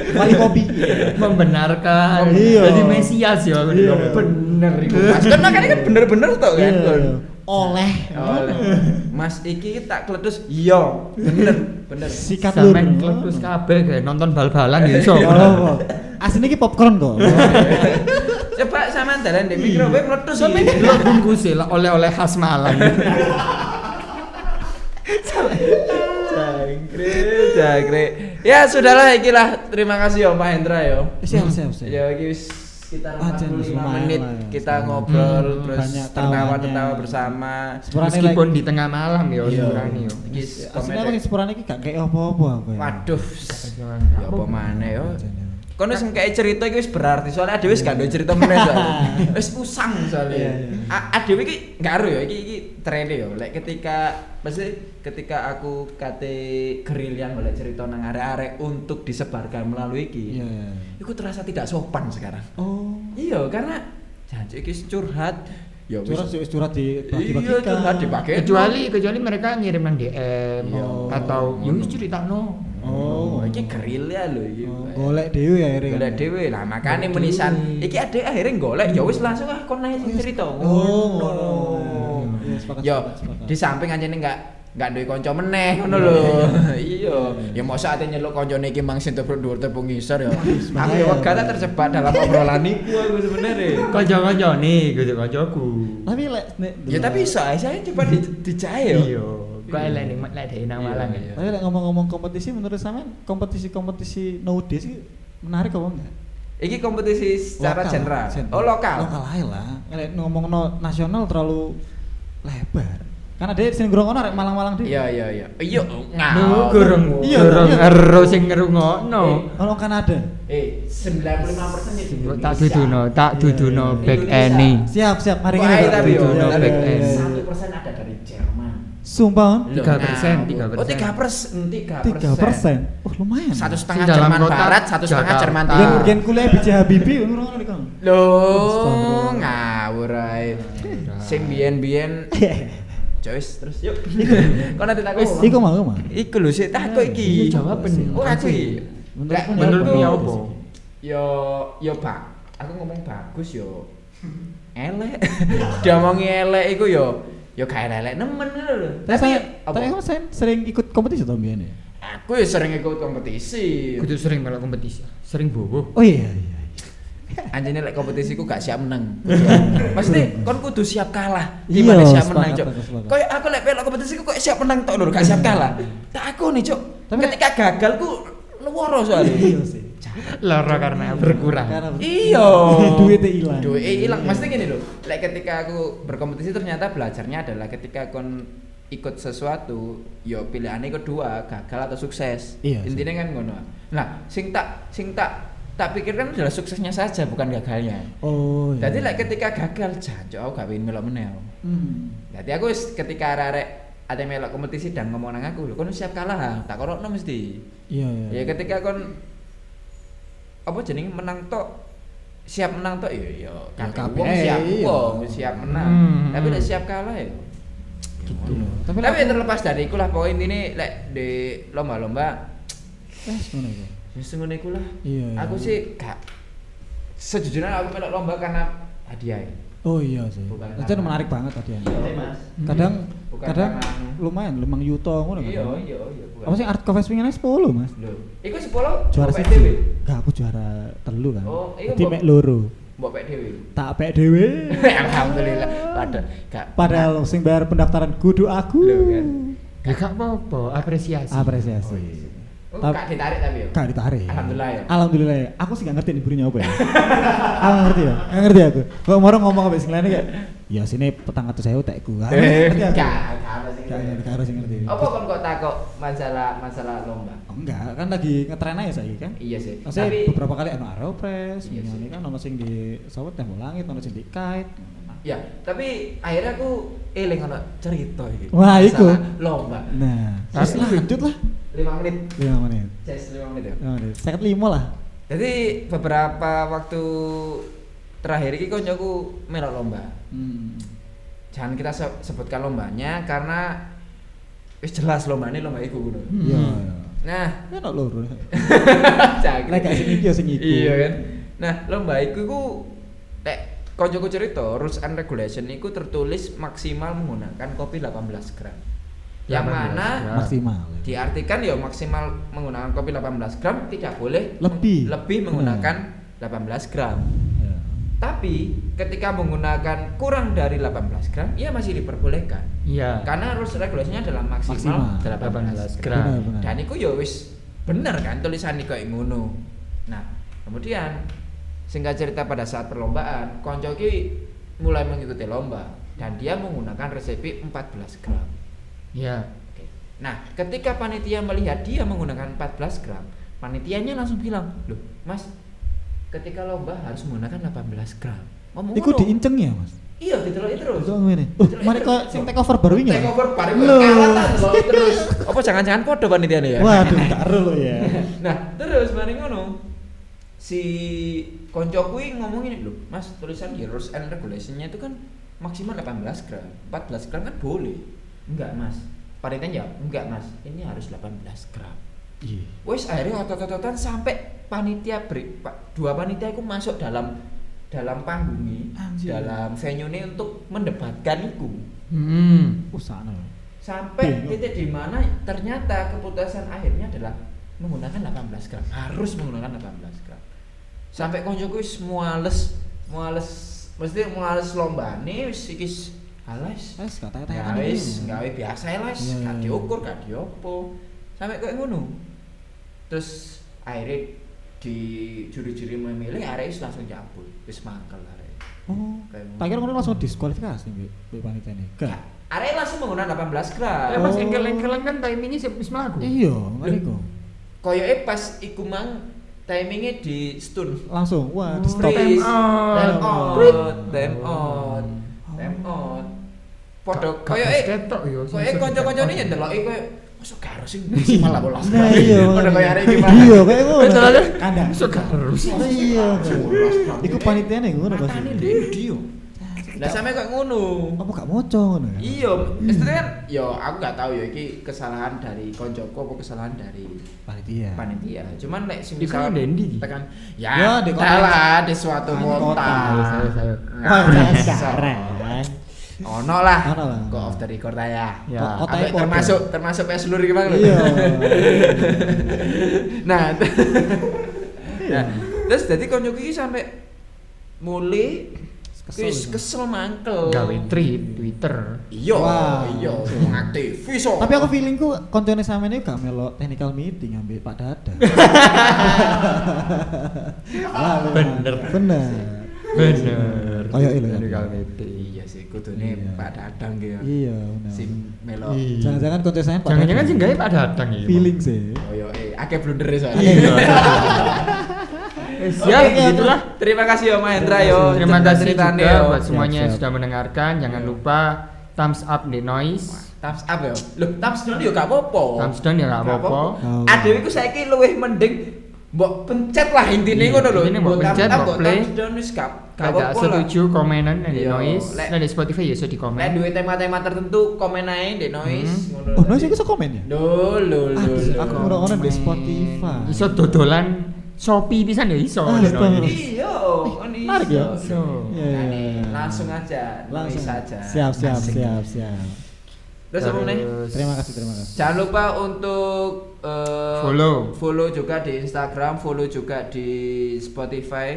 [SPEAKER 5] wali kopi.
[SPEAKER 4] Iya.
[SPEAKER 3] membenarkan
[SPEAKER 5] Iya.
[SPEAKER 3] jadi mesias ya aku
[SPEAKER 5] Iya.
[SPEAKER 3] bilang, bener itu
[SPEAKER 4] Mas kan makanya kan bener-bener tau kan.
[SPEAKER 5] Iya.
[SPEAKER 4] kon.
[SPEAKER 5] Oleh.
[SPEAKER 4] Oleh. Mas iki tak kletus iya bener bener.
[SPEAKER 5] Sikat lur. Iya.
[SPEAKER 3] sampean kletus kabeh kayak nonton bal-balan ya iso
[SPEAKER 4] Iya.
[SPEAKER 5] Oh, Aslinya ki popcorn kok.
[SPEAKER 4] Coba sama dalan ndek microwave meletus sampe.
[SPEAKER 3] lo pun kusil oleh-oleh khas Malang
[SPEAKER 4] Jangkrik, jangkrik. Ya sudahlah ikilah terima kasih ya Pak Hendra ya.
[SPEAKER 5] Siap, siap, siap.
[SPEAKER 4] Ya iki wis kita
[SPEAKER 5] Ah, Jan, wis
[SPEAKER 4] 45
[SPEAKER 5] lumayan
[SPEAKER 4] menit
[SPEAKER 5] lah ya.
[SPEAKER 4] kita
[SPEAKER 5] Hmm,
[SPEAKER 4] ngobrol terus
[SPEAKER 5] banyak
[SPEAKER 4] tertawa-tertawa
[SPEAKER 5] tawarannya.
[SPEAKER 4] bersama.
[SPEAKER 5] Sepurane lagi. Iya.
[SPEAKER 3] meskipun di tengah malam ya sebenarnya ya
[SPEAKER 4] Iki
[SPEAKER 5] Aslinya aku
[SPEAKER 4] komedi.
[SPEAKER 5] yang sepurane ki gak kayak apa-apa Iya. aku. ya.
[SPEAKER 4] Gitu. Waduh. Ya apa maneh yo. Kono sing kayak cerita iki wis berarti soalnya adewe wis gak ada
[SPEAKER 5] [laughs]
[SPEAKER 4] cerita meneh soalnya. Wis usang
[SPEAKER 5] Iya,
[SPEAKER 4] soalnya. A- Adewe iki gak aru ya iki iki trene yo. Lek ketika mesti ketika aku kate gerilyan boleh cerita nang arek-arek untuk disebarkan melalui iki.
[SPEAKER 5] Iya. iya.
[SPEAKER 4] Iku terasa tidak sopan sekarang.
[SPEAKER 5] Oh.
[SPEAKER 4] Iya, karena janji iki curhat. Ya wis.
[SPEAKER 5] Curhat wis curhat di
[SPEAKER 4] Iya, curhat dipakai.
[SPEAKER 3] kecuali kecuali mereka ngirim nang DM
[SPEAKER 4] Iya.
[SPEAKER 3] atau ya wis ceritakno
[SPEAKER 4] Oh,
[SPEAKER 5] Oh.
[SPEAKER 4] iki gerilya lho iki.
[SPEAKER 5] Oh, golek dhewe ya akhirnya.
[SPEAKER 4] golek dhewe lah makane
[SPEAKER 5] Nah,
[SPEAKER 4] menisan iki adek akhirnya golek ya wis langsung ah kon ae sing cerita
[SPEAKER 5] iya. Oh,
[SPEAKER 4] Ngono.
[SPEAKER 5] ngono. Iya, sepakat,
[SPEAKER 4] ya
[SPEAKER 5] sepakat, sepakat.
[SPEAKER 4] di samping anjene enggak enggak duwe kanca meneh ngono lho [laughs] iya ya mosok ate nyeluk kancane iki mang sinto dhuwur tepung ngisor ya aku ya wegah tak terjebak dalam obrolan iku aku
[SPEAKER 5] ya.
[SPEAKER 4] sebenarnya
[SPEAKER 3] kanca-kanca nih gitu kancaku
[SPEAKER 5] Tapi lek nek
[SPEAKER 4] ya tapi iso ae saya coba di- ya. dijae yo
[SPEAKER 3] iya kok elek ning lek dhewe nang
[SPEAKER 4] Iya,
[SPEAKER 3] Malang
[SPEAKER 4] iya.
[SPEAKER 3] ya
[SPEAKER 5] Tapi lek ngomong-ngomong kompetisi menurut sampean kompetisi-kompetisi nowadays ki menarik apa enggak?
[SPEAKER 4] iki kompetisi secara
[SPEAKER 5] Lokal,
[SPEAKER 4] general oh lokal
[SPEAKER 5] Lokal ae lah. Lek ngomong nasional terlalu lebar. Kan ada sing ngrungokno rek malang-malang dhewe.
[SPEAKER 4] iya iya iya iya
[SPEAKER 3] Lu
[SPEAKER 4] ngau
[SPEAKER 3] gurung,
[SPEAKER 5] Iya,
[SPEAKER 3] gurung
[SPEAKER 5] iya.
[SPEAKER 3] ero sing ngerungokno.
[SPEAKER 4] iya.
[SPEAKER 5] Ono Oh, Kanada.
[SPEAKER 4] eh
[SPEAKER 5] ya,
[SPEAKER 4] 95% itu Indonesia.
[SPEAKER 3] Tak duduno, tak
[SPEAKER 5] Iya,
[SPEAKER 3] duduno
[SPEAKER 5] iya.
[SPEAKER 3] back
[SPEAKER 4] Indonesia.
[SPEAKER 3] any.
[SPEAKER 5] Siap, siap. Mari
[SPEAKER 4] Wah,
[SPEAKER 5] kita.
[SPEAKER 4] tapi
[SPEAKER 3] yo,
[SPEAKER 5] Iya,
[SPEAKER 3] tapi
[SPEAKER 5] iya,
[SPEAKER 3] eh.
[SPEAKER 5] iya.
[SPEAKER 4] satu persen ada dari Jerman.
[SPEAKER 5] Sumpah.
[SPEAKER 4] Loh,
[SPEAKER 3] 3%,
[SPEAKER 4] ngawur.
[SPEAKER 3] 3%.
[SPEAKER 4] Oh tiga persen, tiga
[SPEAKER 5] 3 persen. Oh lumayan.
[SPEAKER 4] Satu setengah
[SPEAKER 3] Sing dalam
[SPEAKER 4] Jerman
[SPEAKER 3] kota,
[SPEAKER 4] Barat, satu setengah
[SPEAKER 3] Jakarta.
[SPEAKER 4] Jerman
[SPEAKER 5] Gen,
[SPEAKER 4] Timur.
[SPEAKER 5] gen kuliah BJ Habibie ngono lho Kang.
[SPEAKER 4] Loh,
[SPEAKER 5] Astagfirullah.
[SPEAKER 4] ngawur ae. Sing
[SPEAKER 5] [laughs]
[SPEAKER 4] biyen-biyen Joyce terus yuk. [laughs] Kok nanti tak
[SPEAKER 5] Wis, Iya. iku mau, iku mau.
[SPEAKER 4] Iku lho sik tak kok iki.
[SPEAKER 3] Iya, jawaban.
[SPEAKER 4] Oh aku iki.
[SPEAKER 5] Menurut-
[SPEAKER 4] Lek
[SPEAKER 3] Menurutmu
[SPEAKER 4] menurutku-
[SPEAKER 3] ya apa?
[SPEAKER 4] Yo yo Pak, aku ngomong bagus yo. Elek. [laughs] Diomongi elek iku yo yo gak elek nemen ngono lho.
[SPEAKER 5] Tapi
[SPEAKER 4] Tapi apa?
[SPEAKER 5] tapi kamu sen- sering ikut kompetisi tahun biyen ya?
[SPEAKER 4] aku ya sering ikut kompetisi.
[SPEAKER 3] Kudu sering malah kompetisi, sering bobo.
[SPEAKER 5] Oh iya iya.
[SPEAKER 4] Anjene lek kompetisi ku gak siap menang. Mesti kon kudu siap kalah.
[SPEAKER 5] Iya,
[SPEAKER 4] Gimana siap menang,
[SPEAKER 5] sepakat,
[SPEAKER 4] Cok?
[SPEAKER 5] aku sepakat.
[SPEAKER 4] Koy aku lek pelok kompetisi ku kok siap menang tok lho, gak siap kalah. Tak aku nih, Cok.
[SPEAKER 5] Tapi-
[SPEAKER 4] Ketika gagal ku luworo soalnya.
[SPEAKER 5] Iya sih.
[SPEAKER 3] Lara karena berkurang.
[SPEAKER 5] Karena ber-
[SPEAKER 4] Iya.
[SPEAKER 5] [laughs] Duitnya hilang. Iya.
[SPEAKER 4] Duitnya hilang. Mesti gini lho. Lek ketika aku berkompetisi ternyata belajarnya adalah ketika kon ikut sesuatu, yo pilihannya kedua, gagal atau sukses.
[SPEAKER 5] Iya, sih.
[SPEAKER 4] Intinya kan ngono. Nah, sing tak sing tak tak pikirkan adalah suksesnya saja bukan gagalnya.
[SPEAKER 5] Oh iya.
[SPEAKER 4] Jadi lek ketika gagal, jancuk aku gak pengen melok meneh. aku.
[SPEAKER 5] Hmm.
[SPEAKER 4] Jadi aku wis ketika arek-arek ada melok kompetisi dan ngomong nang aku, lho kon siap kalah, tak korokno mesti.
[SPEAKER 5] Iya
[SPEAKER 4] Ya
[SPEAKER 5] iya.
[SPEAKER 4] ketika kon apa jenenge menang tok siap menang tok ya ya kabeh
[SPEAKER 5] kabeh,
[SPEAKER 4] wong siap
[SPEAKER 5] iya.
[SPEAKER 4] wong siap menang.
[SPEAKER 3] Hmm,
[SPEAKER 4] Tapi
[SPEAKER 3] hmm.
[SPEAKER 4] nek siap kalah ya gitu.
[SPEAKER 5] Tapi
[SPEAKER 4] Tapi,
[SPEAKER 5] lek-
[SPEAKER 4] terlepas dari iku lah poin ini lek di lomba-lomba
[SPEAKER 5] Wes ngono iku.
[SPEAKER 4] wis ngono iku lah.
[SPEAKER 5] Iya, iya.
[SPEAKER 4] Aku sih gak sejujurnya aku melok lomba karena hadiah. ya.
[SPEAKER 5] Oh iya sih.
[SPEAKER 4] Bukan
[SPEAKER 5] Itu
[SPEAKER 4] karena-
[SPEAKER 5] menarik banget tadi ya.
[SPEAKER 4] Iya, Mas.
[SPEAKER 5] Kadang
[SPEAKER 4] Bukan
[SPEAKER 5] kadang
[SPEAKER 4] karena anu.
[SPEAKER 5] lumayan lumang yuto ngono kan.
[SPEAKER 4] Iya, iya, iya. bukan.
[SPEAKER 5] Apa sih art cover swingannya 10 Mas?
[SPEAKER 4] Lho, iku 10
[SPEAKER 5] Juara
[SPEAKER 4] juara
[SPEAKER 5] sih.
[SPEAKER 4] dhewe.
[SPEAKER 5] Enggak aku juara telu kan.
[SPEAKER 4] Oh, iya,
[SPEAKER 5] Jadi
[SPEAKER 4] Mbok.
[SPEAKER 5] mek loro.
[SPEAKER 4] Mbok pek dhewe. [laughs]
[SPEAKER 5] Tak pek dhewe.
[SPEAKER 4] Alhamdulillah. Padahal gak
[SPEAKER 5] Padahal sing bayar pendaftaran kudu aku.
[SPEAKER 4] Lho, kan.
[SPEAKER 3] Ya gak apa-apa, apresiasi.
[SPEAKER 5] Apresiasi.
[SPEAKER 4] Oh,
[SPEAKER 5] Tapi-
[SPEAKER 4] gak ditarik tapi ya.
[SPEAKER 5] Gak ditarik.
[SPEAKER 4] Alhamdulillah ya.
[SPEAKER 5] Alhamdulillah ya. Aku sih gak ngerti nih burinya apa ya. [laughs] aku gak ngerti ya. Gak ngerti aku. Kok moro ngomong apa sing kayak ya sini petang atau saya utekku. Gak
[SPEAKER 4] Eh,
[SPEAKER 5] ngerti
[SPEAKER 4] gak,
[SPEAKER 5] aku.
[SPEAKER 4] gak ada sing
[SPEAKER 5] Gak ngerti,
[SPEAKER 4] ngerti.
[SPEAKER 5] gak harus ngerti.
[SPEAKER 4] Apa kon kok takok masalah masalah lomba?
[SPEAKER 5] Oh, enggak, kan lagi ngetren aja saya kan.
[SPEAKER 4] Iya sih.
[SPEAKER 5] Maksudnya
[SPEAKER 4] Tapi
[SPEAKER 5] beberapa kali ono Aeropress,
[SPEAKER 4] Iya
[SPEAKER 5] yes.
[SPEAKER 4] sih.
[SPEAKER 5] kan ono sing di sawet tembok langit, ono sing di kite.
[SPEAKER 4] ya, tapi akhirnya aku eling ono cerita iki.
[SPEAKER 5] Wah, iku.
[SPEAKER 4] Masalah Lomba.
[SPEAKER 5] Nah,
[SPEAKER 3] Tapi-
[SPEAKER 5] terus lanjut lah.
[SPEAKER 4] 5 menit.
[SPEAKER 5] 5 menit.
[SPEAKER 4] Jas 5 menit ya.
[SPEAKER 5] 5 menit. Seket 5 lah.
[SPEAKER 4] Jadi beberapa waktu terakhir iki koncoku melok lomba.
[SPEAKER 5] Hmm.
[SPEAKER 2] jangan kita se- sebutkan lombanya karena wis jelas lombanya lomba iku ngono.
[SPEAKER 5] Iya.
[SPEAKER 4] Hmm. [laughs]
[SPEAKER 2] Nah,
[SPEAKER 5] Ya enak lho. Bro.
[SPEAKER 2] cak.
[SPEAKER 5] Lek gak sing iki ya sing iku.
[SPEAKER 2] Iya kan. Nah, lomba iku iku nek kancaku cerita rules and regulation iku tertulis maksimal menggunakan kopi 18 gram. Yang
[SPEAKER 3] 18
[SPEAKER 2] mana
[SPEAKER 3] gram.
[SPEAKER 5] Maksimal.
[SPEAKER 2] diartikan ya maksimal menggunakan kopi 18 gram tidak boleh
[SPEAKER 5] Lebih. Hmm.
[SPEAKER 2] lebih menggunakan 18 gram.
[SPEAKER 5] Ya.
[SPEAKER 2] Tapi ketika menggunakan kurang dari 18 gram, ia masih diperbolehkan.
[SPEAKER 3] Iya.
[SPEAKER 2] Karena rules regulationnya adalah maksimal,
[SPEAKER 5] Maksimal
[SPEAKER 2] 18 gram.
[SPEAKER 3] 18 gram.
[SPEAKER 5] Benar, benar.
[SPEAKER 2] Dan itu ya wis bener kan tulisan kayak ngono. Nah, kemudian singkat cerita pada saat perlombaan, konco ki mulai mengikuti lomba dan dia menggunakan resepi 14 gram.
[SPEAKER 3] Iya.
[SPEAKER 2] Oke. Nah, ketika panitia melihat dia menggunakan 14 gram, panitianya langsung bilang, "Loh, Mas, ketika lomba harus menggunakan 18 gram." Ngomong
[SPEAKER 5] Iku
[SPEAKER 2] ngono.
[SPEAKER 5] diinceng ya, Mas.
[SPEAKER 2] Iya, diteloki terus.
[SPEAKER 5] Itu ngene. Oh,
[SPEAKER 2] Itu-
[SPEAKER 5] mari
[SPEAKER 2] itu-
[SPEAKER 5] kok sing take over baru ini ya.
[SPEAKER 2] Take over bareng
[SPEAKER 5] Loh.
[SPEAKER 2] [laughs] karatan lho, terus. Apa jangan-jangan podo panitiane ya?
[SPEAKER 5] Waduh, gak ero lho
[SPEAKER 2] [laughs]
[SPEAKER 5] ya.
[SPEAKER 2] Nah, terus bareng ngono. Si konco kuwi ngomong ini, "Loh, Mas, tulisan di rules and regulation-nya itu kan maksimal 18 gram. 14 gram kan boleh." Enggak, Mas. Panitia jawab, "Enggak, Mas. Ini harus 18 gram."
[SPEAKER 5] Iya.
[SPEAKER 2] wes akhirnya otot-ototan sampai panitia break Pak. dua panitia itu masuk dalam dalam panggung ini,
[SPEAKER 5] Anjir.
[SPEAKER 2] dalam venue ini untuk mendebatkan itu
[SPEAKER 3] Hmm.
[SPEAKER 2] Oh,
[SPEAKER 5] Usahane.
[SPEAKER 3] Iya,
[SPEAKER 2] sampai
[SPEAKER 5] Bingung.
[SPEAKER 2] titik di mana ternyata keputusan akhirnya adalah menggunakan 18 gram harus menggunakan 18 gram sampai konjoku wis muales muales mesti muales lomba nih wis iki halas
[SPEAKER 5] Wes gak
[SPEAKER 2] Ya
[SPEAKER 5] tanya-tanya.
[SPEAKER 2] wis, gawe biasa ya les,
[SPEAKER 5] Iya,
[SPEAKER 2] gak
[SPEAKER 5] iya.
[SPEAKER 2] diukur, gak diopo. Sampai kayak ngono. Terus akhirnya di juri-juri memilih arek wis langsung cabut, wis mangkel arek.
[SPEAKER 5] Oh.
[SPEAKER 2] Kayak ngono.
[SPEAKER 5] Tak kira ngono langsung diskualifikasi Mbak Mbak panitia ini. Gak.
[SPEAKER 2] Arek langsung menggunakan 18 gram.
[SPEAKER 3] Ya pas
[SPEAKER 5] Oh.
[SPEAKER 3] engkel-engkelan kan timingnya sih wis mlaku.
[SPEAKER 5] Iya, ngene iku.
[SPEAKER 2] Koyoke pas iku mang timingnya di stun.
[SPEAKER 5] Langsung wah, di stop.
[SPEAKER 2] Freeze,
[SPEAKER 3] out.
[SPEAKER 2] time
[SPEAKER 5] Freeze.
[SPEAKER 2] out, time out, time out. Podo eh. koyoke
[SPEAKER 5] Oh,
[SPEAKER 3] ketok yo.
[SPEAKER 2] Soalnya konco-koncone ya ndeloki koyo masuk gak harus
[SPEAKER 5] [laughs]
[SPEAKER 2] sih misi malah bolos.
[SPEAKER 5] Nah,
[SPEAKER 2] [laughs]
[SPEAKER 5] iya.
[SPEAKER 2] Padha koyo arek iki
[SPEAKER 5] makanya.
[SPEAKER 2] malah.
[SPEAKER 5] Iya, kayak ngono.
[SPEAKER 3] Eh, soalnya
[SPEAKER 5] Kandang.
[SPEAKER 3] masuk gak harus.
[SPEAKER 5] Oh, iya. Iku panitia nih ngono pasti.
[SPEAKER 2] Matane ndek ndi yo. Lah sampe kok ngono.
[SPEAKER 5] Apa gak moco ngono ya?
[SPEAKER 2] Iya, maksudnya kan yo aku gak tahu yo iki kesalahan dari koncoku apa kesalahan dari Iya.
[SPEAKER 5] Panitia.
[SPEAKER 2] panitia. Cuman nek sing
[SPEAKER 3] Iku
[SPEAKER 2] misal
[SPEAKER 3] yang ndendi iki?
[SPEAKER 2] tekan
[SPEAKER 5] Ya,
[SPEAKER 2] ya
[SPEAKER 5] di kota.
[SPEAKER 2] salah di suatu
[SPEAKER 5] Kan
[SPEAKER 2] kota.
[SPEAKER 5] kota.
[SPEAKER 3] Saya- saya.
[SPEAKER 2] [laughs]
[SPEAKER 5] Wah,
[SPEAKER 2] Nah,
[SPEAKER 5] sekarang.
[SPEAKER 2] Ono lah.
[SPEAKER 5] Ono lah.
[SPEAKER 2] Go off the record aja.
[SPEAKER 3] Ya.
[SPEAKER 5] Kok- kotanya
[SPEAKER 2] Ambek
[SPEAKER 5] podo.
[SPEAKER 2] termasuk termasuk peslur iki Bang. lho. [laughs]
[SPEAKER 5] Iya.
[SPEAKER 2] nah,
[SPEAKER 5] Iya.
[SPEAKER 2] nah terus jadi konjoku iki sampai mulai kesel,
[SPEAKER 5] Kesel itu.
[SPEAKER 2] kesel mangkel
[SPEAKER 3] Gawe trip Twitter.
[SPEAKER 2] iya
[SPEAKER 5] Wah.
[SPEAKER 2] iya wong aktivis oh.
[SPEAKER 5] Tapi aku feelingku kontennya sama ini gak melo technical meeting ambil Pak Dada. Wah, lu.
[SPEAKER 3] [laughs] Bener.
[SPEAKER 5] Bener.
[SPEAKER 3] Bener.
[SPEAKER 5] Kayak ini, kan?
[SPEAKER 3] Gawe trip.
[SPEAKER 2] iya sih kudune
[SPEAKER 5] Iya.
[SPEAKER 2] Pak Dadang ki ya
[SPEAKER 5] Iya, bener.
[SPEAKER 2] sing melo
[SPEAKER 3] Iya.
[SPEAKER 5] Jangan-jangan konten saya Pak
[SPEAKER 3] Jangan-jangan
[SPEAKER 5] Dadang.
[SPEAKER 3] sih ya? gawe Pak Dadang iki.
[SPEAKER 5] feeling sih.
[SPEAKER 2] koyo eh akeh blunder soalnya
[SPEAKER 5] Iya.
[SPEAKER 3] Wes,
[SPEAKER 2] Oke,
[SPEAKER 3] Ya,
[SPEAKER 2] oke. gitu.
[SPEAKER 3] begitulah.
[SPEAKER 2] Terima kasih Om Mahendra yo.
[SPEAKER 3] Terima kasih
[SPEAKER 2] cerita-ceritanya,
[SPEAKER 3] juga
[SPEAKER 2] yo.
[SPEAKER 3] buat semuanya
[SPEAKER 5] Siap,
[SPEAKER 3] yang
[SPEAKER 5] siap.
[SPEAKER 3] sudah mendengarkan. Jangan
[SPEAKER 2] Iya.
[SPEAKER 3] lupa thumbs up di noise.
[SPEAKER 2] Thumbs up yo. Loh, thumbs down yo gak apa-apa.
[SPEAKER 3] Thumbs down ya gak apa-apa.
[SPEAKER 5] Oh.
[SPEAKER 2] Adewe iku saiki luwih mending mbok pencet lah intine
[SPEAKER 3] Iya,
[SPEAKER 2] ngono lho.
[SPEAKER 3] intine mbok
[SPEAKER 2] thumbs
[SPEAKER 3] pencet,
[SPEAKER 2] up,
[SPEAKER 3] mbok play.
[SPEAKER 2] Thumbs down wis gak gak
[SPEAKER 3] Kalau
[SPEAKER 2] apa-apa lah.
[SPEAKER 3] setuju komenan di
[SPEAKER 2] Iya,
[SPEAKER 3] noise.
[SPEAKER 2] lek-
[SPEAKER 3] Nah di Spotify ya sudah di
[SPEAKER 2] Nek
[SPEAKER 3] komen.
[SPEAKER 2] duwe tema-tema tertentu komen ae di noise
[SPEAKER 3] Hmm.
[SPEAKER 2] ngono.
[SPEAKER 5] Oh, noise itu bisa komen ya?
[SPEAKER 2] Lho lho lho.
[SPEAKER 5] Aduh,
[SPEAKER 2] lho.
[SPEAKER 5] aku ora ono di Spotify.
[SPEAKER 3] Iso dodolan Shopee pisan ya iso.
[SPEAKER 5] Ah,
[SPEAKER 3] di
[SPEAKER 5] betul.
[SPEAKER 3] noise.
[SPEAKER 2] Iya, kan
[SPEAKER 5] menarik ya.
[SPEAKER 2] iso. Nah,
[SPEAKER 5] Iya, iya,
[SPEAKER 2] nih,
[SPEAKER 5] iya.
[SPEAKER 2] Langsung aja,
[SPEAKER 5] Langsung
[SPEAKER 2] noise aja.
[SPEAKER 5] Siap, siap,
[SPEAKER 2] Asik.
[SPEAKER 5] siap, siap.
[SPEAKER 2] Terus
[SPEAKER 3] Hmm.
[SPEAKER 2] apa nih?
[SPEAKER 3] Eh.
[SPEAKER 5] Terima kasih, terima kasih.
[SPEAKER 2] Jangan lupa untuk eh,
[SPEAKER 3] Follow.
[SPEAKER 2] follow juga di Instagram, follow juga di Spotify.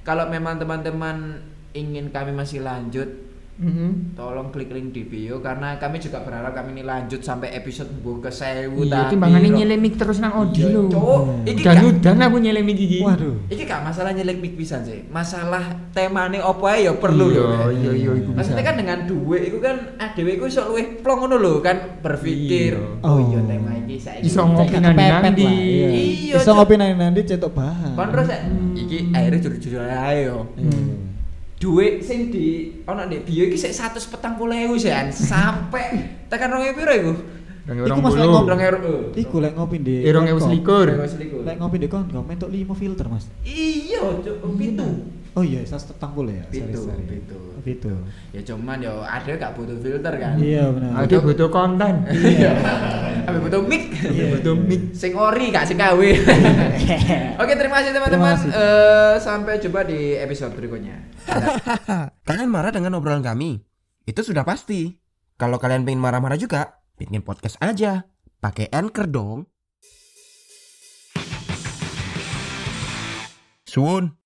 [SPEAKER 2] Kalau memang teman-teman ingin kami masih lanjut,
[SPEAKER 3] Mhm.
[SPEAKER 2] tolong klik link di bio karena kami juga berharap kami ini lanjut sampai episode buku ke 1000
[SPEAKER 3] Iya, timbangannya nyelemik terus nang audio.
[SPEAKER 2] Cok, Iya, iki
[SPEAKER 3] Dan
[SPEAKER 2] gak-
[SPEAKER 3] udan aku nyelemik gigi.
[SPEAKER 5] Waduh.
[SPEAKER 2] Iki gak masalah nyelek mik pisan sih. Masalah temane opo ae ya perlu
[SPEAKER 3] Iya,
[SPEAKER 2] lho.
[SPEAKER 3] Iya, iya, iku bisa.
[SPEAKER 2] Maksudnya kan dengan duit itu kan ah dhewe iku iso luwih plong ngono lho kan berpikir.
[SPEAKER 3] Iya.
[SPEAKER 2] Oh iya
[SPEAKER 5] Oh.
[SPEAKER 2] tema iki saiki.
[SPEAKER 3] iso
[SPEAKER 2] cek-
[SPEAKER 3] ngopi
[SPEAKER 5] Cek
[SPEAKER 3] nanti
[SPEAKER 5] kepepet
[SPEAKER 3] nanti.
[SPEAKER 5] lah, iya.
[SPEAKER 2] Iya,
[SPEAKER 5] Bisa
[SPEAKER 2] Cok.
[SPEAKER 5] ngopi nanti-nanti cetok bahan. Iya.
[SPEAKER 2] Kon terus eh, iki akhirnya jujur-jujur ae yo.
[SPEAKER 5] Hmm.
[SPEAKER 3] Iya,
[SPEAKER 2] Duit sing di ono ndek bio iki sik 140.000 sih an. Sampai tekan 2000 piro iku?
[SPEAKER 5] Iku
[SPEAKER 3] Rong
[SPEAKER 5] mas
[SPEAKER 3] puluh.
[SPEAKER 5] ngomong.
[SPEAKER 2] 2000.
[SPEAKER 5] Iku lek ngopi di.
[SPEAKER 3] Eh, rong ewu
[SPEAKER 5] Kongkong.
[SPEAKER 3] selikur.
[SPEAKER 5] Lek ngopi di kon, gak mentok lima filter mas.
[SPEAKER 2] Iya, cuk, pitu.
[SPEAKER 5] Oh iya, 140 ya.
[SPEAKER 2] Pitu,
[SPEAKER 5] sorry, sorry.
[SPEAKER 2] pitu.
[SPEAKER 5] Pitu.
[SPEAKER 2] ya cuman ya ada gak butuh filter kan
[SPEAKER 5] Iya benar.
[SPEAKER 3] Aldi butuh konten.
[SPEAKER 2] iya Ambil butuh mic
[SPEAKER 5] Iya,
[SPEAKER 3] butuh
[SPEAKER 5] iya.
[SPEAKER 3] mic.
[SPEAKER 2] sing ori gak sing
[SPEAKER 6] [laughs]
[SPEAKER 2] KW oke terima kasih teman-teman
[SPEAKER 5] Terima kasih.
[SPEAKER 2] Eh, sampai jumpa di episode berikutnya
[SPEAKER 6] [laughs] Kalian marah dengan obrolan kami? Itu sudah pasti. Kalau kalian pengen marah-marah juga, bikin podcast aja. Pakai Anchor dong. Suun.